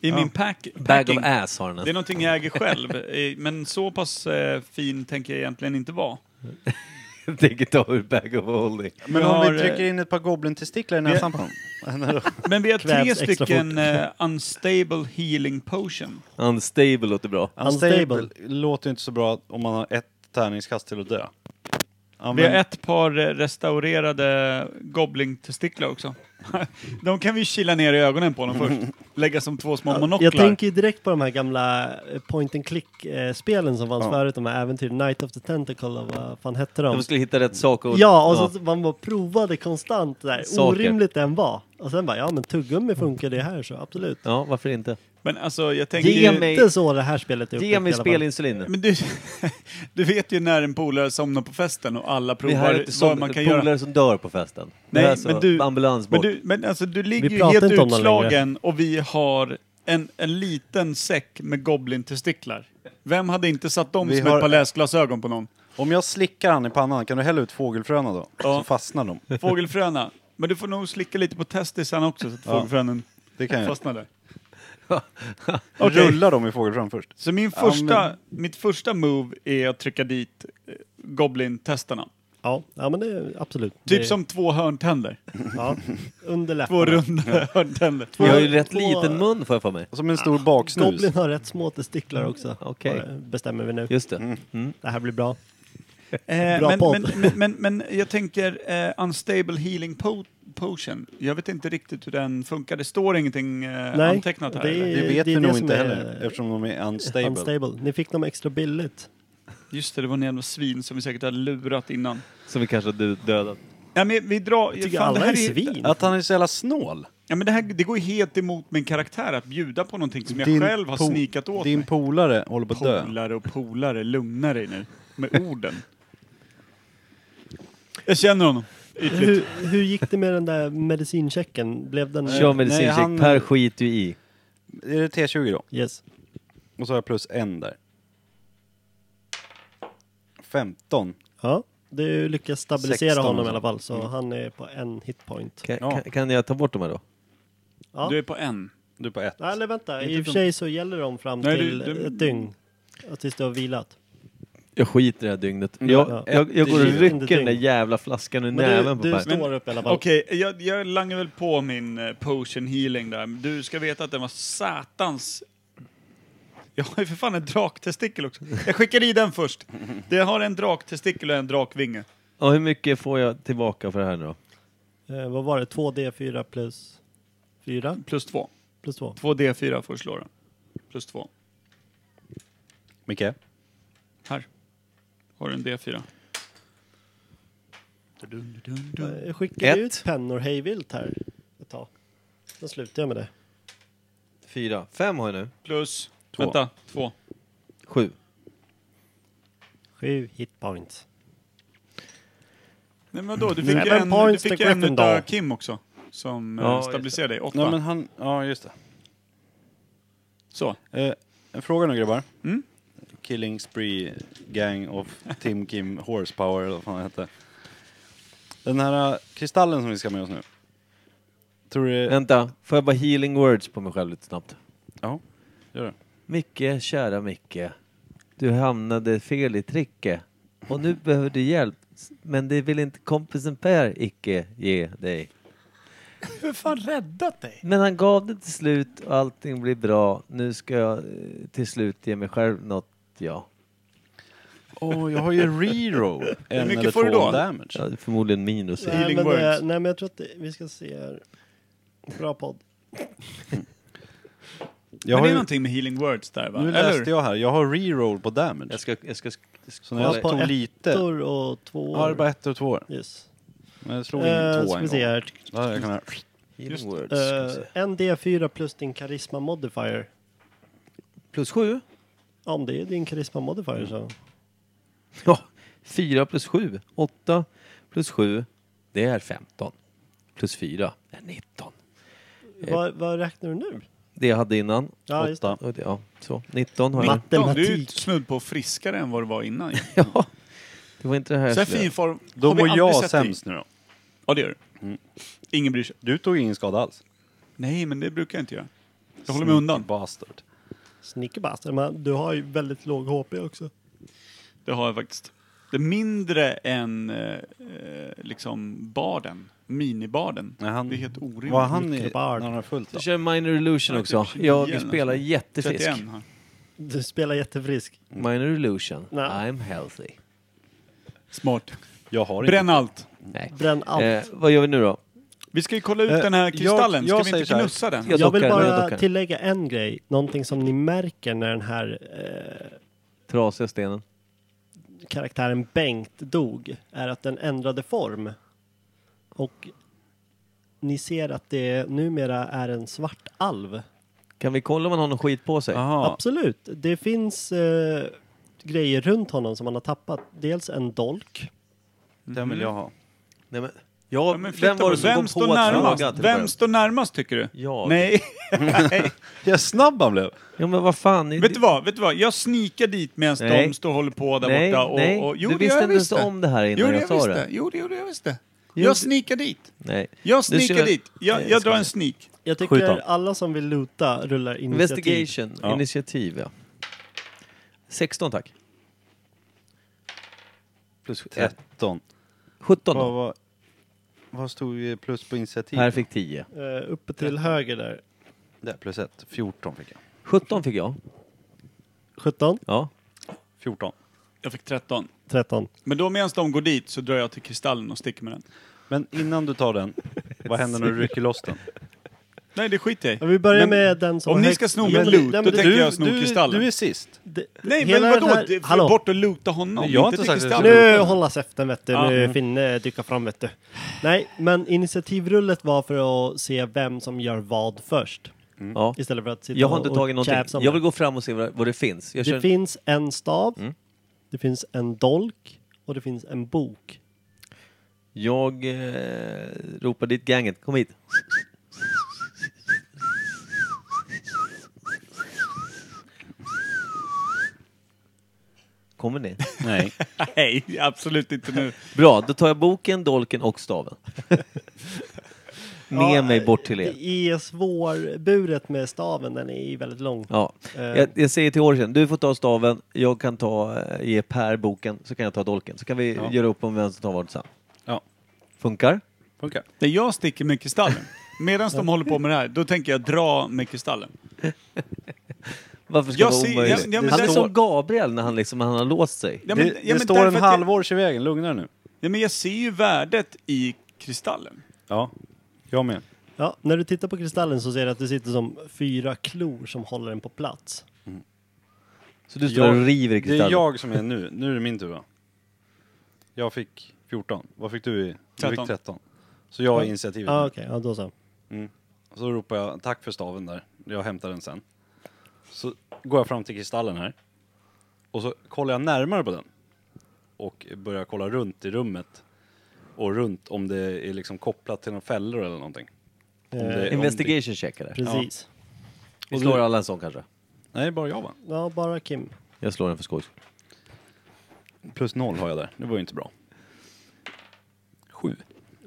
[SPEAKER 2] I min pack,
[SPEAKER 3] Bag
[SPEAKER 2] packing.
[SPEAKER 3] of ass har den.
[SPEAKER 2] Det är någonting jag äger själv. eh, Men så pass eh, fin tänker jag egentligen inte vara.
[SPEAKER 3] [LAUGHS] Jag tänker ta ur bag of holding.
[SPEAKER 1] Men
[SPEAKER 2] Jag
[SPEAKER 1] om
[SPEAKER 2] har,
[SPEAKER 1] vi
[SPEAKER 2] eh,
[SPEAKER 1] trycker in ett par goblin-testiklar i näsan
[SPEAKER 2] [LAUGHS]
[SPEAKER 1] på honom?
[SPEAKER 2] Men vi har tre
[SPEAKER 4] Krävs extra
[SPEAKER 2] stycken eh, unstable healing potion.
[SPEAKER 3] Unstable låter bra.
[SPEAKER 1] Unstable låter inte så bra om man har ett tärningskast till att dö.
[SPEAKER 2] Vi har
[SPEAKER 1] Använd,
[SPEAKER 2] ett par eh, restaurerade goblin-testiklar också. [LAUGHS] De kan vi kila ner i ögonen på dem först. Lägga som två små monoklar.
[SPEAKER 4] Jag tänker ju direkt på de här gamla eh, point and click-spelen som fanns
[SPEAKER 1] Ja.
[SPEAKER 4] förut. De här äventyren, Night of the Tentacle och vad fan hette
[SPEAKER 3] De
[SPEAKER 4] de?
[SPEAKER 3] skulle hitta rätt sak och...
[SPEAKER 4] Ja, och så man bara provade konstant där,
[SPEAKER 3] Saker.
[SPEAKER 4] orimligt den var. Och sen bara, ja men tuggummi funkar det här så absolut.
[SPEAKER 3] Ja, varför inte?
[SPEAKER 2] Men alltså, jag tänker
[SPEAKER 3] Ge
[SPEAKER 2] ju...
[SPEAKER 3] mig-
[SPEAKER 4] Inte så det här spelet
[SPEAKER 3] Ge
[SPEAKER 4] är uppbyggt
[SPEAKER 3] mig
[SPEAKER 4] i alla fall.
[SPEAKER 3] spelinsulinen.
[SPEAKER 2] Men du, [LAUGHS] du vet ju när en polare somnar på festen och alla
[SPEAKER 3] Vi har
[SPEAKER 2] provar
[SPEAKER 3] inte
[SPEAKER 2] vad
[SPEAKER 3] sån
[SPEAKER 2] man kan
[SPEAKER 3] polare
[SPEAKER 2] göra.
[SPEAKER 3] som dör på festen.
[SPEAKER 2] Nej,
[SPEAKER 3] Nej, det är alltså
[SPEAKER 2] men du- Men
[SPEAKER 3] ambulansbort.
[SPEAKER 2] du, men alltså, du ligger
[SPEAKER 4] Vi
[SPEAKER 2] ju
[SPEAKER 4] pratar
[SPEAKER 2] helt
[SPEAKER 4] inte om dem
[SPEAKER 2] utslagen och vi har en, en liten säck med goblin-testiklar. Vem hade inte satt dem
[SPEAKER 1] Vi
[SPEAKER 2] som
[SPEAKER 1] har-
[SPEAKER 2] ett par läsglasögon på någon?
[SPEAKER 1] om jag slickar han i pannan, kan du hälla ut fågelfröna då?
[SPEAKER 2] Ja.
[SPEAKER 1] Så fastnar de.
[SPEAKER 2] Fågelfröna. Men du får nog slicka lite på testisarna också så att
[SPEAKER 1] Ja.
[SPEAKER 2] fågelfrönen
[SPEAKER 1] Det kan jag.
[SPEAKER 2] fastnar där.
[SPEAKER 1] Okay.
[SPEAKER 2] Okej.
[SPEAKER 1] Rulla dem i fågelfrön först.
[SPEAKER 2] Så min
[SPEAKER 1] Ja,
[SPEAKER 2] första, mitt första move är att trycka dit eh, goblin-testarna.
[SPEAKER 4] Ja, ja men det är absolut.
[SPEAKER 2] Typ
[SPEAKER 4] det,
[SPEAKER 2] som två hörntänder.
[SPEAKER 4] Ja, under
[SPEAKER 2] Två
[SPEAKER 4] läpparna.
[SPEAKER 2] runda hörntänder.
[SPEAKER 3] jag har ju rätt
[SPEAKER 4] två-
[SPEAKER 3] liten mun får jag för mig.
[SPEAKER 1] Som en stor baksnus.
[SPEAKER 4] Goblin har rätt små testiklar också.
[SPEAKER 3] Okej.
[SPEAKER 4] Bara Bestämmer vi nu.
[SPEAKER 3] Just det.
[SPEAKER 4] Det här blir bra.
[SPEAKER 2] Eh,
[SPEAKER 4] Bra
[SPEAKER 2] men,
[SPEAKER 4] podd.
[SPEAKER 2] men, men, men, men jag tänker eh, Unstable Healing po Potion. Jag vet inte riktigt hur den funkar. Det står ingenting eh,
[SPEAKER 4] Nej,
[SPEAKER 2] antecknat här.
[SPEAKER 4] det är-
[SPEAKER 2] eller?
[SPEAKER 1] Det vet
[SPEAKER 4] det är
[SPEAKER 1] vi
[SPEAKER 4] det
[SPEAKER 1] nog
[SPEAKER 4] som
[SPEAKER 1] inte
[SPEAKER 4] är-
[SPEAKER 1] heller eftersom de är unstable.
[SPEAKER 4] Unstable. Ni fick dem extra billigt.
[SPEAKER 2] Just det, det var en jävla svin som vi säkert hade lurat innan.
[SPEAKER 3] Som vi kanske har dödat.
[SPEAKER 2] Ja, men vi drar...
[SPEAKER 4] Jag tycker
[SPEAKER 2] fan, det
[SPEAKER 4] alla
[SPEAKER 2] här
[SPEAKER 4] är
[SPEAKER 2] ju-
[SPEAKER 4] svin.
[SPEAKER 1] Att han är så jävla snål.
[SPEAKER 2] Ja, men det, här, det går ju helt emot min karaktär att bjuda på någonting som jag
[SPEAKER 1] Din
[SPEAKER 2] själv har
[SPEAKER 1] po-
[SPEAKER 2] snikat åt
[SPEAKER 1] Din
[SPEAKER 2] mig.
[SPEAKER 1] polare håller på att dö.
[SPEAKER 2] Polare och polare, lugna dig nu.
[SPEAKER 1] [LAUGHS]
[SPEAKER 2] Med orden. jag känner honom. Ytligt.
[SPEAKER 4] Hur, hur gick det med den där medicinchecken? Blev den...
[SPEAKER 3] Kör medicincheck,
[SPEAKER 1] nej, han-
[SPEAKER 3] Per skiter ju i.
[SPEAKER 1] Är det T20 då?
[SPEAKER 4] Yes.
[SPEAKER 1] Och så har jag plus en där. 15.
[SPEAKER 4] Ja, du lyckas stabilisera
[SPEAKER 1] 16
[SPEAKER 4] honom i
[SPEAKER 1] alltså.
[SPEAKER 4] alla fall så han är på en hitpoint.
[SPEAKER 3] Kan,
[SPEAKER 1] Ja.
[SPEAKER 3] kan, kan jag ta bort de här då?
[SPEAKER 4] Ja.
[SPEAKER 2] Du är på en.
[SPEAKER 1] Du är på ett.
[SPEAKER 4] Nej, eller vänta,
[SPEAKER 2] Inte
[SPEAKER 4] i och för
[SPEAKER 2] som-
[SPEAKER 4] sig så gäller de fram
[SPEAKER 2] Nej,
[SPEAKER 4] till
[SPEAKER 2] du- du-
[SPEAKER 4] ett dygn. Ja, Tills du har vilat.
[SPEAKER 3] Jag skiter i det här dygnet.
[SPEAKER 1] Mm.
[SPEAKER 3] Jag,
[SPEAKER 4] Ja.
[SPEAKER 3] jag, jag går och
[SPEAKER 4] Ett
[SPEAKER 3] rycker den
[SPEAKER 4] dygn.
[SPEAKER 3] där jävla flaskan ur
[SPEAKER 4] Men du,
[SPEAKER 3] näven på
[SPEAKER 4] du
[SPEAKER 3] Per.
[SPEAKER 4] står upp i alla fall.
[SPEAKER 2] Okej, jag, jag langar väl på min eh, potion healing där. Du ska veta att den var satans... Jag har ju för fan en draktestikel också. Jag skickar i den först. Det har en draktestikel och en drakvinge.
[SPEAKER 3] Ja, hur mycket får jag tillbaka för det här nu då?
[SPEAKER 4] Eh, vad var det? 2D4 plus 4?
[SPEAKER 2] Plus två.
[SPEAKER 4] Plus 2.
[SPEAKER 2] Två D4 får slå den. Plus två.
[SPEAKER 1] Micke?
[SPEAKER 2] Här. Har du en D4. Dun, dun, dun.
[SPEAKER 4] Eh, Jag skickade
[SPEAKER 3] Ett.
[SPEAKER 4] ut pennor hejvilt här ett tag. Då slutar jag med det.
[SPEAKER 3] Fyra. Fem har jag nu.
[SPEAKER 2] Plus...
[SPEAKER 1] Två.
[SPEAKER 2] Vänta, två.
[SPEAKER 3] Sju.
[SPEAKER 4] Sju hitpoints.
[SPEAKER 2] Nej men vadå, du
[SPEAKER 4] Seven
[SPEAKER 2] fick ju en, du
[SPEAKER 4] points
[SPEAKER 2] fick
[SPEAKER 4] to
[SPEAKER 2] ju en utav
[SPEAKER 4] Gryffindor.
[SPEAKER 2] Kim också. Som
[SPEAKER 3] Ja,
[SPEAKER 2] ja,
[SPEAKER 3] just
[SPEAKER 2] stabiliserade dig. Åtta.
[SPEAKER 1] Nej men han, ja just det.
[SPEAKER 2] Så.
[SPEAKER 1] Eh, en fråga nu grabbar.
[SPEAKER 2] Mm?
[SPEAKER 1] Killing Spree Gang of Tim Kim Horsepower eller vad fan det hette. Den här eh, kristallen som vi ska med oss nu. Tror du det...
[SPEAKER 3] Vänta, får jag bara healing words på mig själv lite snabbt?
[SPEAKER 1] Ja, gör det.
[SPEAKER 3] Micke, kära Micke. Du hamnade fel i tricket. Och nu behöver du hjälp. Men det vill inte kompisen Per icke ge dig.
[SPEAKER 2] Hur fan räddat dig?
[SPEAKER 3] Men han gav det till slut och allting blir bra. Nu ska jag eh, till slut ge mig själv något, ja.
[SPEAKER 1] Åh, jag har ju reroll. [LAUGHS] en
[SPEAKER 2] mycket
[SPEAKER 1] eller
[SPEAKER 2] får du
[SPEAKER 1] två
[SPEAKER 2] då?
[SPEAKER 1] damage.
[SPEAKER 3] ja förmodligen minus.
[SPEAKER 4] Nej
[SPEAKER 2] Healing
[SPEAKER 4] men, det,
[SPEAKER 2] words.
[SPEAKER 4] nej men jag tror att det, vi ska se här. Bra podd.
[SPEAKER 1] Jag
[SPEAKER 2] men
[SPEAKER 1] har
[SPEAKER 2] det är
[SPEAKER 1] ju,
[SPEAKER 2] någonting med healing words där va?
[SPEAKER 1] nu läste jag här, jag har reroll på damage.
[SPEAKER 3] Jag ska, jag ska,
[SPEAKER 1] Så när jag
[SPEAKER 4] på
[SPEAKER 1] tog lite...
[SPEAKER 4] Ettor och tvåor.
[SPEAKER 1] Ja, det är bara ett och två.
[SPEAKER 4] Yes.
[SPEAKER 1] Men jag slog in
[SPEAKER 4] Eh,
[SPEAKER 1] två
[SPEAKER 4] ska
[SPEAKER 1] en
[SPEAKER 4] vi se
[SPEAKER 1] gång.
[SPEAKER 4] här.
[SPEAKER 1] Ja, jag kan här.
[SPEAKER 3] Healing
[SPEAKER 2] Just det.
[SPEAKER 3] words. ska vi
[SPEAKER 4] Eh,
[SPEAKER 3] se.
[SPEAKER 4] en D4 plus din karisma modifier.
[SPEAKER 3] plus sju?
[SPEAKER 4] Ja, om det är din karisma modifier
[SPEAKER 3] Mm.
[SPEAKER 4] så.
[SPEAKER 3] Ja, fyra plus sju. Åtta plus sju, det är 15. Plus fyra är 19. Eh.
[SPEAKER 4] Vad, vad räknar du nu?
[SPEAKER 3] Det jag hade innan.
[SPEAKER 4] Ja, just det.
[SPEAKER 3] åtta, och det, ja, så. 19 har jag.
[SPEAKER 4] Matt.
[SPEAKER 2] Ja, Du är ju
[SPEAKER 4] Matematik.
[SPEAKER 2] snudd på friskare än vad du
[SPEAKER 1] [LAUGHS]
[SPEAKER 2] var innan.
[SPEAKER 3] Ja, det var inte det här
[SPEAKER 2] Så här
[SPEAKER 3] slöa.
[SPEAKER 2] fin form
[SPEAKER 1] Då
[SPEAKER 2] har vi
[SPEAKER 1] mår
[SPEAKER 2] aldrig
[SPEAKER 1] jag
[SPEAKER 2] sett dig i.
[SPEAKER 1] sämst Mm. nu då.
[SPEAKER 2] Ja, det gör du. Ingen bryr sig.
[SPEAKER 1] Du tog ingen skada alls.
[SPEAKER 2] Nej, men det brukar jag inte göra. Jag håller mig undan.
[SPEAKER 1] Bastard.
[SPEAKER 4] Snickerbastard, men du har ju väldigt låg HP också.
[SPEAKER 2] Det har jag faktiskt. Det är mindre än eh, eh, liksom barden. Minibarden.
[SPEAKER 1] Nej, han-
[SPEAKER 2] Det är helt orimligt.
[SPEAKER 1] Var han i,
[SPEAKER 4] mycket
[SPEAKER 1] när
[SPEAKER 4] bard.
[SPEAKER 1] han har fullt då?
[SPEAKER 3] Jag kör Minor Illusion
[SPEAKER 2] Ja,
[SPEAKER 3] också.
[SPEAKER 2] typ 29
[SPEAKER 3] Jag
[SPEAKER 2] eller något
[SPEAKER 3] spelar
[SPEAKER 2] sånt.
[SPEAKER 3] jättefisk.
[SPEAKER 2] 31 har.
[SPEAKER 4] Du spelar jättefrisk.
[SPEAKER 3] Mm. Minor Illusion.
[SPEAKER 4] Nej.
[SPEAKER 3] I'm healthy.
[SPEAKER 2] Smart.
[SPEAKER 1] Jag har inte.
[SPEAKER 2] Bränn allt.
[SPEAKER 3] Nej.
[SPEAKER 4] Bränn allt.
[SPEAKER 3] Eh, vad gör vi nu då?
[SPEAKER 2] Vi ska ju kolla ut
[SPEAKER 1] Eh,
[SPEAKER 2] den här
[SPEAKER 1] jag-
[SPEAKER 2] kristallen. Ska
[SPEAKER 1] jag
[SPEAKER 2] vi
[SPEAKER 1] säger
[SPEAKER 2] inte
[SPEAKER 1] så här.
[SPEAKER 2] knussa den?
[SPEAKER 3] Jag
[SPEAKER 4] jag vill
[SPEAKER 3] dockar, jag
[SPEAKER 4] bara
[SPEAKER 3] dockar.
[SPEAKER 4] tillägga en grej. Någonting som ni märker när den här
[SPEAKER 3] Trasiga stenen.
[SPEAKER 4] eh, karaktären Bengt dog är att den ändrade form. Och ni ser att det numera är en svart alv.
[SPEAKER 3] Kan vi kolla om han har någon skit på sig?
[SPEAKER 1] Jaha,
[SPEAKER 4] Absolut. Det finns eh, grejer runt honom som han har tappat. Dels en dolk.
[SPEAKER 1] den vill jag ha.
[SPEAKER 3] Nej, men, ja,
[SPEAKER 2] Ja, men flytta
[SPEAKER 3] vem var
[SPEAKER 2] på.
[SPEAKER 3] det som
[SPEAKER 2] Vem
[SPEAKER 3] kom
[SPEAKER 2] står
[SPEAKER 3] på att fråga?
[SPEAKER 2] närmast?
[SPEAKER 3] till
[SPEAKER 2] Vem
[SPEAKER 3] början?
[SPEAKER 2] står närmast tycker du?
[SPEAKER 3] Jag.
[SPEAKER 2] Nej.
[SPEAKER 3] [LAUGHS]
[SPEAKER 2] Nej.
[SPEAKER 1] Jag snabb han blev!
[SPEAKER 3] Ja, men vad fan.
[SPEAKER 2] Vet du vad? Vet du vad? Jag snikar dit medan
[SPEAKER 3] Nej.
[SPEAKER 2] de står och håller på där
[SPEAKER 3] nej,
[SPEAKER 2] borta. Och,
[SPEAKER 3] nej.
[SPEAKER 2] och, jo,
[SPEAKER 3] du
[SPEAKER 2] det gör
[SPEAKER 3] visste
[SPEAKER 2] jag
[SPEAKER 3] inte ens
[SPEAKER 2] visst
[SPEAKER 3] om det här
[SPEAKER 2] Jo,
[SPEAKER 3] innan
[SPEAKER 2] det
[SPEAKER 3] jag
[SPEAKER 2] jag
[SPEAKER 3] sa
[SPEAKER 2] visste.
[SPEAKER 3] det.
[SPEAKER 2] Jo, det gjorde jag visste.
[SPEAKER 3] Jo, det-
[SPEAKER 2] Jag snikar dit.
[SPEAKER 3] Nej.
[SPEAKER 2] Jag
[SPEAKER 3] Du
[SPEAKER 2] snikar
[SPEAKER 3] kör-
[SPEAKER 2] dit.
[SPEAKER 3] Nej,
[SPEAKER 2] Jag,
[SPEAKER 3] jag
[SPEAKER 2] jag
[SPEAKER 3] ska
[SPEAKER 2] drar en
[SPEAKER 3] inte.
[SPEAKER 2] snik.
[SPEAKER 4] Jag
[SPEAKER 1] Skjut
[SPEAKER 4] tycker
[SPEAKER 1] honom.
[SPEAKER 4] alla som vill luta rullar initiativ.
[SPEAKER 3] Investigation.
[SPEAKER 1] Ja.
[SPEAKER 3] Initiativ, ja. 16 tack. Plus
[SPEAKER 1] 13.
[SPEAKER 3] 17
[SPEAKER 1] Vad,
[SPEAKER 3] då.
[SPEAKER 1] vad, vad stod vi plus på initiativ?
[SPEAKER 3] Här fick 10.
[SPEAKER 4] Eh, uppe till höger där.
[SPEAKER 1] Där, plus 1. 14 fick jag.
[SPEAKER 3] 17 fick jag.
[SPEAKER 4] 17,
[SPEAKER 3] Ja.
[SPEAKER 1] 14.
[SPEAKER 2] Jag fick 13.
[SPEAKER 4] 13.
[SPEAKER 2] Men då medan de går dit så drar jag till kristallen och sticker med den.
[SPEAKER 1] Men innan du tar den, vad händer när du rycker loss den?
[SPEAKER 2] Nej, det skiter jag
[SPEAKER 4] Ja,
[SPEAKER 2] i.
[SPEAKER 4] vi börjar
[SPEAKER 2] Men
[SPEAKER 4] med den som
[SPEAKER 2] om
[SPEAKER 4] har
[SPEAKER 2] ni
[SPEAKER 4] högst-
[SPEAKER 2] ska sno
[SPEAKER 4] Ja,
[SPEAKER 2] min
[SPEAKER 4] men-
[SPEAKER 2] loot,
[SPEAKER 4] nej, men
[SPEAKER 2] då
[SPEAKER 4] det-
[SPEAKER 2] tänker [LAUGHS] jag
[SPEAKER 1] du,
[SPEAKER 2] sno
[SPEAKER 1] du,
[SPEAKER 2] kristallen.
[SPEAKER 1] du är sist.
[SPEAKER 4] det-
[SPEAKER 2] Nej, men
[SPEAKER 4] hela den
[SPEAKER 2] vadå?
[SPEAKER 4] här-
[SPEAKER 2] Det- för
[SPEAKER 4] Hallå.
[SPEAKER 2] Bort och luta honom.
[SPEAKER 1] Nej, jag har
[SPEAKER 2] till
[SPEAKER 1] inte sagt att jag
[SPEAKER 2] kristallen.
[SPEAKER 4] Nu hålla käften vet du,
[SPEAKER 2] Ja.
[SPEAKER 4] nu Finne dyka fram vet du. Nej, men initiativrullet var för att se vem som gör vad först.
[SPEAKER 3] ja.
[SPEAKER 4] Mm. Istället för att sitta
[SPEAKER 3] Jag har inte
[SPEAKER 4] och
[SPEAKER 3] tagit
[SPEAKER 4] tjafsa
[SPEAKER 3] någonting.
[SPEAKER 4] om
[SPEAKER 3] Jag vill Mm.
[SPEAKER 4] det.
[SPEAKER 3] gå fram och se vad, vad det finns. Jag
[SPEAKER 4] Det
[SPEAKER 3] kör,
[SPEAKER 4] finns en stav, det finns en dolk och det finns en bok.
[SPEAKER 3] jag eh, ropar dit ganget. Kom hit. Kommer ni?
[SPEAKER 1] Nej.
[SPEAKER 2] [LAUGHS] Nej, absolut inte nu.
[SPEAKER 3] Bra, då tar jag boken, dolken och
[SPEAKER 4] [LAUGHS]
[SPEAKER 3] staven. Med
[SPEAKER 4] Ja, eh,
[SPEAKER 3] mig bort till er.
[SPEAKER 4] Det är svårburet med staven, den är ju väldigt lång.
[SPEAKER 3] Ja.
[SPEAKER 4] Eh.
[SPEAKER 3] Jag, jag säger till Orchen, du får ta staven, jag kan ta, eh, ge Per boken, så kan jag ta dolken. Så kan vi
[SPEAKER 1] Ja.
[SPEAKER 3] göra upp om vem som tar vad sen.
[SPEAKER 1] Ja,
[SPEAKER 3] Funkar?
[SPEAKER 1] [LAUGHS] funkar.
[SPEAKER 2] Nej, jag sticker med kristallen. Medan de håller på med det här, då tänker jag dra med kristallen.
[SPEAKER 3] Varför ska
[SPEAKER 2] Jag
[SPEAKER 3] det vara
[SPEAKER 2] ser-
[SPEAKER 3] omöjligt?
[SPEAKER 2] ja, ja, men
[SPEAKER 3] han är
[SPEAKER 2] det-
[SPEAKER 3] som Gabriel när han, liksom, han har låst sig.
[SPEAKER 2] Ja,
[SPEAKER 1] det det
[SPEAKER 2] ja,
[SPEAKER 1] står
[SPEAKER 2] därför
[SPEAKER 1] en
[SPEAKER 2] att
[SPEAKER 1] halvårs i vägen, lugna dig nu.
[SPEAKER 2] Jag, ja, men jag ser ju värdet i kristallen.
[SPEAKER 1] Ja, jag med.
[SPEAKER 4] Ja, när du tittar på kristallen så ser du att det sitter som fyra klor som håller den på plats.
[SPEAKER 3] Så du står och river i
[SPEAKER 1] Det är
[SPEAKER 3] kristallen.
[SPEAKER 1] jag som är nu. Nu är det min tur va? Jag fick 14. Vad fick du? I? Du fick
[SPEAKER 2] 13.
[SPEAKER 1] 13. Så jag har initiativet.
[SPEAKER 4] Ja,
[SPEAKER 1] nu.
[SPEAKER 4] okej, ja, då så.
[SPEAKER 1] Så ropar jag tack för staven där. Jag hämtar den sen. Så går jag fram till kristallen här. Och så kollar jag närmare på den. Och börjar kolla runt i rummet. Och runt om det är liksom kopplat till några fällor eller någonting. Om
[SPEAKER 4] Eh,
[SPEAKER 1] det, om det,
[SPEAKER 3] Investigation checkar där.
[SPEAKER 4] Precis.
[SPEAKER 3] Vi slår alla en sån kanske.
[SPEAKER 1] nej, bara jag va?
[SPEAKER 4] Ja, bara Kim.
[SPEAKER 3] Jag slår den för skojs skull.
[SPEAKER 1] Plus noll har jag där. Det var ju inte bra. Sju.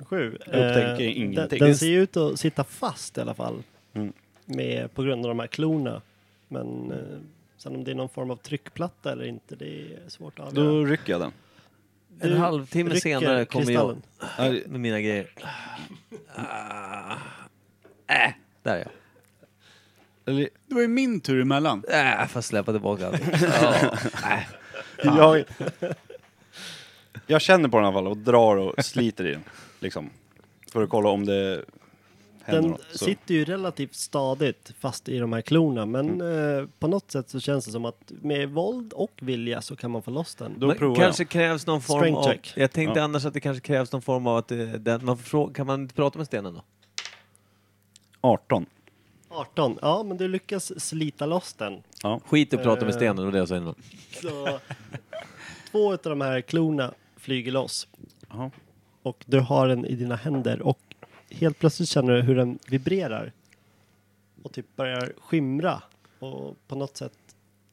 [SPEAKER 4] Sju.
[SPEAKER 1] Jag upptäcker ingenting.
[SPEAKER 4] Eh, Den, den ser ju ut att sitta fast i alla fall.
[SPEAKER 1] Mm.
[SPEAKER 4] Med, på grund av de här klorna. Men eh, sen om det är någon form av tryckplatta eller inte, det är svårt att avgöra.
[SPEAKER 1] Då rycker jag den.
[SPEAKER 4] Du
[SPEAKER 3] En halvtimme
[SPEAKER 4] rycker
[SPEAKER 3] senare kommer jag
[SPEAKER 4] kristallen.
[SPEAKER 1] Nej,
[SPEAKER 3] med mina grejer. Ah. Äh, där är jag.
[SPEAKER 1] Eller,
[SPEAKER 2] Det var ju min tur emellan.
[SPEAKER 3] Äh, får släppa tillbaka allt.
[SPEAKER 1] jag, jag känner på den i alla fall och drar och sliter i den. Liksom, för att kolla om det händer
[SPEAKER 4] Den
[SPEAKER 1] något. Så.
[SPEAKER 4] sitter ju relativt stadigt fast i de här klorna. Men
[SPEAKER 1] Mm.
[SPEAKER 4] eh, på något sätt så känns det som att med våld och vilja så kan man få loss den.
[SPEAKER 1] Då
[SPEAKER 3] Men
[SPEAKER 1] provar
[SPEAKER 3] kanske krävs någon form
[SPEAKER 4] Strength
[SPEAKER 3] av...
[SPEAKER 4] check.
[SPEAKER 3] Jag tänkte
[SPEAKER 1] Ja.
[SPEAKER 3] annars att det kanske krävs någon form av att eh, den, man får fråga, Kan man inte prata med stenen då?
[SPEAKER 1] 18.
[SPEAKER 4] 18. Ja, men du lyckas slita loss den.
[SPEAKER 3] Skit och prata med stenen, det var det jag sa innan.
[SPEAKER 4] Så två av de här klorna flyger loss.
[SPEAKER 1] Jaha.
[SPEAKER 4] Och du har den i dina händer och helt plötsligt känner du hur den vibrerar. Och typ börjar skimra. Och på något sätt,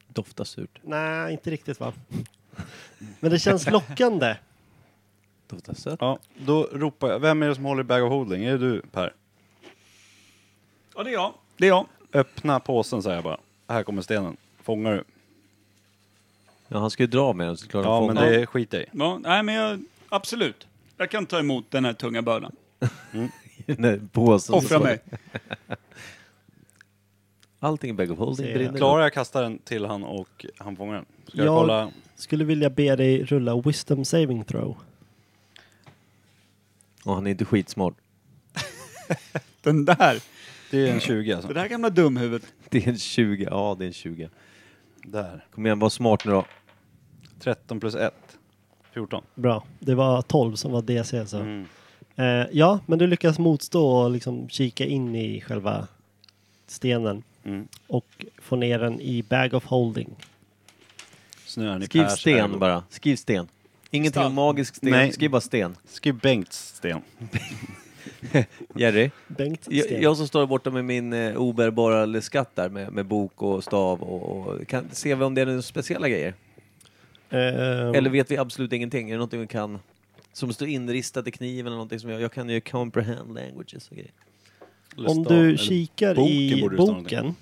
[SPEAKER 3] Doftar surt.
[SPEAKER 4] nej inte riktigt va? Men det känns lockande.
[SPEAKER 3] Doftar sött.
[SPEAKER 1] Ja, då ropar jag. Vem är det som håller i Bag of Holding? Är det du Per?
[SPEAKER 2] Ja, det är jag. Det är jag.
[SPEAKER 1] Öppna påsen säger jag bara. Här kommer stenen. Fångar du?
[SPEAKER 3] Ja, han ska ju dra med den så klart han
[SPEAKER 1] Ja, men
[SPEAKER 3] fångar.
[SPEAKER 1] det skiter jag i.
[SPEAKER 2] Ja, nej, men jag, absolut. Jag kan ta emot den här tunga bördan.
[SPEAKER 3] [LAUGHS] Nej, påsen.
[SPEAKER 2] Offra mig.
[SPEAKER 3] Allting i bag of holding
[SPEAKER 4] Se.
[SPEAKER 3] brinner.
[SPEAKER 1] Klarar jag kastar den till han och han fångar den? Ska jag,
[SPEAKER 4] Jag-
[SPEAKER 1] kolla?
[SPEAKER 4] Skulle vilja be dig rulla wisdom saving throw.
[SPEAKER 3] Och han är inte skitsmart. [LAUGHS]
[SPEAKER 2] Den där.
[SPEAKER 1] Det är en 20
[SPEAKER 2] Det
[SPEAKER 1] alltså.
[SPEAKER 2] där gamla dumhuvudet.
[SPEAKER 3] Det är en 20. Ja, det är en 20.
[SPEAKER 1] Där.
[SPEAKER 3] Kom igen, var smart nu då.
[SPEAKER 1] 13 plus 1. 14.
[SPEAKER 4] Bra. Det var 12 som var DC alltså.
[SPEAKER 1] Mm.
[SPEAKER 4] Eh, ja, men du lyckas motstå och liksom kika in i själva stenen.
[SPEAKER 1] Mm.
[SPEAKER 4] Och få ner den i bag of holding.
[SPEAKER 1] Snöar ni
[SPEAKER 3] Skriv
[SPEAKER 1] Pers
[SPEAKER 3] sten
[SPEAKER 1] ögon.
[SPEAKER 3] bara. Skriv sten. Ingenting
[SPEAKER 2] Stall.
[SPEAKER 3] om magisk sten.
[SPEAKER 1] Nej.
[SPEAKER 3] Skriv bara sten.
[SPEAKER 1] Skriv Bengts sten.
[SPEAKER 3] Jerry,
[SPEAKER 4] Bengt
[SPEAKER 3] jag,
[SPEAKER 4] sten.
[SPEAKER 3] jag som står borta med min eh, obärbara skatt där med, med bok och stav och, och kan, ser vi om det är några speciella grejer?
[SPEAKER 4] Ehm,
[SPEAKER 3] Eller vet vi absolut ingenting? Är det någonting vi kan som står inristat i kniven eller någonting som jag, jag kan ju comprehend languages och grejer.
[SPEAKER 1] Eller
[SPEAKER 4] om
[SPEAKER 1] stav, eller-
[SPEAKER 4] du kikar
[SPEAKER 1] boken
[SPEAKER 4] i
[SPEAKER 1] borde det stå
[SPEAKER 4] boken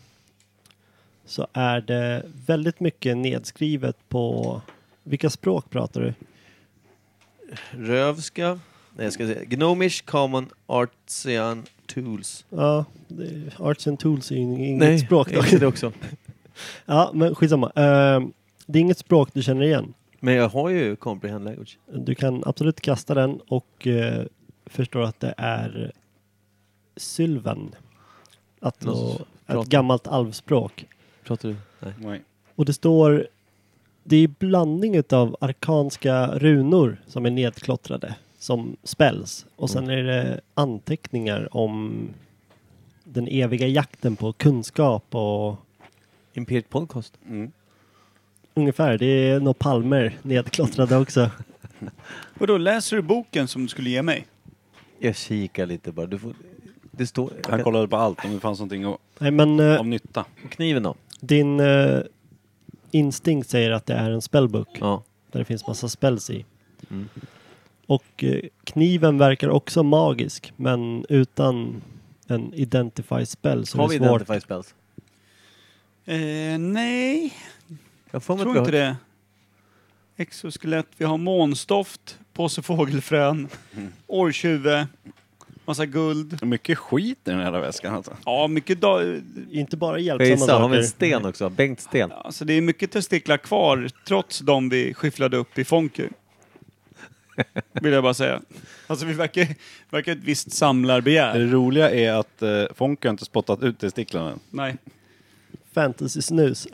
[SPEAKER 4] så är det väldigt mycket nedskrivet på vilka språk pratar du?
[SPEAKER 3] Rövska, nej jag ska säga Gnomish Common Artisan Tools.
[SPEAKER 4] Ja, det- arts and tools är ju inget
[SPEAKER 3] Nej,
[SPEAKER 4] språk
[SPEAKER 3] jag
[SPEAKER 4] dock.
[SPEAKER 3] ser det också.
[SPEAKER 4] Ja, men skitsamma. Ehm, det är inget språk du känner igen.
[SPEAKER 3] [LAUGHS] Men jag har ju comprehend language.
[SPEAKER 4] Du kan absolut kasta den och eh, förstår att det är sylvan. Att
[SPEAKER 3] Någon som
[SPEAKER 4] nå- ett
[SPEAKER 3] pratar.
[SPEAKER 4] gammalt alvspråk.
[SPEAKER 3] Pratar du? Nej.
[SPEAKER 1] Nej.
[SPEAKER 4] Och det står... Det är blandning av arkanska runor som är nedklottrade som spells. Och sen är det anteckningar om den eviga jakten på kunskap och
[SPEAKER 3] Imperiet Podcast.
[SPEAKER 1] Mm.
[SPEAKER 4] ungefär. Det är några palmer nedklottrade också.
[SPEAKER 2] Och då läser du boken som du skulle ge mig?
[SPEAKER 3] Jag kikar lite bara. Du får, det står...
[SPEAKER 1] Han kollade på allt om det fanns någonting att-
[SPEAKER 4] Nej, men eh,
[SPEAKER 1] av nytta.
[SPEAKER 3] Kniven då?
[SPEAKER 4] din eh, instinkt säger att det är en spellbook.
[SPEAKER 3] Ja.
[SPEAKER 4] där det finns massa spells i.
[SPEAKER 3] Mm.
[SPEAKER 4] Och eh, kniven verkar också magisk, men utan en identify spell så
[SPEAKER 3] har
[SPEAKER 4] det
[SPEAKER 3] vi
[SPEAKER 4] är svårt.
[SPEAKER 3] Identify Spells?
[SPEAKER 2] Eh, nej,
[SPEAKER 3] Jag får
[SPEAKER 2] jag
[SPEAKER 3] mig
[SPEAKER 2] tror
[SPEAKER 3] inte
[SPEAKER 2] inte
[SPEAKER 3] det.
[SPEAKER 2] det. Exoskelett, vi har månstoft, påse [LAUGHS] fågelfrön, orrtjuve, massa guld.
[SPEAKER 1] Mycket skit i den här jävla väskan alltså.
[SPEAKER 2] Ja, mycket da-
[SPEAKER 4] Inte bara
[SPEAKER 3] Jag
[SPEAKER 4] hjälpsamma
[SPEAKER 3] gissar, har vi en
[SPEAKER 4] saker.
[SPEAKER 3] sten också? Bengt Sten.
[SPEAKER 2] alltså det är mycket testiklar kvar trots de vi skyfflade upp i Fonky. Vill jag bara säga. Alltså vi verkar, verkar ett visst
[SPEAKER 1] Det
[SPEAKER 2] samlarbegär.
[SPEAKER 1] roliga är att eh, Fonke har inte spottat ut testiklarna än.
[SPEAKER 2] Nej.
[SPEAKER 3] [LAUGHS]
[SPEAKER 4] Fantasy-snus.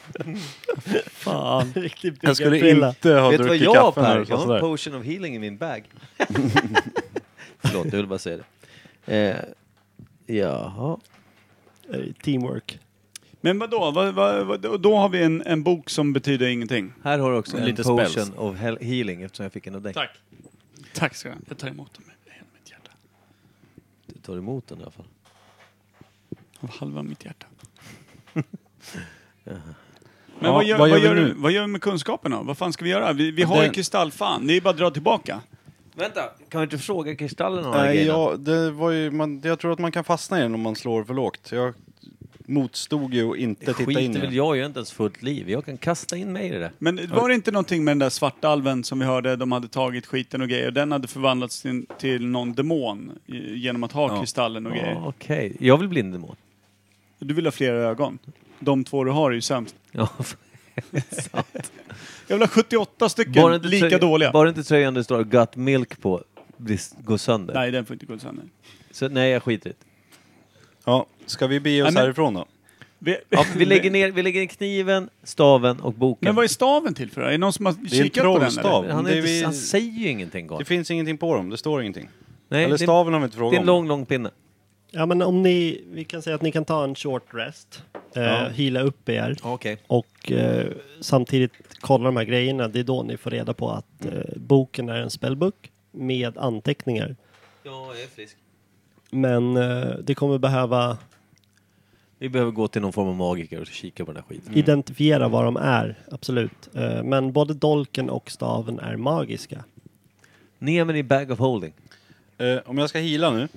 [SPEAKER 3] [LAUGHS]
[SPEAKER 2] Fan.
[SPEAKER 4] Riktigt
[SPEAKER 1] Jag skulle
[SPEAKER 4] byggarprilla.
[SPEAKER 1] inte ha
[SPEAKER 3] Vet du vad
[SPEAKER 1] druckit
[SPEAKER 3] jag har
[SPEAKER 1] kaffe när du
[SPEAKER 3] Per? Jag har
[SPEAKER 1] kastade det.
[SPEAKER 3] en potion of healing i min bag. [LAUGHS] Förlåt, jag ville bara säga det. Eh, jaha.
[SPEAKER 4] Eh, Teamwork.
[SPEAKER 2] Men vadå? Vad, vad, vad, och då har vi en, en bok som betyder ingenting.
[SPEAKER 3] Här har du också en
[SPEAKER 1] Lite
[SPEAKER 3] potion
[SPEAKER 1] spells.
[SPEAKER 3] of he- healing eftersom jag fick en av dig.
[SPEAKER 2] Tack. Tack ska du ha. Jag tar emot dem med hela mitt hjärta.
[SPEAKER 3] Du tar emot den i alla fall.
[SPEAKER 2] Av halva mitt hjärta. Men
[SPEAKER 1] Ja,
[SPEAKER 2] vad, gör,
[SPEAKER 1] vad
[SPEAKER 2] vad,
[SPEAKER 1] gör vi
[SPEAKER 2] gör,
[SPEAKER 1] nu?
[SPEAKER 2] vad gör vi med kunskaperna? Vad fan ska vi göra? Vi, vi har
[SPEAKER 1] Den-
[SPEAKER 2] ju kristallfan. Det är ju bara att dra tillbaka.
[SPEAKER 3] Vänta, kan vi inte fråga kristallen om de här
[SPEAKER 1] Nej,
[SPEAKER 3] grejerna?
[SPEAKER 1] ja, det var ju, man, jag tror att man kan fastna i den om man slår för lågt. Jag motstod ju och
[SPEAKER 3] Det
[SPEAKER 1] inte titta
[SPEAKER 3] skiter
[SPEAKER 1] in i den.
[SPEAKER 3] väl jag i, jag har inte ens fullt liv. Jag kan kasta in mig i det där.
[SPEAKER 2] Men var det inte någonting med den där svartalven som vi hörde, de hade tagit skiten och grejer. Den hade förvandlats till, till någon demon i- genom att ha
[SPEAKER 1] Ja.
[SPEAKER 2] kristallen och
[SPEAKER 3] Ja,
[SPEAKER 2] grejer.
[SPEAKER 3] Okej, jag vill bli en demon.
[SPEAKER 2] Du vill ha flera ögon. De två du har är ju sämst.
[SPEAKER 1] [LAUGHS]
[SPEAKER 3] Ja,
[SPEAKER 2] Jag vill ha 78
[SPEAKER 3] bara
[SPEAKER 2] stycken
[SPEAKER 3] inte
[SPEAKER 2] lika
[SPEAKER 3] tröja-
[SPEAKER 2] dåliga.
[SPEAKER 3] Bara inte tröjan det står Gut Milk på blir s- går sönder. Nej.
[SPEAKER 2] Nej, den får inte gå sönder.
[SPEAKER 3] Så nej, jag skiter i det.
[SPEAKER 1] Ja, ska vi bege
[SPEAKER 2] Nej,
[SPEAKER 1] oss
[SPEAKER 2] men-
[SPEAKER 1] härifrån då?
[SPEAKER 2] Vi,
[SPEAKER 3] Ja,
[SPEAKER 2] [LAUGHS]
[SPEAKER 3] vi, lägger ner, vi lägger ner kniven, staven och boken.
[SPEAKER 2] Men vad är staven till för? Är det någon som har
[SPEAKER 1] en
[SPEAKER 2] kikat på den?
[SPEAKER 1] trollstav.
[SPEAKER 2] eller?
[SPEAKER 3] Men han, är
[SPEAKER 1] det är
[SPEAKER 3] inte,
[SPEAKER 1] vi-
[SPEAKER 3] han säger ju ingenting
[SPEAKER 1] Det
[SPEAKER 3] gott.
[SPEAKER 1] finns ingenting på dem, det står ingenting.
[SPEAKER 3] Nej,
[SPEAKER 1] Eller
[SPEAKER 3] det, det
[SPEAKER 1] staven har vi inte
[SPEAKER 3] är
[SPEAKER 1] frågat
[SPEAKER 3] en
[SPEAKER 1] om.
[SPEAKER 3] lång, lång pinne.
[SPEAKER 4] Ja men om ni, vi kan säga att ni kan ta en short rest, eh,
[SPEAKER 1] Ja.
[SPEAKER 4] hila upp er
[SPEAKER 3] Okej.
[SPEAKER 4] och eh, samtidigt kolla de här grejerna. Det är då ni får reda på att eh, boken är en spellbook med anteckningar.
[SPEAKER 3] Jag är frisk.
[SPEAKER 4] Men eh, det kommer behöva
[SPEAKER 3] Vi behöver gå till någon form av magiker och kika på den här skiten.
[SPEAKER 1] Mm.
[SPEAKER 4] identifiera vad de är, absolut. Eh, men både dolken och staven är magiska.
[SPEAKER 3] Ner med din bag of holding.
[SPEAKER 1] Eh, om jag ska hila nu,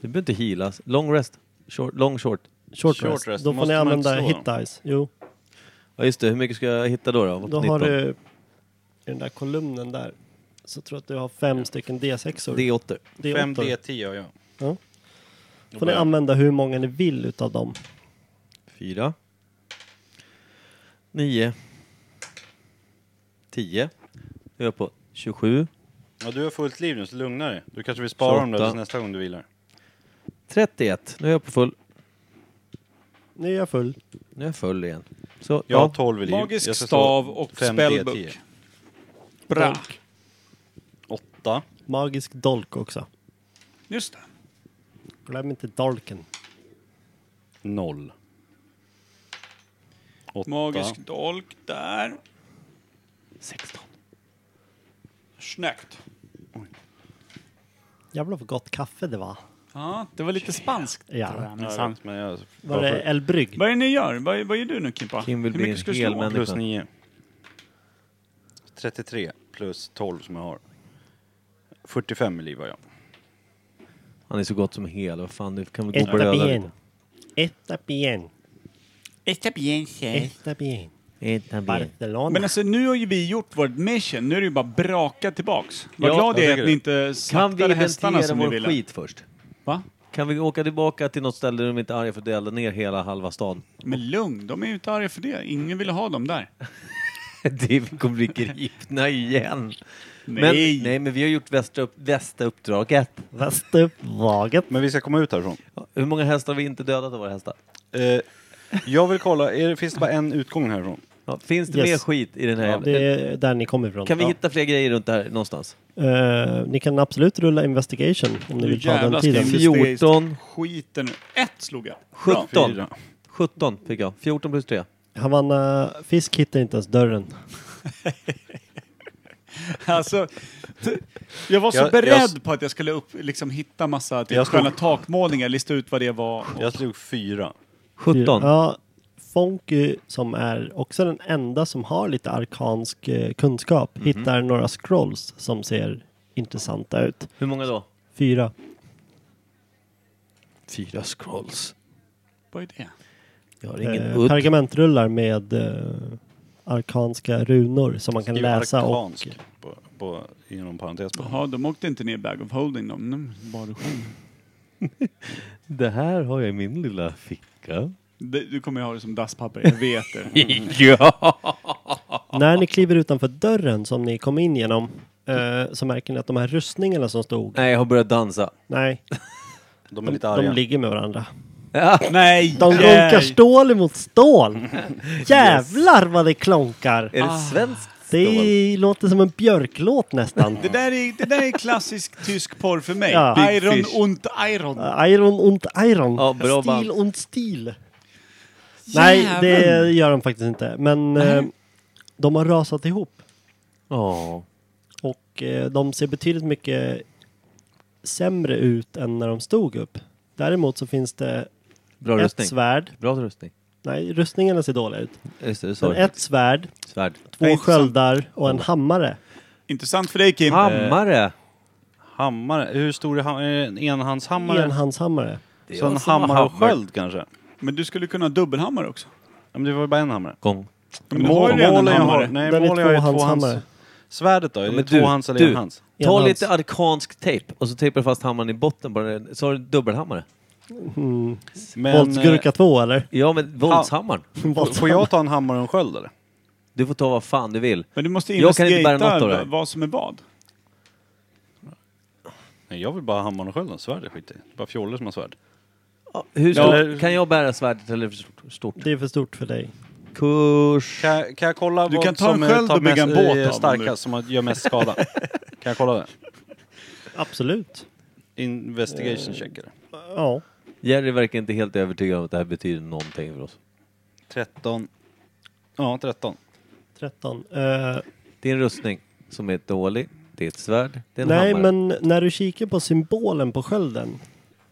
[SPEAKER 3] Du behöver inte healas. Long rest. Short, long short.
[SPEAKER 4] Short,
[SPEAKER 1] Short
[SPEAKER 4] rest.
[SPEAKER 1] rest,
[SPEAKER 4] Då får
[SPEAKER 1] måste
[SPEAKER 4] ni
[SPEAKER 1] man inte
[SPEAKER 4] använda
[SPEAKER 1] slå
[SPEAKER 4] hit dice. Jo,
[SPEAKER 3] Ja just det, hur mycket ska jag hitta då? Då,
[SPEAKER 4] då har du i den där kolumnen där så tror jag att du har fem stycken D6or.
[SPEAKER 3] d 8
[SPEAKER 4] Det är
[SPEAKER 1] 5D10 har jag.
[SPEAKER 4] Ja.
[SPEAKER 1] Då
[SPEAKER 4] får ni
[SPEAKER 1] börjar-
[SPEAKER 4] använda hur många ni vill utav dem.
[SPEAKER 3] Fyra. Nio. Tio. Nu är jag på 27.
[SPEAKER 1] ja, du har fullt liv nu, så lugna dig. Du kanske vill spara dem där
[SPEAKER 3] 28.
[SPEAKER 1] tills nästa gång du vilar.
[SPEAKER 3] 31. Nu är jag på full.
[SPEAKER 4] Nu är jag full.
[SPEAKER 3] Nu är jag full igen. Så,
[SPEAKER 1] Jag har
[SPEAKER 3] ja.
[SPEAKER 1] 12 liv.
[SPEAKER 2] Magisk
[SPEAKER 1] Jag ska slå
[SPEAKER 2] stav och
[SPEAKER 1] 5D10.
[SPEAKER 2] spellbook. Bra.
[SPEAKER 4] Dolk.
[SPEAKER 1] Åtta.
[SPEAKER 4] Magisk dolk också.
[SPEAKER 2] Just det.
[SPEAKER 4] Glöm inte dolken.
[SPEAKER 1] Noll. Åtta.
[SPEAKER 2] Magisk dolk där.
[SPEAKER 3] 16.
[SPEAKER 2] Snyggt.
[SPEAKER 4] Jävlar vad gott kaffe det var.
[SPEAKER 2] Ja, det var lite spanskt.
[SPEAKER 4] Ja.
[SPEAKER 2] det där,
[SPEAKER 1] Ja,
[SPEAKER 2] minsann.
[SPEAKER 1] jag vet, men jag...
[SPEAKER 4] Var det El Brygg?
[SPEAKER 2] Vad är det ni gör? Vad, vad gör du nu Kimpa?
[SPEAKER 3] Kim vill
[SPEAKER 2] Hur
[SPEAKER 3] bli
[SPEAKER 2] mycket
[SPEAKER 3] en
[SPEAKER 2] ska du
[SPEAKER 3] hel
[SPEAKER 2] slå?
[SPEAKER 3] människa.
[SPEAKER 1] Plus 9. 33 plus 12 som jag har. 45 i liv har jag.
[SPEAKER 3] Han är så gott som hel. Vad fan, du kan väl gå och
[SPEAKER 4] Etta
[SPEAKER 3] blöda
[SPEAKER 4] bien.
[SPEAKER 3] lite.
[SPEAKER 4] Etta bien.
[SPEAKER 2] Está bien, chef.
[SPEAKER 4] Etta bien.
[SPEAKER 3] Etta bien.
[SPEAKER 4] Barcelona.
[SPEAKER 2] Men alltså nu har ju vi gjort vårt mission. Nu är det ju bara braka tillbaks. Vad
[SPEAKER 3] Ja,
[SPEAKER 2] glad jag
[SPEAKER 1] jag
[SPEAKER 2] är att ni inte
[SPEAKER 3] Kan vi
[SPEAKER 2] slaktade hästarna
[SPEAKER 3] inventera
[SPEAKER 2] som ni
[SPEAKER 3] vår
[SPEAKER 2] ville.
[SPEAKER 3] skit först?
[SPEAKER 2] Va?
[SPEAKER 3] Kan vi åka tillbaka till något ställe där de inte är arga för att du eldade ner hela halva stan? [LAUGHS]
[SPEAKER 2] Men lugn, de är ju inte arga för det. Ingen ville ha dem där.
[SPEAKER 3] Det kommer bli gripna igen.
[SPEAKER 2] Nej.
[SPEAKER 3] Men, nej, men vi har gjort västra, upp, västra uppdraget.
[SPEAKER 4] Västervaget.
[SPEAKER 1] Men vi ska komma ut härifrån.
[SPEAKER 3] Ja, Hur många hästar har vi inte dödat av våra hästar?
[SPEAKER 1] Eh, jag vill kolla, är, det- finns det bara en utgång härifrån?
[SPEAKER 3] Ja, finns det
[SPEAKER 4] Yes.
[SPEAKER 3] mer skit i den här
[SPEAKER 4] Ja,
[SPEAKER 3] jävla...
[SPEAKER 4] det är där ni kommer ifrån.
[SPEAKER 3] Kan vi
[SPEAKER 4] Ja.
[SPEAKER 3] hitta fler grejer runt det här någonstans?
[SPEAKER 4] Eh, ni kan absolut rulla investigation om ni
[SPEAKER 2] Nu
[SPEAKER 4] vill ta
[SPEAKER 2] jävlar ska
[SPEAKER 4] den tiden.
[SPEAKER 2] vi investera i
[SPEAKER 3] 14.
[SPEAKER 2] Skiten nu. Ett slog jag. Bra.
[SPEAKER 3] 17.
[SPEAKER 1] Fyra.
[SPEAKER 3] 17 fick jag. 14 plus 3.
[SPEAKER 4] Havanna Fisk hittar inte ens dörren.
[SPEAKER 2] Alltså, t- jag var så
[SPEAKER 1] Jag-
[SPEAKER 2] beredd
[SPEAKER 1] jag s-
[SPEAKER 2] på att jag skulle upp, liksom, hitta massa typ,
[SPEAKER 1] Jag slog-
[SPEAKER 2] sköna takmålningar, lista ut vad det var.
[SPEAKER 1] Jag slog fyra.
[SPEAKER 3] 17.
[SPEAKER 4] Ja, Fonky som är också den enda som har lite arkansk eh, kunskap hittar några scrolls som ser intressanta ut.
[SPEAKER 3] Hur många då?
[SPEAKER 4] Fyra.
[SPEAKER 3] Fyra scrolls.
[SPEAKER 2] Vad är det?
[SPEAKER 3] Jag har ingen
[SPEAKER 4] eh,
[SPEAKER 3] udd.
[SPEAKER 4] pergamentrullar med eh, arkanska runor som man kan
[SPEAKER 1] Skriv
[SPEAKER 4] läsa
[SPEAKER 1] arkansk
[SPEAKER 4] och...
[SPEAKER 1] På, på, inom parentes på.
[SPEAKER 2] Jaha, de åkte inte ner i bag of holding de. de bara själv.
[SPEAKER 3] Det här har jag i min lilla ficka.
[SPEAKER 2] Det- Du kommer ju ha det som dasspapper, jag vet det.
[SPEAKER 3] [LAUGHS] ja! Ah,
[SPEAKER 4] När ni kliver utanför dörren som ni kom in genom eh, så märker ni att de här rustningarna som stod...
[SPEAKER 3] Nej, jag har börjat dansa.
[SPEAKER 4] Nej,
[SPEAKER 1] De är
[SPEAKER 4] de,
[SPEAKER 1] lite
[SPEAKER 4] de
[SPEAKER 1] arga.
[SPEAKER 4] ligger
[SPEAKER 3] [LAUGHS]
[SPEAKER 4] med varandra.
[SPEAKER 2] Nej!
[SPEAKER 4] De
[SPEAKER 2] nej.
[SPEAKER 4] klonkar stål
[SPEAKER 3] [LAUGHS]
[SPEAKER 4] emot stål. Jävlar vad det klonkar.
[SPEAKER 3] Är det svenskt
[SPEAKER 4] Det är- låter som en
[SPEAKER 3] [LAUGHS]
[SPEAKER 4] björklåt nästan.
[SPEAKER 2] Det där, är, det där är klassisk tysk porr för mig.
[SPEAKER 4] Ja. Big
[SPEAKER 2] Iron
[SPEAKER 3] Fish.
[SPEAKER 2] und Iron.
[SPEAKER 4] Uh, Iron und Iron.
[SPEAKER 3] Ja, bra
[SPEAKER 4] stil
[SPEAKER 3] band.
[SPEAKER 4] und stil. Nej, det gör de faktiskt inte. Men eh, de har rasat ihop.
[SPEAKER 3] Ja.
[SPEAKER 4] Och eh, de ser betydligt mycket sämre ut än när de stod upp. Däremot så finns det
[SPEAKER 3] Bra
[SPEAKER 4] ett
[SPEAKER 3] rustning.
[SPEAKER 4] svärd.
[SPEAKER 3] Bra rustning.
[SPEAKER 4] Nej, rustningarna ser dåliga ut.
[SPEAKER 3] Just det, du sa
[SPEAKER 4] Men
[SPEAKER 3] det.
[SPEAKER 4] ett svärd,
[SPEAKER 3] Svärd.
[SPEAKER 2] Ja,
[SPEAKER 4] två
[SPEAKER 2] intressant.
[SPEAKER 4] sköldar och en hammare.
[SPEAKER 2] Intressant för dig Kim. Eh,
[SPEAKER 3] Hammare!
[SPEAKER 1] Hammare. Hur stor är, ham- är det en enhandshammare?
[SPEAKER 4] Enhandshammare.
[SPEAKER 3] Det
[SPEAKER 1] Så en hammare och sköld kanske?
[SPEAKER 2] Men du skulle kunna ha dubbelhammare också.
[SPEAKER 1] Ja, men det var ju bara en hammare.
[SPEAKER 3] Gång.
[SPEAKER 2] Men du har ju redan en
[SPEAKER 1] jag har,
[SPEAKER 2] hammare.
[SPEAKER 1] nej,
[SPEAKER 4] Den är
[SPEAKER 1] mål jag har ju
[SPEAKER 4] tvåhandshammare.
[SPEAKER 1] tvåhands- Svärdet då? Är det
[SPEAKER 3] men du,
[SPEAKER 1] tvåhands eller
[SPEAKER 3] du.
[SPEAKER 1] enhands?
[SPEAKER 3] Ta
[SPEAKER 4] Enhands.
[SPEAKER 3] lite arkansk tejp och så tejpar du fast hammaren i botten på den. Så har du en dubbelhammare.
[SPEAKER 1] Men,
[SPEAKER 3] eh,
[SPEAKER 4] Våldsgurka 2 eller?
[SPEAKER 3] Ja, men våldshammaren.
[SPEAKER 1] eh, Får jag ta en hammare och en sköld eller?
[SPEAKER 3] Du får ta vad fan du vill.
[SPEAKER 2] Men du måste
[SPEAKER 3] Jag kan inte bära något av det
[SPEAKER 2] investigata
[SPEAKER 3] här.
[SPEAKER 2] vad som är vad.
[SPEAKER 1] Nej, jag vill bara ha hammaren och skölden. Svärdet skiter jag i. Det är Bara fjoller som har svärd.
[SPEAKER 3] Ja,
[SPEAKER 1] Ja,
[SPEAKER 3] Hur stort?
[SPEAKER 1] eller-
[SPEAKER 3] Kan jag bära svärdet eller är det för stort?
[SPEAKER 4] Det är för stort för dig.
[SPEAKER 3] Kurs.
[SPEAKER 1] Kan, jag- kan jag kolla
[SPEAKER 2] Du
[SPEAKER 1] vad
[SPEAKER 2] kan ta en
[SPEAKER 1] som eh,
[SPEAKER 2] sköld
[SPEAKER 1] tar
[SPEAKER 2] och bygga en
[SPEAKER 1] mest-
[SPEAKER 2] båt
[SPEAKER 1] eh,
[SPEAKER 2] av om du-
[SPEAKER 1] [LAUGHS] starkast, som gör mest skada? kan jag kolla det?
[SPEAKER 4] Absolut.
[SPEAKER 1] Investigation check eller?
[SPEAKER 4] Ja.
[SPEAKER 3] Jerry verkar inte helt övertygad om att det här betyder någonting för oss.
[SPEAKER 1] 13. Ja, 13.
[SPEAKER 4] 13. Eh,
[SPEAKER 3] Det är en rustning som är dålig. Det är ett svärd. Det är en
[SPEAKER 4] nej,
[SPEAKER 3] hammare.
[SPEAKER 4] men när du kikar på symbolen på skölden,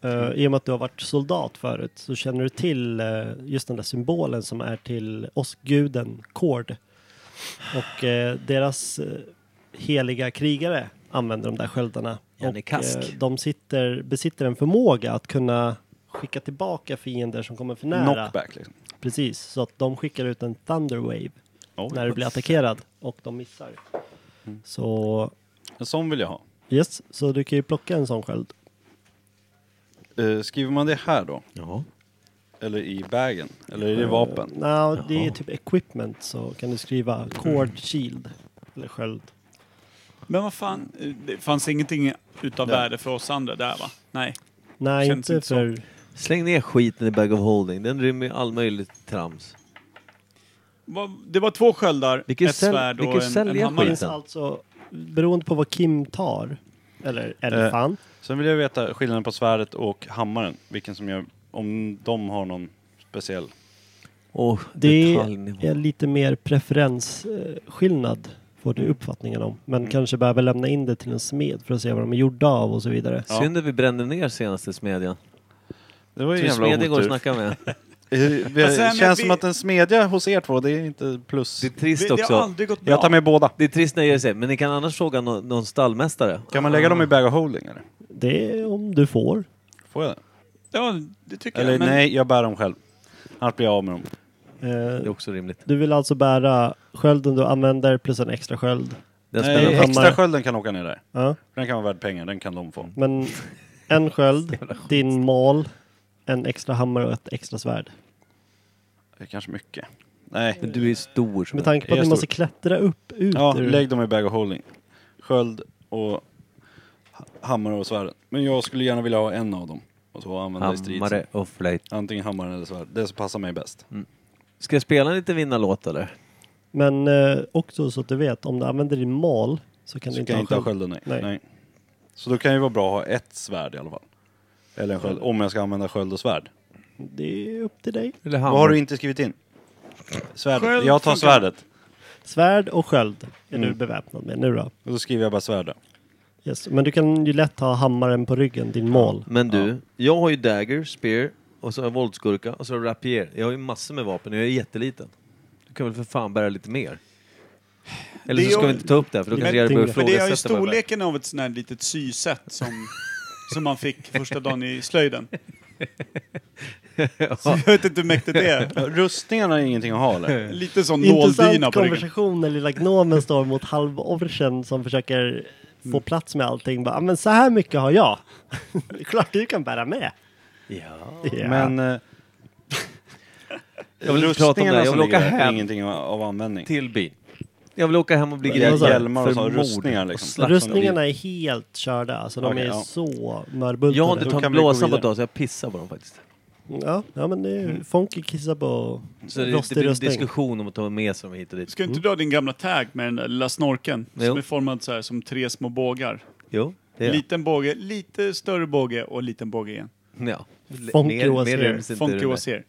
[SPEAKER 4] eh, i och med att du har varit soldat förut, så känner du till eh, just den där symbolen som är till åskguden Kord. Och eh, deras eh, heliga krigare använder de där sköldarna.
[SPEAKER 3] Ja, det är
[SPEAKER 4] Och,
[SPEAKER 3] kask.
[SPEAKER 4] eh, de sitter, besitter en förmåga att kunna skicka tillbaka fiender som kommer för nära.
[SPEAKER 1] Knockback liksom.
[SPEAKER 4] Precis, så att de skickar ut en thunderwave
[SPEAKER 1] Oj.
[SPEAKER 4] när du blir attackerad och de missar.
[SPEAKER 3] Mm.
[SPEAKER 4] Så,
[SPEAKER 1] En sån vill jag ha.
[SPEAKER 4] yes, så du kan ju plocka en sån sköld.
[SPEAKER 1] Eh, skriver man det här då?
[SPEAKER 3] Ja.
[SPEAKER 1] Eller i bagen? Eller är det vapen?
[SPEAKER 4] Nej, det är typ equipment så kan du skriva cord shield eller sköld.
[SPEAKER 2] Men vad fan, eh, det fanns ingenting utav värde för oss andra där va? Nej.
[SPEAKER 4] Nej,
[SPEAKER 2] Känns
[SPEAKER 4] inte
[SPEAKER 2] inte så.
[SPEAKER 4] för...
[SPEAKER 3] Släng ner skiten i Bag of Holding. Den rymmer ju all möjligt trams.
[SPEAKER 2] Vad- Det var två sköldar,
[SPEAKER 3] Vi kan ju
[SPEAKER 2] ett
[SPEAKER 3] säl-
[SPEAKER 2] svärd
[SPEAKER 3] vi kan
[SPEAKER 2] och
[SPEAKER 3] ju
[SPEAKER 2] en, en
[SPEAKER 3] sälja
[SPEAKER 4] Det
[SPEAKER 2] hammare.
[SPEAKER 3] skit.
[SPEAKER 4] finns alltså, beroende på vad Kim tar, eller Elfan,
[SPEAKER 1] Sen vill jag veta skillnaden på svärdet och hammaren. Vilken som jag... Om de har någon speciell...
[SPEAKER 3] Och
[SPEAKER 4] det
[SPEAKER 3] detaljnivå.
[SPEAKER 4] är lite mer preferensskillnad eh, får du uppfattningen om. Men kanske behöver lämna in det till en smed för att se vad de är gjorda av och så vidare.
[SPEAKER 3] Synd att vi brände ner senaste smedjan.
[SPEAKER 1] Det var ju
[SPEAKER 3] Tur
[SPEAKER 1] jävla
[SPEAKER 3] smedjan går att
[SPEAKER 1] otur.
[SPEAKER 3] snacka med.
[SPEAKER 1] Eh,
[SPEAKER 2] Men
[SPEAKER 1] [LAUGHS] Det
[SPEAKER 2] sen, men
[SPEAKER 1] känns
[SPEAKER 2] vi-
[SPEAKER 1] som att en smedja hos er två, det är inte plus.
[SPEAKER 3] Det är trist
[SPEAKER 2] Det, det har
[SPEAKER 3] också.
[SPEAKER 2] aldrig gått bra.
[SPEAKER 1] Jag tar med båda.
[SPEAKER 3] Det är trist när jag säger men ni kan annars fråga nå- någon stallmästare.
[SPEAKER 1] Kan man lägga dem i bag of holding eller?
[SPEAKER 4] Det är om du får.
[SPEAKER 1] Får jag det?
[SPEAKER 2] Ja, det tycker
[SPEAKER 1] Eller
[SPEAKER 2] jag. Men
[SPEAKER 1] nej, jag bär dem själv. Annars blir jag av med dem.
[SPEAKER 4] Eh,
[SPEAKER 3] Det är också rimligt.
[SPEAKER 4] Du vill alltså bära skölden du använder plus en extra sköld.
[SPEAKER 3] Den spelar
[SPEAKER 1] Nej,
[SPEAKER 4] spännande.
[SPEAKER 1] extra skölden kan åka ner där.
[SPEAKER 4] Ja.
[SPEAKER 1] Den kan vara värd pengar, den kan de få.
[SPEAKER 4] Men
[SPEAKER 1] [LAUGHS]
[SPEAKER 4] en sköld, din mal, en extra hammare och ett extra svärd.
[SPEAKER 1] Det är kanske mycket. Nej.
[SPEAKER 3] Men du är stor som
[SPEAKER 4] Med
[SPEAKER 3] en-
[SPEAKER 4] tanke på
[SPEAKER 1] Jag
[SPEAKER 4] att ni
[SPEAKER 1] står-
[SPEAKER 4] måste klättra upp ut
[SPEAKER 1] Ja,
[SPEAKER 4] ur...
[SPEAKER 1] lägg dem i bag of holding. Sköld och ha- hammare och svärd. Men jag skulle gärna vilja ha en av dem. Och så använda i strid.
[SPEAKER 3] Hammare Mm. och flöjt.
[SPEAKER 1] Antingen hammaren eller svärd. Det som passar mig bäst.
[SPEAKER 3] Ska jag spela en liten vinnarlåt eller?
[SPEAKER 4] Men eh, också så att du vet, om du använder din mal så kan
[SPEAKER 1] Så
[SPEAKER 4] du
[SPEAKER 1] kan jag
[SPEAKER 4] inte ha sköld.
[SPEAKER 1] skölden, nej.
[SPEAKER 4] Nej.
[SPEAKER 1] Nej. Så då kan det ju vara bra att ha ett svärd i alla fall. Eller en sköld, om jag ska använda sköld och svärd.
[SPEAKER 4] Det är upp till dig.
[SPEAKER 3] Eller
[SPEAKER 1] Vad har du inte skrivit in? Svärdet.
[SPEAKER 2] Sköld
[SPEAKER 1] jag tar
[SPEAKER 2] funkar.
[SPEAKER 1] svärdet.
[SPEAKER 4] Svärd och sköld är du
[SPEAKER 1] Mm.
[SPEAKER 4] beväpnad med nu då.
[SPEAKER 1] Och då skriver jag bara svärd då.
[SPEAKER 4] Yes. Men du kan ju lätt ha hammaren på ryggen, din mal.
[SPEAKER 3] Men du, jag har ju dagger, spear och så har jag våldsgurka och så har jag rapier. Jag har ju massor med vapen och jag är jätteliten. Du kan väl för fan bära lite mer? Eller
[SPEAKER 2] Det
[SPEAKER 3] så ska
[SPEAKER 2] är-
[SPEAKER 3] vi inte ta upp det här, för då
[SPEAKER 4] Men-
[SPEAKER 3] kanske Jerry börjar
[SPEAKER 2] Men det är ju
[SPEAKER 3] ifrågasätta vad jag bär.
[SPEAKER 2] storleken av ett sånt här litet sysätt som, som man fick första dagen i slöjden. Så jag vet inte hur mäktigt det är.
[SPEAKER 1] Rustningarna är ingenting att ha eller?
[SPEAKER 2] Lite sån nåldyna
[SPEAKER 4] Intressant
[SPEAKER 2] på ryggen.
[SPEAKER 4] konversation när lilla gnomen står mot halvorchen som försöker få plats med allting. Bara, "Ah, men så här mycket har jag. [LAUGHS] Det är Klart du kan bära med.
[SPEAKER 3] [LAUGHS] Ja.
[SPEAKER 4] Ja.
[SPEAKER 1] Men... eh,
[SPEAKER 3] Jag vill inte prata om
[SPEAKER 1] rustningarna
[SPEAKER 3] det, här. jag
[SPEAKER 1] som
[SPEAKER 3] vill åka
[SPEAKER 1] ligger där är
[SPEAKER 3] hem
[SPEAKER 1] ingenting av, av användning.
[SPEAKER 3] till byn. Jag vill åka hem och bli
[SPEAKER 1] Men
[SPEAKER 3] grillad
[SPEAKER 1] hjälmar och
[SPEAKER 3] för
[SPEAKER 1] så,
[SPEAKER 3] mord
[SPEAKER 1] rustningar liksom.
[SPEAKER 3] och slagsmål.
[SPEAKER 4] Rustningarna är helt körda, alltså de
[SPEAKER 1] Okej,
[SPEAKER 4] är
[SPEAKER 1] ja.
[SPEAKER 4] så
[SPEAKER 3] Jag har
[SPEAKER 4] mörbultade.
[SPEAKER 3] inte
[SPEAKER 1] Då
[SPEAKER 3] tagit
[SPEAKER 1] kan vi gå
[SPEAKER 3] blåsan på
[SPEAKER 1] vidare.
[SPEAKER 3] ett tag så jag pissar på dem faktiskt.
[SPEAKER 4] Ja, ja, men det är ju Funky kissar på
[SPEAKER 3] Så det, det
[SPEAKER 4] rostig
[SPEAKER 3] blir en
[SPEAKER 4] rustning.
[SPEAKER 3] diskussion om att ta med sig dem hit och dit.
[SPEAKER 2] Ska du inte dra din gamla tag med den där lilla snorken?
[SPEAKER 3] Jo.
[SPEAKER 2] Som är formad så här som tre små bågar.
[SPEAKER 3] Jo, det är
[SPEAKER 2] Liten båge, lite större båge och liten båge igen.
[SPEAKER 3] ja.
[SPEAKER 4] Funky
[SPEAKER 3] Mer-
[SPEAKER 4] was
[SPEAKER 3] mer
[SPEAKER 4] here.
[SPEAKER 3] ryms inte i
[SPEAKER 2] Funky
[SPEAKER 3] det där.
[SPEAKER 2] was here.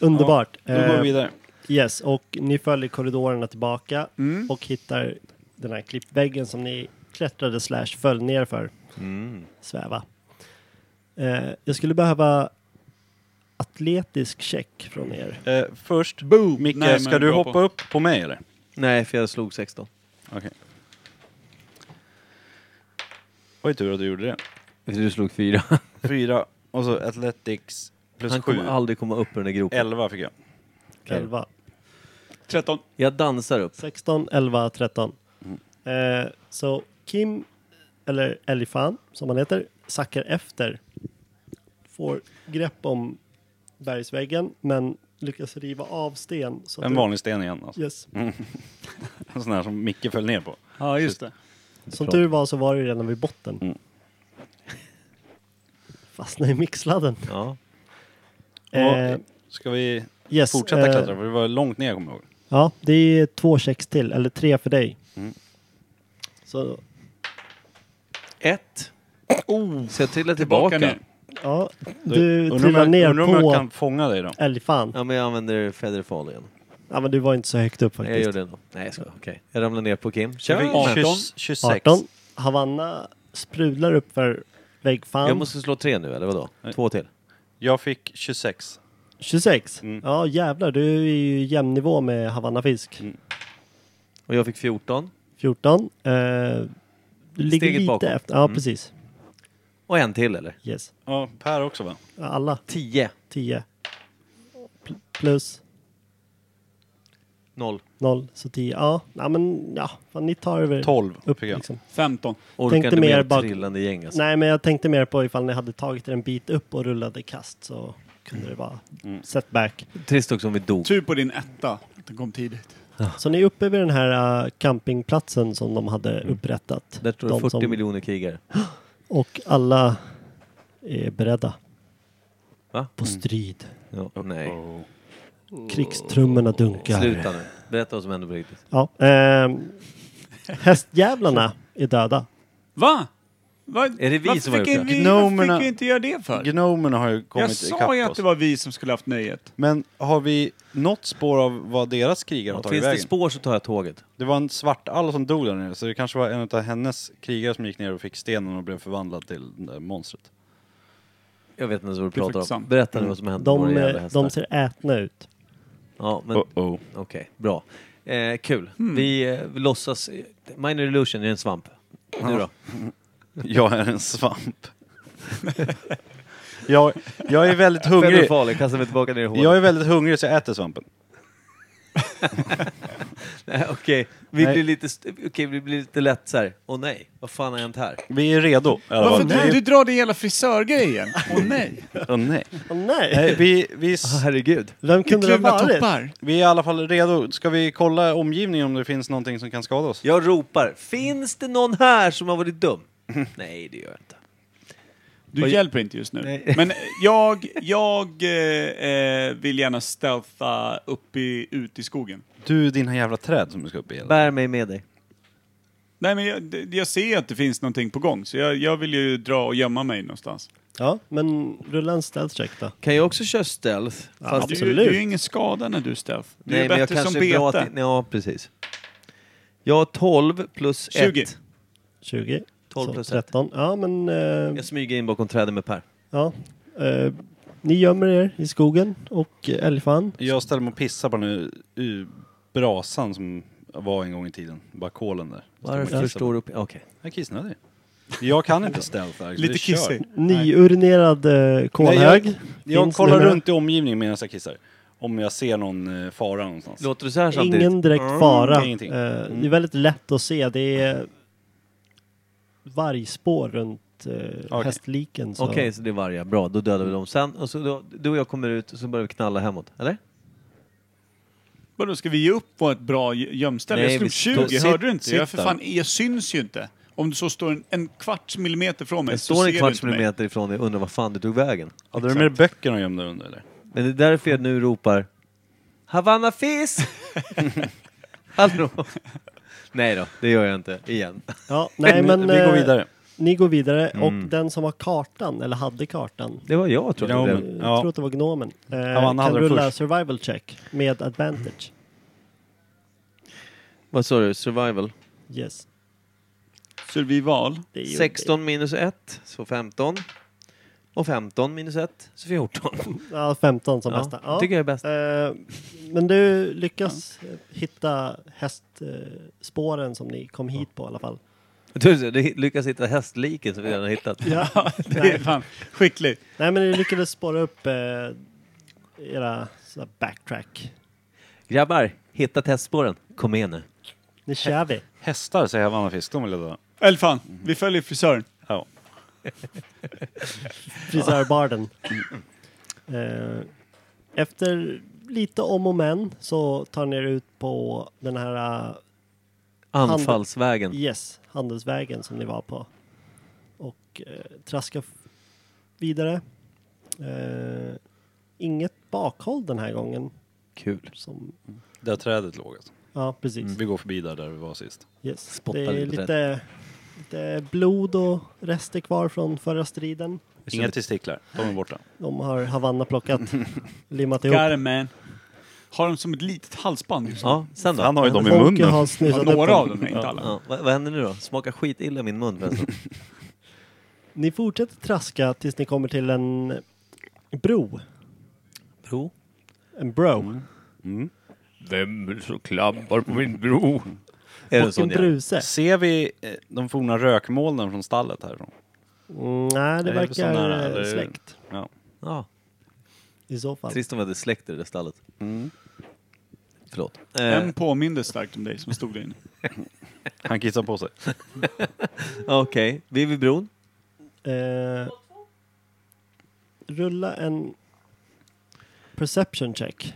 [SPEAKER 4] Underbart.
[SPEAKER 1] Då går
[SPEAKER 4] Eh,
[SPEAKER 1] vi vidare.
[SPEAKER 4] yes, och ni följer korridorerna tillbaka och hittar den här klippväggen som ni klättrade slash föll ner för. Sväva. Eh, jag skulle behöva atletisk check från er.
[SPEAKER 1] Eh, först,
[SPEAKER 2] Boom!
[SPEAKER 1] Micke,
[SPEAKER 2] Nej, men
[SPEAKER 1] ska du
[SPEAKER 2] bra
[SPEAKER 1] hoppa
[SPEAKER 2] på.
[SPEAKER 1] upp på mig eller?
[SPEAKER 3] Nej, för jag slog 16.
[SPEAKER 1] Okej. Var ju tur att du gjorde det.
[SPEAKER 3] Du slog 4.
[SPEAKER 1] Fyra, och så Athletics plus
[SPEAKER 3] [LAUGHS] Han
[SPEAKER 1] sju.
[SPEAKER 3] kommer aldrig komma upp ur den där gropen.
[SPEAKER 1] Elva fick jag.
[SPEAKER 4] 11.
[SPEAKER 2] 13.
[SPEAKER 3] Jag dansar upp.
[SPEAKER 4] 16, 11, 13. Eh, så Kim, eller Elifan som han heter, sackar efter. Får grepp om bergsväggen men lyckas riva av sten. Så att
[SPEAKER 1] En
[SPEAKER 4] det-
[SPEAKER 1] vanlig sten igen alltså.
[SPEAKER 4] Yes.
[SPEAKER 1] En sån här som Micke föll ner på.
[SPEAKER 2] Ja, just det.
[SPEAKER 4] Som tur var så var det ju redan vid botten.
[SPEAKER 1] Mm.
[SPEAKER 4] [LAUGHS] Fastnade i mixladden.
[SPEAKER 3] Ja.
[SPEAKER 4] Eh,
[SPEAKER 1] Ska vi
[SPEAKER 4] yes.
[SPEAKER 1] fortsätta
[SPEAKER 4] eh,
[SPEAKER 1] klättra? För det var långt ner kommer jag ihåg.
[SPEAKER 4] Ja, det är
[SPEAKER 1] Mm.
[SPEAKER 4] två checks till, eller tre för dig. Så
[SPEAKER 3] Ett.
[SPEAKER 2] Oh,
[SPEAKER 3] Så jag trillar tillbaka.
[SPEAKER 2] ner.
[SPEAKER 4] Ja, du
[SPEAKER 1] Undrar om
[SPEAKER 4] trillar
[SPEAKER 1] jag-
[SPEAKER 4] ner
[SPEAKER 1] undrar om jag kan
[SPEAKER 4] på
[SPEAKER 1] fånga dig då?
[SPEAKER 4] älgfan.
[SPEAKER 3] Ja, men jag använder featherfall igen.
[SPEAKER 4] Ja, men du var inte så högt upp
[SPEAKER 3] Nej, Jag
[SPEAKER 4] faktiskt.
[SPEAKER 3] gör det ändå. Nej, jag skojar. Okej. Jag ramlar ner på Kim.
[SPEAKER 1] Jag
[SPEAKER 3] Kör!
[SPEAKER 1] fick
[SPEAKER 2] 18.
[SPEAKER 1] 20 26.
[SPEAKER 4] 18. Havanna sprudlar upp för väggfan.
[SPEAKER 3] Jag måste slå tre nu, eller vadå? Två till?
[SPEAKER 1] Jag fick 26.
[SPEAKER 4] 26.
[SPEAKER 1] Mm.
[SPEAKER 4] Ja, jävlar. Du är ju i jämnnivå med Havannafisk.
[SPEAKER 1] Mm.
[SPEAKER 3] Och jag fick 14.
[SPEAKER 4] 14. Eh, du ligger
[SPEAKER 3] Steget
[SPEAKER 4] lite
[SPEAKER 3] bakåt.
[SPEAKER 4] efter. Ja,
[SPEAKER 3] Mm.
[SPEAKER 4] precis.
[SPEAKER 3] Och en till, eller?
[SPEAKER 4] Yes.
[SPEAKER 1] Ja, Per också va?
[SPEAKER 4] Alla.
[SPEAKER 3] 10.
[SPEAKER 4] 10. Pl- Plus
[SPEAKER 3] 0.
[SPEAKER 4] 0, så 10. Ja, ja men ja. Fan, ni tar över.
[SPEAKER 1] 12
[SPEAKER 4] Upp,
[SPEAKER 1] fick jag.
[SPEAKER 4] liksom.
[SPEAKER 2] 15.
[SPEAKER 3] Orkar
[SPEAKER 4] Tänkte
[SPEAKER 3] ni
[SPEAKER 4] mer
[SPEAKER 3] mer
[SPEAKER 4] bak-
[SPEAKER 3] trillande gäng alltså.
[SPEAKER 4] Nej, men jag tänkte mer på ifall ni hade tagit er en bit upp och rullade kast så kunde det vara
[SPEAKER 3] Mm.
[SPEAKER 4] setback.
[SPEAKER 3] Trist också om vi dog.
[SPEAKER 2] Tur på din etta. att Den kom tidigt.
[SPEAKER 4] Så ni är uppe vid den här äh, campingplatsen som de hade upprättat.
[SPEAKER 3] Mm. Där står det
[SPEAKER 4] De
[SPEAKER 3] 40
[SPEAKER 4] som-
[SPEAKER 3] miljoner krigare.
[SPEAKER 4] Och alla är beredda.
[SPEAKER 3] Va?
[SPEAKER 4] På strid.
[SPEAKER 3] Ja, nej.
[SPEAKER 1] Oh.
[SPEAKER 4] Krigstrummorna dunkar.
[SPEAKER 3] Sluta nu. Berätta vad som hände på riktigt.
[SPEAKER 4] Ja, ehm, hästjävlarna är döda.
[SPEAKER 2] Va? Va? Är
[SPEAKER 3] det vi som har
[SPEAKER 2] fick
[SPEAKER 3] gjort
[SPEAKER 2] in-
[SPEAKER 3] det?
[SPEAKER 2] vi- Varför
[SPEAKER 1] Gnomerna-
[SPEAKER 2] fick vi inte göra det för?
[SPEAKER 1] Gnomerna har ju kommit
[SPEAKER 2] Jag
[SPEAKER 1] ikapp
[SPEAKER 2] sa ju att
[SPEAKER 1] oss.
[SPEAKER 2] det var vi som skulle haft nöjet.
[SPEAKER 1] Men har vi något spår av vad deras krigare har tagit
[SPEAKER 3] Finns det
[SPEAKER 1] vägen?
[SPEAKER 3] spår så tar jag tåget.
[SPEAKER 1] Det var en svart all som dog där nere, så det kanske var en av hennes krigare som gick ner och fick stenen och blev förvandlad till det där monstret.
[SPEAKER 3] Jag vet inte ens vad du
[SPEAKER 2] Det är
[SPEAKER 3] pratar om.
[SPEAKER 2] faktiskt sant.
[SPEAKER 3] Berätta nu vad som hände med
[SPEAKER 4] De,
[SPEAKER 3] våra jävla
[SPEAKER 4] eh,
[SPEAKER 3] hästar.
[SPEAKER 4] de ser ätna ut.
[SPEAKER 3] Ja, men
[SPEAKER 1] Oh, oh.
[SPEAKER 3] okej, bra. Eh, kul. Vi, eh, vi låtsas... Minor illusion är en svamp. Nu då?
[SPEAKER 1] [LAUGHS] Jag är en svamp. [LAUGHS] jag, jag är väldigt hungrig.
[SPEAKER 3] Featherfall, kastar mig tillbaka ner i hålet.
[SPEAKER 1] Jag är väldigt hungrig så jag äter svampen.
[SPEAKER 3] [LAUGHS] Nej, Eh, Okej, vi,
[SPEAKER 1] Nej.
[SPEAKER 3] blir lite st- okej, vi blir lite lätt så här. åh nej, vad fan har hänt här?
[SPEAKER 1] Vi är redo. i alla fall.
[SPEAKER 2] Varför du,
[SPEAKER 1] Vi-
[SPEAKER 2] du drar din jävla frisörgrejen? Åh nej.
[SPEAKER 1] Åh, nej.
[SPEAKER 4] Åh nej!
[SPEAKER 1] nej vi, vi, s-
[SPEAKER 3] Ah, herregud.
[SPEAKER 4] Vem kunde det
[SPEAKER 2] Kluvna
[SPEAKER 4] ha varit?
[SPEAKER 2] toppar.
[SPEAKER 1] vi är i alla fall redo. Ska vi kolla omgivningen om det finns någonting som kan skada oss?
[SPEAKER 3] Jag ropar, finns det någon här som har
[SPEAKER 2] [LAUGHS]
[SPEAKER 3] varit dum? nej, det gör jag inte.
[SPEAKER 2] Du
[SPEAKER 3] Vad-
[SPEAKER 2] hjälper inte just nu.
[SPEAKER 3] Nej.
[SPEAKER 2] Men
[SPEAKER 3] [LAUGHS]
[SPEAKER 2] jag, jag eh, eh, vill gärna stealtha upp i, ut i skogen.
[SPEAKER 1] Du, dina jävla träd som du ska upp i.
[SPEAKER 3] Bär mig med dig.
[SPEAKER 2] Nej men jag, d- jag ser att det finns någonting på gång så jag, jag vill ju dra och gömma mig någonstans.
[SPEAKER 4] Ja, men rulla en stealth check då.
[SPEAKER 3] Kan jag också köra stealth? Fast
[SPEAKER 2] Du,
[SPEAKER 4] Absolut.
[SPEAKER 2] du är ju ingen skada när du stealth. Du är
[SPEAKER 3] men
[SPEAKER 2] bättre som
[SPEAKER 3] kanske är bra
[SPEAKER 2] bete.
[SPEAKER 3] att- Ja, precis. Jag har 12 plus
[SPEAKER 2] 20.
[SPEAKER 3] 1.
[SPEAKER 4] 20.
[SPEAKER 3] 12
[SPEAKER 4] så
[SPEAKER 3] plus
[SPEAKER 4] 13. Ja, men... eh,
[SPEAKER 3] Jag smyger in bakom träden med Per.
[SPEAKER 4] ja. eh, ni gömmer er i skogen och eh, älgfan.
[SPEAKER 1] Jag ställer mig och pissar på den här u- brasan som var en gång i tiden. Bara kolen där.
[SPEAKER 3] Varför står du upp? Okej.
[SPEAKER 1] Jag är kissnödig. Jag kan inte stealtha. så
[SPEAKER 2] Lite
[SPEAKER 1] vi kör.
[SPEAKER 2] kissig.
[SPEAKER 4] Nyurinerad eh,
[SPEAKER 1] Nej,
[SPEAKER 4] kolhög.
[SPEAKER 1] Jag, jag
[SPEAKER 4] Finns
[SPEAKER 1] kollar
[SPEAKER 4] numera.
[SPEAKER 1] runt i omgivningen medan jag kissar. Om jag ser någon eh, fara någonstans.
[SPEAKER 3] Låter det så här samtidigt?
[SPEAKER 4] Ingen direkt fara.
[SPEAKER 1] Mm, ingenting.
[SPEAKER 4] Eh, Det är väldigt lätt att se. Det är vargspår runt eh, hästliken. Så.
[SPEAKER 3] Okej, så det är vargar. Bra, då dödar vi dem sen. Och så då, du och jag kommer ut och så börjar vi knalla hemåt, eller?
[SPEAKER 2] Vadå, ska vi ge upp på ett bra gö- gömställe?
[SPEAKER 3] Nej,
[SPEAKER 2] jag slog
[SPEAKER 3] vi
[SPEAKER 2] 20,
[SPEAKER 3] står-
[SPEAKER 2] hörde du inte? Jag, för
[SPEAKER 1] sitta.
[SPEAKER 2] fan, jag syns ju inte. Om du så står en, en kvarts millimeter från mig
[SPEAKER 3] Jag
[SPEAKER 2] så
[SPEAKER 3] står en
[SPEAKER 2] ser
[SPEAKER 3] kvarts
[SPEAKER 2] du inte mig.
[SPEAKER 3] millimeter ifrån dig och undrar vad fan du tog vägen.
[SPEAKER 1] Hade du med dig böckerna gömda under eller?
[SPEAKER 3] Men det är därför jag nu ropar Havanna [LAUGHS] Fizz! Hallå? Nej då, det gör jag inte. Igen.
[SPEAKER 4] Ja, nej,
[SPEAKER 1] Nu- [LAUGHS]
[SPEAKER 4] men,
[SPEAKER 1] vi går
[SPEAKER 4] eh,
[SPEAKER 1] vidare.
[SPEAKER 4] Ni går vidare
[SPEAKER 1] Mm.
[SPEAKER 4] och den som har kartan, eller hade kartan,
[SPEAKER 3] Det var jag tror jag.
[SPEAKER 1] Ja,
[SPEAKER 3] det
[SPEAKER 1] men-
[SPEAKER 3] blev.
[SPEAKER 4] jag
[SPEAKER 1] Ja.
[SPEAKER 4] tror att det var Gnomen, eh,
[SPEAKER 1] han hade
[SPEAKER 4] kan
[SPEAKER 1] den
[SPEAKER 4] rulla
[SPEAKER 1] först.
[SPEAKER 4] survival check med advantage.
[SPEAKER 3] Vad sa du? Survival?
[SPEAKER 4] Yes.
[SPEAKER 2] Survival.
[SPEAKER 4] Det är ju-
[SPEAKER 3] 16 minus 1, så 15. Och 15 minus 1, så 14.
[SPEAKER 4] Ja, 15 som
[SPEAKER 3] Ja,
[SPEAKER 4] bästa. Ja.
[SPEAKER 3] tycker jag är bäst.
[SPEAKER 4] Eh, men du lyckas eh, hitta hästspåren som ni kom hit på i alla fall.
[SPEAKER 3] [LAUGHS] Du, du lyckas hitta hästliken som vi redan har hittat.
[SPEAKER 2] Ja, [LAUGHS] det är fan skickligt.
[SPEAKER 4] Nej, men ni lyckades spåra upp eh, era sådär backtrack.
[SPEAKER 3] Grabbar, hitta hästspåren. Kom igen nu.
[SPEAKER 4] Nu kör vi.
[SPEAKER 1] Hästar säger Havanna Fisk, de vill jag döda.
[SPEAKER 2] Eller fan, vi följer frisören.
[SPEAKER 1] Ja.
[SPEAKER 4] Frisörbarden. Eh, efter lite om och men så tar ni er ut på den här eh,
[SPEAKER 3] Anfallsvägen.
[SPEAKER 4] Yes, handelsvägen som ni var på. Och eh, traska f- vidare. Eh, inget bakhåll den här gången.
[SPEAKER 3] Kul.
[SPEAKER 4] Som,
[SPEAKER 1] Där trädet låg alltså.
[SPEAKER 4] ja, precis.
[SPEAKER 1] Vi går förbi där, där vi var sist.
[SPEAKER 4] Yes.
[SPEAKER 3] Spottar
[SPEAKER 4] det är
[SPEAKER 3] lite på
[SPEAKER 4] lite Lite blod och rester kvar från förra striden.
[SPEAKER 1] Inga testiklar, de är borta.
[SPEAKER 4] De har Havanna plockat, limmat ihop.
[SPEAKER 2] Carmen. Har de som ett litet halsband just nu?
[SPEAKER 3] Ja, sen då?
[SPEAKER 1] Han har ju dem i
[SPEAKER 4] Folke
[SPEAKER 1] munnen.
[SPEAKER 4] har
[SPEAKER 2] Mm. Ja,
[SPEAKER 4] snusat upp
[SPEAKER 2] några av dem,
[SPEAKER 4] dem.
[SPEAKER 2] men inte alla.
[SPEAKER 3] Ja, vad, vad händer nu då? Smakar skitilla i min mun förresten.
[SPEAKER 1] [LAUGHS]
[SPEAKER 4] Ni fortsätter traska tills ni kommer till en bro.
[SPEAKER 3] Bro?
[SPEAKER 4] En bro.
[SPEAKER 6] Vem som klampar på min bro?
[SPEAKER 3] Är det en
[SPEAKER 4] Och en
[SPEAKER 3] sån jävel?
[SPEAKER 4] bruse.
[SPEAKER 1] Ser vi eh, de forna rökmolnen från stallet härifrån?
[SPEAKER 4] Mm, nej, det
[SPEAKER 1] Är det sån
[SPEAKER 4] verkar
[SPEAKER 1] där,
[SPEAKER 4] eh,
[SPEAKER 1] eller?
[SPEAKER 4] släkt.
[SPEAKER 1] Ja.
[SPEAKER 3] Ja,
[SPEAKER 4] I så fall.
[SPEAKER 3] trist om vi hade släkt i det där stallet. Förlåt. Eh,
[SPEAKER 2] Vem påminner starkt om dig som stod där inne?
[SPEAKER 1] Han kissar på sig.
[SPEAKER 3] Okej, vi är vid bron.
[SPEAKER 4] Eh, rulla en perception check.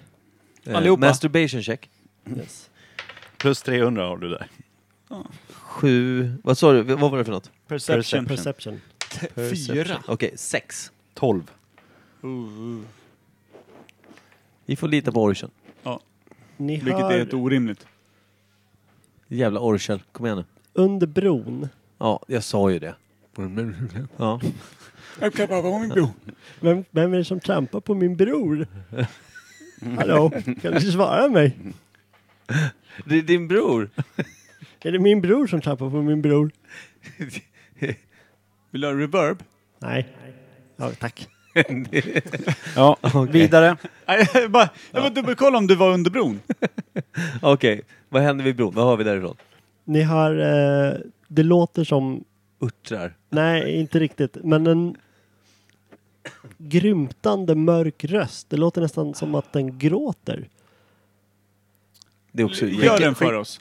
[SPEAKER 3] Eh,
[SPEAKER 2] Allihopa.
[SPEAKER 3] Masturbation check.
[SPEAKER 4] Yes.
[SPEAKER 1] Plus 300 har du där.
[SPEAKER 3] Sju... Vad sa du? Vad var det för något?
[SPEAKER 2] Perception.
[SPEAKER 4] Perception.
[SPEAKER 2] Fyra.
[SPEAKER 3] Okej, sex.
[SPEAKER 1] 12.
[SPEAKER 3] Vi får lita på Orchen.
[SPEAKER 4] Ni
[SPEAKER 2] Vilket
[SPEAKER 4] hör
[SPEAKER 2] är ett orimligt.
[SPEAKER 3] Jävla Orchen. Kom igen nu.
[SPEAKER 4] under bron.
[SPEAKER 3] Ja, jag sa ju det. Ja.
[SPEAKER 2] Jag klappar på min bro.
[SPEAKER 4] Vem, vem är det som trampar på
[SPEAKER 2] [LAUGHS]
[SPEAKER 4] min bror? Hallå, kan du svara mig?
[SPEAKER 3] Det är [LAUGHS] din bror.
[SPEAKER 4] Är det min bror som trampar på min bror?
[SPEAKER 2] Vill du ha reverb?
[SPEAKER 4] Nej. Ja, tack.
[SPEAKER 1] [LAUGHS] Ja, vidare.
[SPEAKER 2] Nej, jag bara, jag bara dubbelkolla om du var under bron.
[SPEAKER 3] Okej, vad händer vid bron? Vad har vi därifrån?
[SPEAKER 4] Ni har, eh, det låter som,
[SPEAKER 3] Urtrar.
[SPEAKER 4] nej inte riktigt, men en grymtande mörk röst. Det låter nästan som att den gråter.
[SPEAKER 3] Det är också...
[SPEAKER 2] Gör den för oss.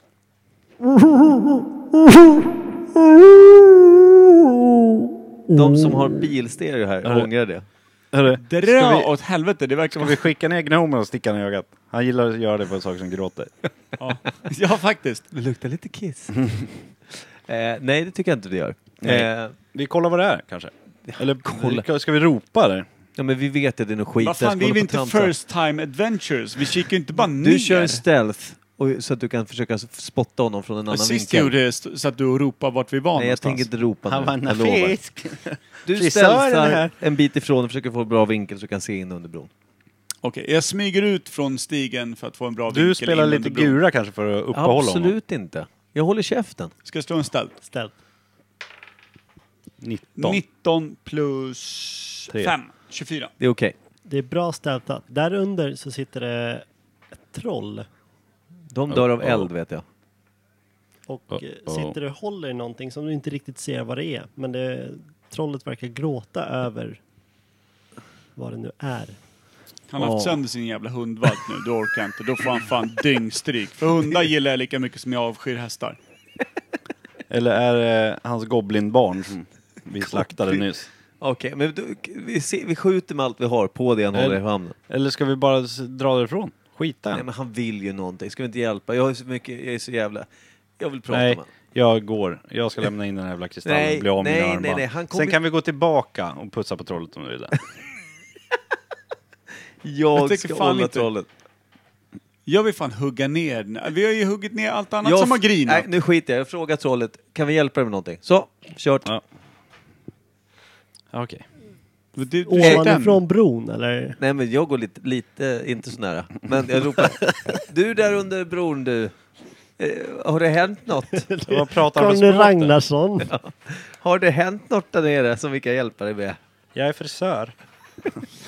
[SPEAKER 3] De som har bilstereo här ångrar det.
[SPEAKER 1] Hörru,
[SPEAKER 2] Dra
[SPEAKER 1] vi-
[SPEAKER 2] åt helvete, det verkar
[SPEAKER 1] ska
[SPEAKER 2] vara...
[SPEAKER 1] vi skicka ner gnomen och sticka den i ögat? Han gillar att göra det på saker som gråter.
[SPEAKER 2] Ja, ja faktiskt.
[SPEAKER 3] Det luktar lite kiss. [LAUGHS] eh, nej, det tycker jag inte det gör.
[SPEAKER 1] Nej.
[SPEAKER 3] Eh,
[SPEAKER 1] Vi kollar vad det är kanske. Eller ska- ska vi ropa eller?
[SPEAKER 3] ja, men vi vet att det är något skit.
[SPEAKER 2] Vad
[SPEAKER 3] Jag ska
[SPEAKER 2] fan, vi är
[SPEAKER 3] hålla
[SPEAKER 2] väl
[SPEAKER 3] på
[SPEAKER 2] inte
[SPEAKER 3] och tramsa.
[SPEAKER 2] first time adventures? Vi kikar ju inte bara ner.
[SPEAKER 3] Du kör stealth och, så att du kan försöka s- spotta honom från en
[SPEAKER 2] Och
[SPEAKER 3] annan
[SPEAKER 2] Sist
[SPEAKER 3] vinkel.
[SPEAKER 2] jag gjorde det st- satt du och ropade vart vi var
[SPEAKER 3] Nej, jag
[SPEAKER 2] någonstans.
[SPEAKER 3] tänker inte ropa nu. jag lovar. Du
[SPEAKER 1] Frisören här.
[SPEAKER 3] stealthar en bit ifrån och försöker få en bra vinkel så du kan se in under bron.
[SPEAKER 2] Okej, jag smyger ut från stigen för att få en bra vinkel.
[SPEAKER 1] Du spelar
[SPEAKER 2] in
[SPEAKER 1] lite
[SPEAKER 2] under bron.
[SPEAKER 1] gura kanske för att uppehålla honom?
[SPEAKER 3] Absolut inte. Jag håller käften.
[SPEAKER 2] Ska jag slå en ställ?
[SPEAKER 4] Ställ.
[SPEAKER 1] 19.
[SPEAKER 2] 19 plus
[SPEAKER 1] Tre.
[SPEAKER 2] 5. 24.
[SPEAKER 3] Det är okej.
[SPEAKER 4] Det är bra städat. Där under så sitter det ett troll
[SPEAKER 3] De dör av
[SPEAKER 1] Oh, oh.
[SPEAKER 3] eld vet jag.
[SPEAKER 4] och
[SPEAKER 1] Oh,
[SPEAKER 4] eh,
[SPEAKER 1] oh.
[SPEAKER 4] sitter och håller i någonting som du inte riktigt ser vad det är. Men det, trollet verkar gråta över vad det nu är.
[SPEAKER 2] Han har haft
[SPEAKER 3] Ja.
[SPEAKER 2] sönder sin jävla hundvalp nu, du orkar inte. Då får han fan dyngstryk. För hundar gillar jag lika mycket som jag avskyr hästar.
[SPEAKER 1] Eller är det hans goblinbarn som vi slaktade nyss?
[SPEAKER 3] Okej, men du, vi, ser, vi skjuter med allt vi har på det han
[SPEAKER 1] Nej.
[SPEAKER 3] håller i handen.
[SPEAKER 1] Eller ska vi bara s- dra därifrån? Skita
[SPEAKER 3] Nej
[SPEAKER 1] Nej,
[SPEAKER 3] men han vill ju någonting. Ska vi inte hjälpa? Jag är så mycket, jag är så jävla... Jag vill prata med
[SPEAKER 1] nej
[SPEAKER 3] honom.
[SPEAKER 1] jag går. Jag ska lämna in den här jävla kristallen
[SPEAKER 3] Nej,
[SPEAKER 1] och bli av med
[SPEAKER 3] nej,
[SPEAKER 1] mina
[SPEAKER 3] nej,
[SPEAKER 1] armband.
[SPEAKER 3] nej, han kommer-
[SPEAKER 1] Sen kan vi gå tillbaka och pussa på trollet om du vill. det.
[SPEAKER 3] Jag,
[SPEAKER 2] tycker
[SPEAKER 3] ska
[SPEAKER 2] fan
[SPEAKER 3] hålla
[SPEAKER 2] inte-
[SPEAKER 3] trollet.
[SPEAKER 2] Jag vill fan hugga ner den. Vi har ju huggit ner allt annat
[SPEAKER 3] Jag-
[SPEAKER 2] som har grinat.
[SPEAKER 3] Nej, nu skiter jag. Jag frågar trollet. Kan vi hjälpa dig med någonting? Så, kört.
[SPEAKER 1] Ja. [LAUGHS] Okej.
[SPEAKER 2] Du, du, kör den.
[SPEAKER 4] Ovanifrån bron eller?
[SPEAKER 3] Nej men jag går lite, lite, inte så nära. Men jag
[SPEAKER 1] [LAUGHS]
[SPEAKER 3] ropar. du där under bron du. Eh, har det
[SPEAKER 1] [LAUGHS]
[SPEAKER 3] hänt något?
[SPEAKER 1] Vad pratar han för
[SPEAKER 4] Conny
[SPEAKER 1] språk där?
[SPEAKER 4] Ragnarsson.
[SPEAKER 3] Har det hänt något där nere som vi kan hjälpa dig med?
[SPEAKER 1] Jag är frisör.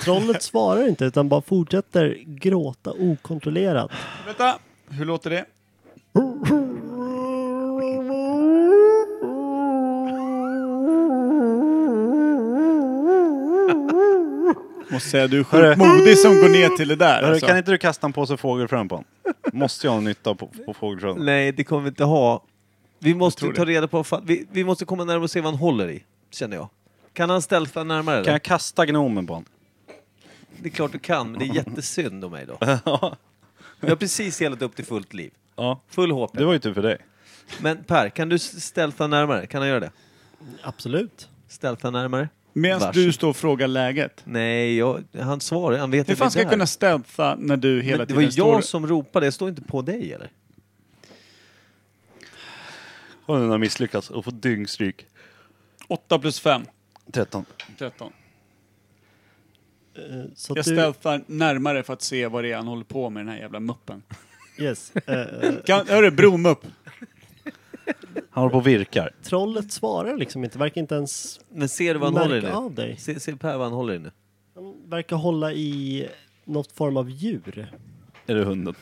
[SPEAKER 4] Trollet svarar inte utan bara fortsätter gråta okontrollerat.
[SPEAKER 2] Vänta, hur låter det? Måste säga du är
[SPEAKER 1] Hörru.
[SPEAKER 2] sjukt modig som går ner till det där.
[SPEAKER 1] Hörru,
[SPEAKER 2] Alltså.
[SPEAKER 1] Kan inte du kasta en påse fågelfrön på honom? Måste jag ha nytta på, på fågelfrön?
[SPEAKER 3] Nej, det kommer vi inte ha. Vi måste
[SPEAKER 2] tror
[SPEAKER 3] ju ta reda på... Fan, vi, vi måste komma närmare och se vad han håller i, känner jag. Kan han stealtha närmare?
[SPEAKER 1] Kan
[SPEAKER 3] Kan...
[SPEAKER 1] jag kasta gnomen på honom?
[SPEAKER 3] Det är klart du kan, men det är jättesynd om
[SPEAKER 1] [LAUGHS]
[SPEAKER 3] mig då. Jag har precis helat upp till fullt liv.
[SPEAKER 1] Ja.
[SPEAKER 3] Full HP.
[SPEAKER 1] Det var ju tur för dig.
[SPEAKER 3] Men Per, kan du s- stealtha närmare? Kan han göra det?
[SPEAKER 4] Absolut.
[SPEAKER 3] Stealtha närmare?
[SPEAKER 2] Medan
[SPEAKER 3] Varsågod.
[SPEAKER 2] du står och frågar läget.
[SPEAKER 3] Nej, jag, han svarar. Han vet
[SPEAKER 2] Hur
[SPEAKER 3] inte
[SPEAKER 2] fan ska jag kunna stealtha när du hela
[SPEAKER 3] Men det var
[SPEAKER 2] tiden
[SPEAKER 3] jag
[SPEAKER 2] står...
[SPEAKER 3] som ropade, jag står inte på dig eller?
[SPEAKER 1] Och den har misslyckats och fått dyngstryk.
[SPEAKER 2] 8 plus 5,
[SPEAKER 1] 13.
[SPEAKER 2] 13.
[SPEAKER 4] Eh, Så
[SPEAKER 2] Jag
[SPEAKER 4] att du,
[SPEAKER 2] stealthar närmare för att se vad det är han håller på med den här jävla muppen.
[SPEAKER 4] yes. Eh,
[SPEAKER 2] Kan, hörru, bromupp!
[SPEAKER 1] Han håller på och virkar.
[SPEAKER 4] trollet svarar liksom inte, verkar inte ens
[SPEAKER 3] Men ser du vad han håller i
[SPEAKER 4] märka
[SPEAKER 3] nu?
[SPEAKER 4] av dig.
[SPEAKER 3] Se, ser Per vad han håller i nu?
[SPEAKER 4] Han verkar hålla i något form av djur.
[SPEAKER 1] Är det hunden?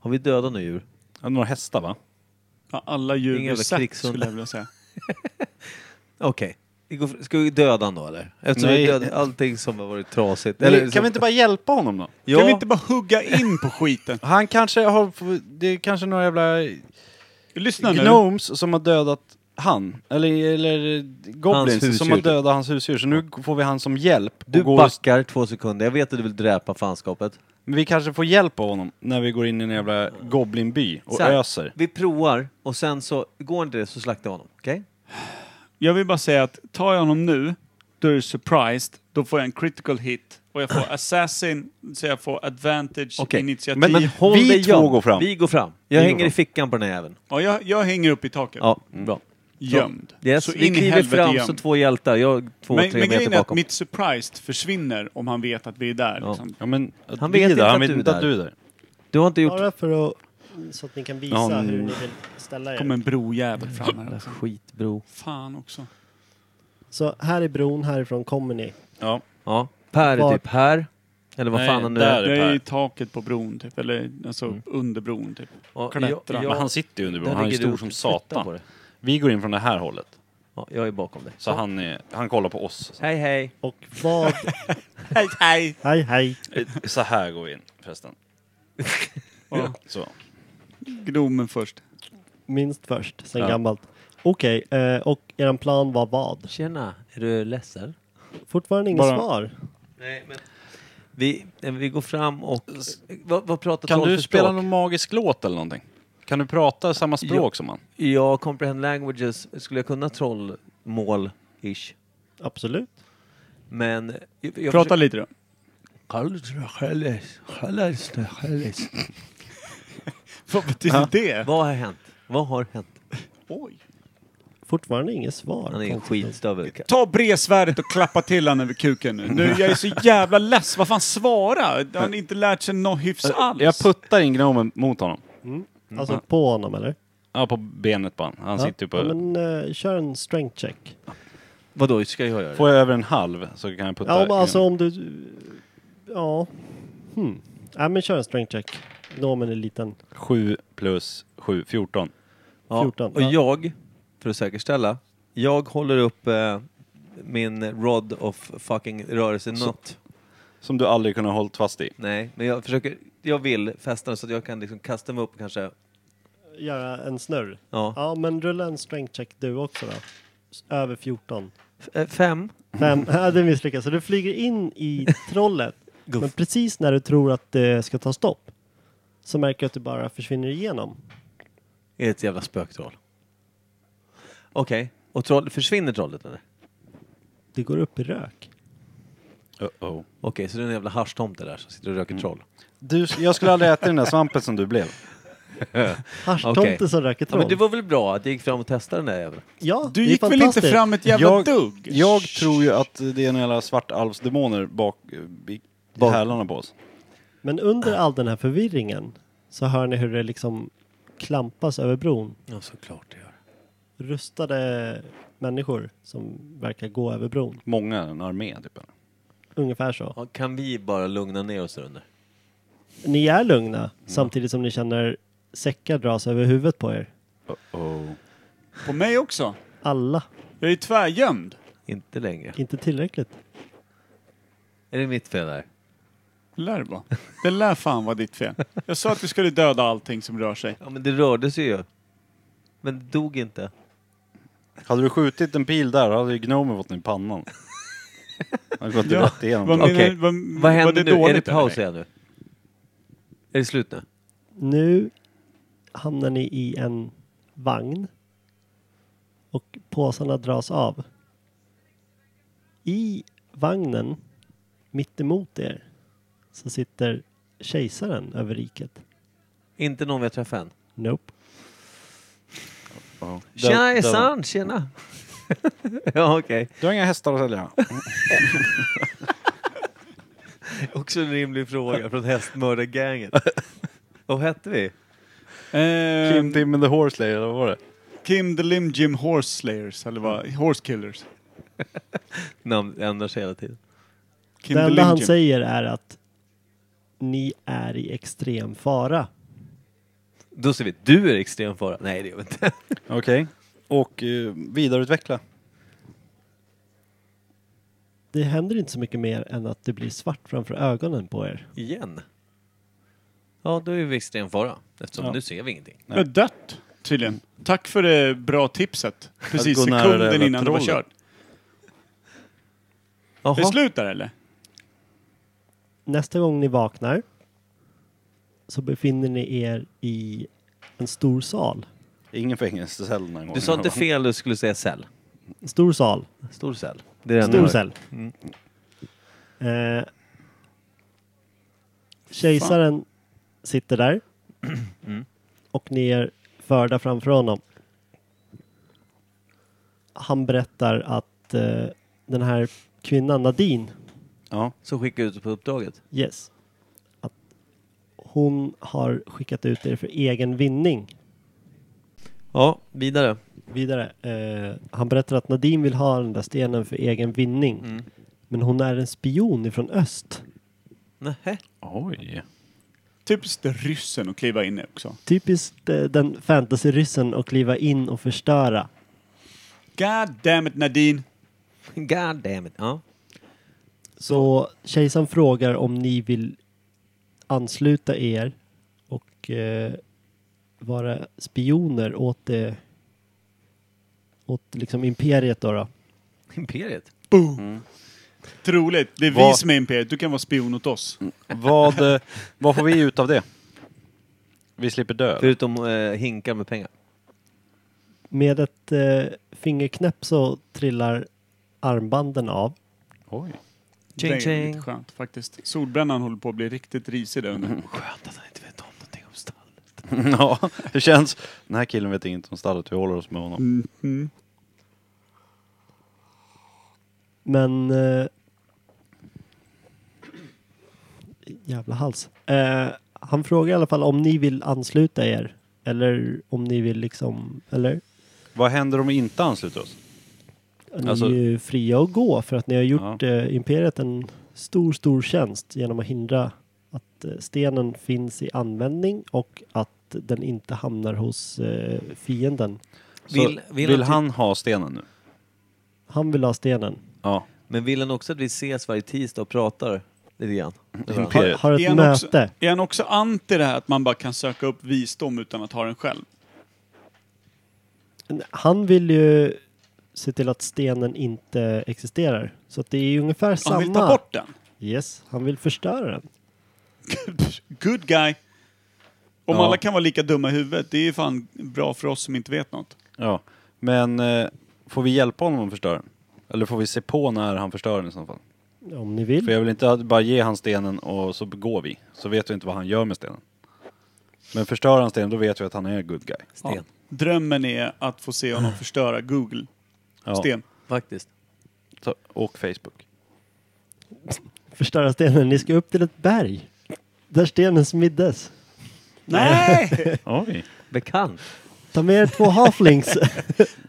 [SPEAKER 3] Har vi dödat några djur?
[SPEAKER 1] Han har några hästar va?
[SPEAKER 2] Ja, alla
[SPEAKER 3] Ingen
[SPEAKER 2] djur vi
[SPEAKER 3] jävla
[SPEAKER 2] sett
[SPEAKER 3] krigshund.
[SPEAKER 2] skulle jag vilja säga.
[SPEAKER 3] Okej. Vi går fr- Ska vi döda han då eller? Eftersom
[SPEAKER 1] Nej.
[SPEAKER 3] vi dödat allting som har varit trasigt.
[SPEAKER 1] Eller,
[SPEAKER 3] Eller,
[SPEAKER 1] kan
[SPEAKER 3] som-
[SPEAKER 1] vi inte bara hjälpa honom då?
[SPEAKER 3] [LAUGHS] Ja,
[SPEAKER 2] Kan vi inte bara hugga in på skiten?
[SPEAKER 1] Han kanske har... Det är kanske några jävla
[SPEAKER 2] Lyssna nu.
[SPEAKER 1] Gnomes som har dödat han. Eller, eller goblins som
[SPEAKER 3] husdjur.
[SPEAKER 1] har dödat hans husdjur. Så nu får vi han som hjälp. och
[SPEAKER 3] du
[SPEAKER 1] går och,
[SPEAKER 3] backar två sekunder. Jag vet att du vill dräpa fanskapet.
[SPEAKER 1] men vi kanske får hjälp av honom när vi går in i en jävla goblinby och
[SPEAKER 3] Så här,
[SPEAKER 1] öser.
[SPEAKER 3] Vi provar och sen så, går inte det så slaktar vi honom. Okej?
[SPEAKER 2] Jag vill bara säga att tar jag honom nu, då är det surprised, då får jag en critical hit. Och jag
[SPEAKER 3] [CLEARS THROAT]
[SPEAKER 2] får assassin, så jag får advantage,
[SPEAKER 3] Okej.
[SPEAKER 2] initiativ.
[SPEAKER 1] Men-
[SPEAKER 3] Men håll
[SPEAKER 1] vi
[SPEAKER 3] dig
[SPEAKER 1] två
[SPEAKER 3] gömd.
[SPEAKER 1] går fram.
[SPEAKER 3] Vi går fram. Jag
[SPEAKER 1] Vi går
[SPEAKER 3] hänger i
[SPEAKER 1] fram.
[SPEAKER 3] fickan på den här jäveln.
[SPEAKER 2] ja, jag, jag hänger upp i taket.
[SPEAKER 3] Ja, bra.
[SPEAKER 2] Gömd.
[SPEAKER 3] Yes,
[SPEAKER 2] Så
[SPEAKER 3] vi
[SPEAKER 2] in i
[SPEAKER 3] kliver
[SPEAKER 2] helvete
[SPEAKER 3] fram
[SPEAKER 2] gömd.
[SPEAKER 3] som två hjältar. Jag två,
[SPEAKER 2] men
[SPEAKER 3] tre
[SPEAKER 2] men
[SPEAKER 3] meter
[SPEAKER 2] grejen är att
[SPEAKER 3] bakom.
[SPEAKER 2] mitt surprised försvinner om han vet att vi är där. Liksom.
[SPEAKER 1] Ja, men, att
[SPEAKER 3] Han
[SPEAKER 1] vi
[SPEAKER 3] vet
[SPEAKER 1] är
[SPEAKER 3] inte
[SPEAKER 1] där,
[SPEAKER 3] att
[SPEAKER 1] han vet
[SPEAKER 3] du är
[SPEAKER 1] inte att
[SPEAKER 3] där.
[SPEAKER 1] du är där.
[SPEAKER 3] Du har inte gjort...
[SPEAKER 4] Bara för att, så att ni kan visa
[SPEAKER 1] Ja,
[SPEAKER 4] hur ni
[SPEAKER 1] mm.
[SPEAKER 4] vill ställa
[SPEAKER 2] kommer
[SPEAKER 4] er.
[SPEAKER 2] en brojävel fram här.
[SPEAKER 3] Jävla
[SPEAKER 2] Alltså.
[SPEAKER 3] skitbro.
[SPEAKER 2] Fan också.
[SPEAKER 4] Så här är bron, härifrån kommer ni.
[SPEAKER 1] Ja.
[SPEAKER 3] Ja. Per är
[SPEAKER 4] Var-
[SPEAKER 3] typ här. Eller vad
[SPEAKER 1] Nej,
[SPEAKER 3] fan han nu
[SPEAKER 1] där.
[SPEAKER 3] är.
[SPEAKER 1] det
[SPEAKER 2] Jag är i
[SPEAKER 1] Per?
[SPEAKER 2] taket på bron typ, eller alltså under bron typ.
[SPEAKER 3] Ja,
[SPEAKER 2] Klättra.
[SPEAKER 1] Men han sitter ju under bron.
[SPEAKER 3] där
[SPEAKER 1] Han är ju
[SPEAKER 3] ligger du
[SPEAKER 1] stor
[SPEAKER 3] och
[SPEAKER 1] som
[SPEAKER 3] flyttar på
[SPEAKER 1] satan.
[SPEAKER 3] det.
[SPEAKER 1] Vi går in från det här hållet.
[SPEAKER 3] Ja, jag är bakom dig.
[SPEAKER 1] Så han, är, han kollar på oss.
[SPEAKER 3] Hej hej.
[SPEAKER 4] Och vad...
[SPEAKER 2] Hej, hej!
[SPEAKER 4] hej hej!
[SPEAKER 1] Så här går vi in förresten.
[SPEAKER 2] Ja.
[SPEAKER 1] Så.
[SPEAKER 2] Gnomen först.
[SPEAKER 4] Minst först, sen
[SPEAKER 1] Ja.
[SPEAKER 4] gammalt. Okej, eh, och eran plan var vad?
[SPEAKER 3] Tjena. Är du ledsen?
[SPEAKER 4] Fortfarande inget
[SPEAKER 2] Bara-
[SPEAKER 4] svar.
[SPEAKER 3] Nej men... Vi, eh, vi går fram och... Vad, vad pratar
[SPEAKER 1] Kan
[SPEAKER 3] troll
[SPEAKER 1] du
[SPEAKER 3] för
[SPEAKER 1] spela
[SPEAKER 3] språk?
[SPEAKER 1] någon magisk låt eller någonting? Kan du prata samma språk som han?
[SPEAKER 3] Ja, comprehend languages. Skulle jag kunna trollmål-ish?
[SPEAKER 4] Absolut.
[SPEAKER 3] Men... Jag, jag
[SPEAKER 2] Prata lite då.
[SPEAKER 3] försöker...
[SPEAKER 2] Vad betyder det?
[SPEAKER 3] Vad har hänt? Vad har hänt?
[SPEAKER 2] Oj.
[SPEAKER 4] Fortfarande inget svar.
[SPEAKER 3] Han är en
[SPEAKER 4] Konstigt nog.
[SPEAKER 3] skitstövel.
[SPEAKER 2] Ta bredsvärdet och klappa till han över kuken nu. nu. Jag är så jävla less. Vad fan svara? Han har inte lärt sig något hyfs alls.
[SPEAKER 1] Äh, Jag puttar in gnomen mot honom.
[SPEAKER 4] Alltså på honom eller?
[SPEAKER 1] Ja, på benet på han. Han
[SPEAKER 4] Ja.
[SPEAKER 1] sitter ju på...
[SPEAKER 4] Ja, men eh, kör en strength check.
[SPEAKER 3] Vadå, ska jag göra det?
[SPEAKER 1] Får jag över en halv så kan jag putta
[SPEAKER 4] Ja, men
[SPEAKER 1] in.
[SPEAKER 4] alltså om du... Ja. Hmm. Ja, men kör en strength check. Gnomen är liten.
[SPEAKER 1] 7 plus 7, 14.
[SPEAKER 3] Ja,
[SPEAKER 4] 14,
[SPEAKER 3] Och
[SPEAKER 4] ja.
[SPEAKER 3] jag, för att säkerställa, jag håller upp eh, min rod of fucking rörelsenött.
[SPEAKER 1] Som du aldrig kunnat hållit fast i.
[SPEAKER 3] Nej, men jag försöker, jag vill fästa den så att jag kan liksom kasta mig upp och kanske.
[SPEAKER 4] Göra en snurr.
[SPEAKER 3] Ja.
[SPEAKER 4] Ja, men rulla en strength check du också då. S- Över 14.
[SPEAKER 3] F- eh, fem. [LAUGHS]
[SPEAKER 4] Fem. Ja, det misslyckas. Så du flyger in i trollet.
[SPEAKER 3] Guff.
[SPEAKER 4] men precis när du tror att det ska ta stopp så märker du att du bara försvinner igenom.
[SPEAKER 3] Är ett jävla spöktroll. Okej, och troll, försvinner trollet eller?
[SPEAKER 4] Det går upp i rök.
[SPEAKER 1] Uh-oh.
[SPEAKER 3] Okej, så det är en jävla haschtomte där som sitter och röker troll.
[SPEAKER 1] Du, jag skulle aldrig äta den där svampen som du [LAUGHS] blev.
[SPEAKER 4] Haschtomte
[SPEAKER 3] Okej.
[SPEAKER 4] som röker
[SPEAKER 3] Ja,
[SPEAKER 4] troll.
[SPEAKER 3] men det var väl bra att jag gick fram och testade den där jäveln?
[SPEAKER 4] Ja,
[SPEAKER 2] du
[SPEAKER 4] det är
[SPEAKER 2] gick väl inte
[SPEAKER 4] fantastiskt.
[SPEAKER 2] fram ett jävla
[SPEAKER 1] Jag,
[SPEAKER 2] dugg?
[SPEAKER 1] jag tror ju att det är några jävla svartalvsdemoner bak eh, i
[SPEAKER 3] Bak.
[SPEAKER 1] hälarna på oss.
[SPEAKER 4] Men under all den här förvirringen så hör ni hur det liksom klampas över bron.
[SPEAKER 3] Ja, såklart det gör.
[SPEAKER 4] Rustade människor som verkar gå över bron.
[SPEAKER 1] Många, en armé typ. eller?
[SPEAKER 4] Ungefär så.
[SPEAKER 3] Ja, kan vi bara lugna ner oss där under?
[SPEAKER 4] Ni är lugna samtidigt som ni känner säckar dras över huvudet på er.
[SPEAKER 1] Uh-oh.
[SPEAKER 2] På mig också?
[SPEAKER 4] Alla.
[SPEAKER 2] Jag är tvärgömd.
[SPEAKER 3] Inte längre.
[SPEAKER 4] Inte tillräckligt.
[SPEAKER 3] Är det mitt fel där?
[SPEAKER 2] Lär det vara. Det lär fan vara ditt fel. Jag sa att vi skulle döda allting som rör sig.
[SPEAKER 3] Ja, men det rörde sig ju. Men det dog inte.
[SPEAKER 1] Hade du skjutit en pil där hade ju gnomen fått den i [LAUGHS] pannan. Han hade gått
[SPEAKER 2] Ja,
[SPEAKER 1] rätt igenom.
[SPEAKER 2] Vad,
[SPEAKER 3] Okej.
[SPEAKER 2] menar- vad,
[SPEAKER 3] Vad
[SPEAKER 2] var
[SPEAKER 3] händer nu? Är det
[SPEAKER 2] dåligt, eller?
[SPEAKER 3] paus igen nu? Är det slut nu?
[SPEAKER 4] Nu hamnar ni i en vagn och påsarna dras av. I vagnen, mitt emot er, så sitter kejsaren över riket.
[SPEAKER 3] Inte någon vi har träffat än?
[SPEAKER 4] Nope.
[SPEAKER 3] Tjena
[SPEAKER 1] Där- där-
[SPEAKER 3] Essan, tjena! [LAUGHS] ja okej.
[SPEAKER 1] Du har inga hästar att sälja?
[SPEAKER 3] Också en rimlig fråga från [LAUGHS] hästmördarganget. Vad hette vi?
[SPEAKER 1] Kim
[SPEAKER 2] Ehm,
[SPEAKER 1] Tim and the Horse Slayer, eller vad var det?
[SPEAKER 2] Kim the Lim Jim Horse Slayers, eller vad? Horse Killers.
[SPEAKER 3] Namn ändras hela tiden.
[SPEAKER 2] Kim
[SPEAKER 4] det
[SPEAKER 2] the
[SPEAKER 4] enda
[SPEAKER 2] Lim
[SPEAKER 4] han
[SPEAKER 2] Jim.
[SPEAKER 4] säger är att ni är i extrem fara.
[SPEAKER 3] Då ser vi, du är extrem fara. Nej det gör vi inte.
[SPEAKER 1] Okej. Och eh, vidareutveckla.
[SPEAKER 4] Det händer inte så mycket mer än att det blir svart framför ögonen på er.
[SPEAKER 3] [LAUGHS] Igen. Ja, då är vi extrem fara. Eftersom
[SPEAKER 1] Ja.
[SPEAKER 3] nu ser vi ingenting.
[SPEAKER 2] Det är dött, tydligen. Tack för det bra tipset. Precis
[SPEAKER 1] gå nära det
[SPEAKER 2] sekunden
[SPEAKER 1] jävla
[SPEAKER 2] innan det var
[SPEAKER 1] trollet.
[SPEAKER 2] kört.
[SPEAKER 3] Jaha.
[SPEAKER 2] Är det slut där eller?
[SPEAKER 4] Nästa gång ni vaknar så befinner ni er i en stor sal.
[SPEAKER 1] Ingen fängelsecell den här gången.
[SPEAKER 3] Du sa inte fel, du skulle säga cell.
[SPEAKER 4] En stor sal.
[SPEAKER 3] Stor cell. Det är den
[SPEAKER 4] Stor
[SPEAKER 3] jag-
[SPEAKER 4] cell. Eh, kejsaren sitter där. Och ni är förda framför honom. Han berättar att eh, den här kvinnan Nadine,
[SPEAKER 1] Ja.
[SPEAKER 3] Som skickar ut på uppdraget.
[SPEAKER 4] yes, att hon har skickat ut er för egen vinning.
[SPEAKER 3] Ja, vidare.
[SPEAKER 4] Vidare, eh, han berättar att Nadine vill ha den där stenen för egen vinning. Men hon är en spion ifrån öst.
[SPEAKER 3] Nähä.
[SPEAKER 1] Oj.
[SPEAKER 2] Typiskt ryssen att kliva in i också.
[SPEAKER 4] Typiskt eh, den fantasyryssen att kliva in och förstöra.
[SPEAKER 2] God damn it Nadine!
[SPEAKER 3] God damn it. Ja.
[SPEAKER 4] Så kejsaren frågar om ni vill ansluta er och eh, vara spioner åt det åt liksom imperiet då. då.
[SPEAKER 3] Imperiet.
[SPEAKER 2] Boom! Troligt, det är vi
[SPEAKER 1] Vad-
[SPEAKER 2] som är imperiet. Du kan vara spion åt oss.
[SPEAKER 1] Vad, eh, vad får vi ut av det? Vi slipper dö.
[SPEAKER 3] Förutom eh, hinkar med pengar.
[SPEAKER 4] Med ett eh, fingerknäpp så trillar armbanden av.
[SPEAKER 1] Oj.
[SPEAKER 2] det
[SPEAKER 3] Ching
[SPEAKER 2] är ju lite
[SPEAKER 3] ching.
[SPEAKER 2] skönt faktiskt. Solbrännan håller på att bli riktigt risig där under.
[SPEAKER 3] Skönt att han inte vet om någonting om stall.
[SPEAKER 1] [LAUGHS] ja, det känns. Den här killen vet inte om stallet, vi håller oss med honom.
[SPEAKER 2] Mhm.
[SPEAKER 4] Men... Eh, jävla hals. Eh, han frågar i alla fall om ni vill ansluta er. Eller om ni vill liksom... Eller?
[SPEAKER 1] Vad händer om vi inte ansluter oss?
[SPEAKER 4] Ni
[SPEAKER 1] Alltså-
[SPEAKER 4] är ju fria att gå för att ni har
[SPEAKER 1] Ja.
[SPEAKER 4] gjort eh, Imperiet en stor, stor tjänst genom att hindra att eh, stenen finns i användning och att den inte hamnar hos eh, fienden.
[SPEAKER 1] Så,
[SPEAKER 3] Vill-
[SPEAKER 1] vill,
[SPEAKER 3] vill han-
[SPEAKER 1] han ha stenen nu?
[SPEAKER 4] Han vill ha stenen.
[SPEAKER 1] Ja.
[SPEAKER 3] Men vill han också att vi ses varje tisdag och pratar lite grann?
[SPEAKER 4] Har,
[SPEAKER 1] Imperiet.
[SPEAKER 4] har ett
[SPEAKER 2] Är han, också,
[SPEAKER 4] möte.
[SPEAKER 2] är han också anti det här att man bara kan söka upp visdom utan att ha den själv?
[SPEAKER 4] Han vill ju se till att stenen inte existerar. Så att det är ju ungefär samma.
[SPEAKER 2] Han vill ta bort den. [LAUGHS]
[SPEAKER 4] Yes, han vill förstöra den.
[SPEAKER 2] Good guy! Om
[SPEAKER 1] Ja.
[SPEAKER 2] alla kan vara lika dumma i huvudet, det är ju fan bra för oss som inte vet något.
[SPEAKER 1] Ja. Men eh, får vi hjälpa honom att förstöra den? Eller får vi se på när han förstör den i så fall?
[SPEAKER 4] Om ni
[SPEAKER 1] För
[SPEAKER 4] vill.
[SPEAKER 1] jag vill inte att bara ge han stenen och så går vi. Så vet vi inte vad han gör med stenen. Men förstör han stenen, då vet vi att han är good guy.
[SPEAKER 3] Sten.
[SPEAKER 2] Ja. Drömmen är att få se honom förstöra Google.
[SPEAKER 1] Ja.
[SPEAKER 2] Sten.
[SPEAKER 3] Faktiskt.
[SPEAKER 1] Så- Och Facebook.
[SPEAKER 4] Förstöra stenen. Ni ska upp till ett berg. Där stenen smiddes.
[SPEAKER 2] Nej!
[SPEAKER 1] Oj.
[SPEAKER 3] Bekant.
[SPEAKER 4] Ta med er
[SPEAKER 3] [LAUGHS]
[SPEAKER 4] två halflings.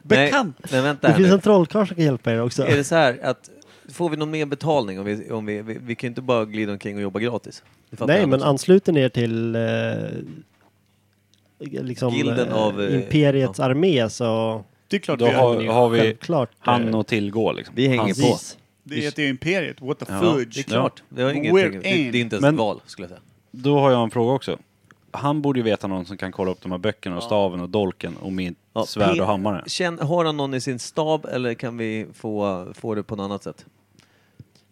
[SPEAKER 2] Bekant!
[SPEAKER 3] Nej, nej vänta
[SPEAKER 4] Det
[SPEAKER 3] här
[SPEAKER 4] finns
[SPEAKER 3] nu.
[SPEAKER 4] en trollkarl som kan hjälpa er också.
[SPEAKER 3] Är det så här att får vi någon mer betalning om vi, om vi, vi, vi kan ju inte bara glida omkring och jobba gratis. Det fattar
[SPEAKER 4] Nej,
[SPEAKER 3] jag
[SPEAKER 4] men
[SPEAKER 3] också.
[SPEAKER 4] ansluter ni er till eh, liksom,
[SPEAKER 3] Gilden
[SPEAKER 4] eh,
[SPEAKER 3] av, eh,
[SPEAKER 4] Imperiets armé så
[SPEAKER 2] Det är klart
[SPEAKER 1] Då
[SPEAKER 2] vi har...
[SPEAKER 1] har, har vi
[SPEAKER 4] självklart.
[SPEAKER 1] han
[SPEAKER 4] eh,
[SPEAKER 1] att tillgå liksom.
[SPEAKER 3] Vi hänger
[SPEAKER 1] Hans-
[SPEAKER 3] på.
[SPEAKER 4] precis.
[SPEAKER 2] Det heter ju Imperiet. What the
[SPEAKER 1] Ja,
[SPEAKER 2] fudge.
[SPEAKER 1] det är klart.
[SPEAKER 3] Det, har inget,
[SPEAKER 2] We're
[SPEAKER 3] det, det är
[SPEAKER 2] in.
[SPEAKER 3] inte ens
[SPEAKER 1] Men-
[SPEAKER 3] ett val skulle jag säga.
[SPEAKER 1] Då har jag en fråga också. Han borde ju veta någon som kan kolla upp de här böckerna och staven och dolken och mitt
[SPEAKER 3] Ja,
[SPEAKER 1] svärd
[SPEAKER 3] Pe-
[SPEAKER 1] och hammare.
[SPEAKER 3] Känn, har han någon i sin stab eller kan vi få, få det på något annat sätt?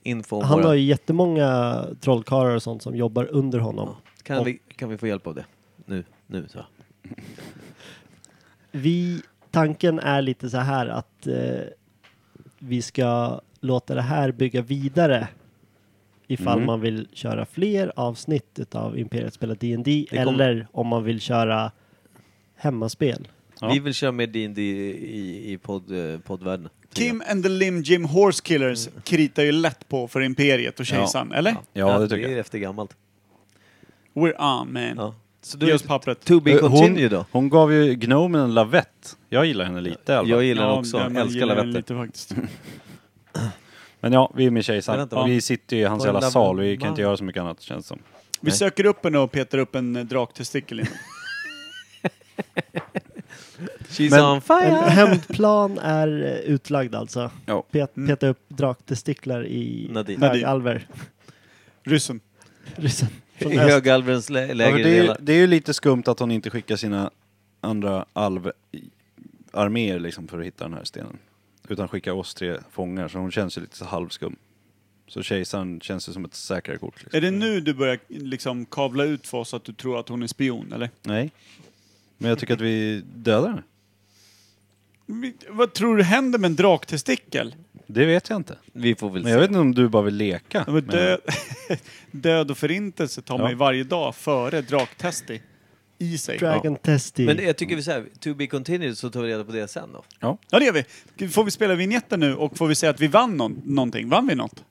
[SPEAKER 3] Info om
[SPEAKER 4] Han
[SPEAKER 3] våra...
[SPEAKER 4] har ju jättemånga trollkarlar och sånt som jobbar under honom.
[SPEAKER 3] ja. kan, vi, kan vi få hjälp av det? Nu, nu så.
[SPEAKER 4] Vi, tanken är lite så här att eh, vi ska låta det här bygga vidare ifall
[SPEAKER 1] Mm.
[SPEAKER 4] man vill köra fler avsnitt utav Imperiet spelar D&D
[SPEAKER 3] Det kommer-
[SPEAKER 4] eller om man vill köra hemmaspel.
[SPEAKER 1] Ja.
[SPEAKER 3] Vi vill köra mer D&D i, i podd, eh, poddvärlden.
[SPEAKER 2] Kim and the Lim Jim Horse Killers kritar ju lätt på för Imperiet och Kejsaren, eller?
[SPEAKER 1] Ja, det tycker
[SPEAKER 3] Det
[SPEAKER 1] jag.
[SPEAKER 3] är efter gammalt.
[SPEAKER 2] We're on man.
[SPEAKER 3] Ja. Så
[SPEAKER 2] Ge
[SPEAKER 3] du,
[SPEAKER 2] oss pappret.
[SPEAKER 3] to be
[SPEAKER 1] Eh,
[SPEAKER 3] continued då.
[SPEAKER 1] hon, hon gav ju Gnomen en lavett. Jag gillar henne lite i alla
[SPEAKER 3] Jag
[SPEAKER 1] fall.
[SPEAKER 3] gillar den också,
[SPEAKER 2] den
[SPEAKER 3] jag älskar Mm.
[SPEAKER 2] gillar jag
[SPEAKER 3] lavetter.
[SPEAKER 2] lite faktiskt.
[SPEAKER 1] Men ja, vi är med
[SPEAKER 3] Men
[SPEAKER 1] kejsaren.
[SPEAKER 3] vänta, va?
[SPEAKER 1] Vi sitter ju i hans
[SPEAKER 3] Var det
[SPEAKER 1] jävla
[SPEAKER 3] lav-
[SPEAKER 1] sal. Vi kan
[SPEAKER 3] man?
[SPEAKER 1] inte göra så mycket annat känns som.
[SPEAKER 2] Vi
[SPEAKER 3] Nej.
[SPEAKER 2] söker upp henne och petar upp en eh, draktestikel in.
[SPEAKER 3] She's
[SPEAKER 1] Men-
[SPEAKER 3] on
[SPEAKER 4] En
[SPEAKER 3] fire!
[SPEAKER 4] hämndplan är eh, utlagd alltså.
[SPEAKER 1] Ja.
[SPEAKER 4] Pet,
[SPEAKER 2] Mm.
[SPEAKER 4] Peta upp draktestiklar i
[SPEAKER 3] Nadine.
[SPEAKER 4] högalver.
[SPEAKER 2] Ryssen.
[SPEAKER 4] Ryssen. Från
[SPEAKER 3] I
[SPEAKER 4] öst.
[SPEAKER 3] högalvrens lä-
[SPEAKER 1] Ja, för
[SPEAKER 3] lägre
[SPEAKER 1] det, är ju,
[SPEAKER 3] delar.
[SPEAKER 1] det är ju lite skumt att hon inte skickar sina andra alvarméer liksom för att hitta den här stenen. Utan skickar oss tre fångar, så hon känns ju lite så halvskum. Så kejsaren känns ju som ett säkrare kort. Liksom.
[SPEAKER 2] Är det nu du börjar liksom kavla ut för oss att du tror att hon är spion, eller?
[SPEAKER 1] Nej. Men jag tycker att vi dödar henne.
[SPEAKER 2] Vi- Vad tror du händer med en draktestikel?
[SPEAKER 1] Det vet jag inte.
[SPEAKER 3] Vi får väl
[SPEAKER 1] Men jag vet
[SPEAKER 3] se.
[SPEAKER 1] inte om du bara vill leka.
[SPEAKER 2] Ja, men
[SPEAKER 1] med
[SPEAKER 2] död, [LAUGHS] död och förintelse tar man ju varje dag före draktesti i sig.
[SPEAKER 4] Dragon Testy.
[SPEAKER 3] Men det- jag tycker vi säger, to be continued, så tar vi reda på det sen då.
[SPEAKER 2] Ja, det gör vi. Får vi spela vignetten nu och får vi säga att vi vann någon, någonting? Vann vi något?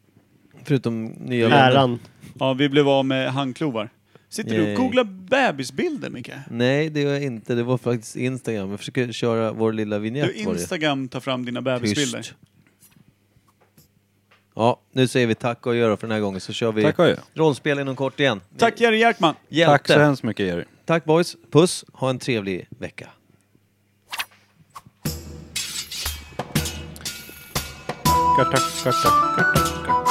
[SPEAKER 3] Förutom nya länder.
[SPEAKER 4] Äran.
[SPEAKER 2] Ja, vi blev av med handklovar. Sitter du
[SPEAKER 3] Yay.
[SPEAKER 2] och googlar bebisbilder, Micke?
[SPEAKER 3] Nej, det gör jag inte. Det var faktiskt Instagram. Jag försöker köra vår lilla
[SPEAKER 2] Du,
[SPEAKER 3] vignett. var det.
[SPEAKER 2] Instagram tar fram dina
[SPEAKER 3] Tyst.
[SPEAKER 2] bebisbilder.
[SPEAKER 3] Ja, nu säger vi tack och gör för den här gången så kör vi
[SPEAKER 1] Tack och hej.
[SPEAKER 3] rollspel inom kort igen.
[SPEAKER 2] Tack Jerry Jerkman!
[SPEAKER 3] Hjälte.
[SPEAKER 1] Tack så hemskt mycket Jerry.
[SPEAKER 3] Tack boys. Puss. Ha en trevlig vecka.
[SPEAKER 1] Kartak, kartak, kartak, kartak.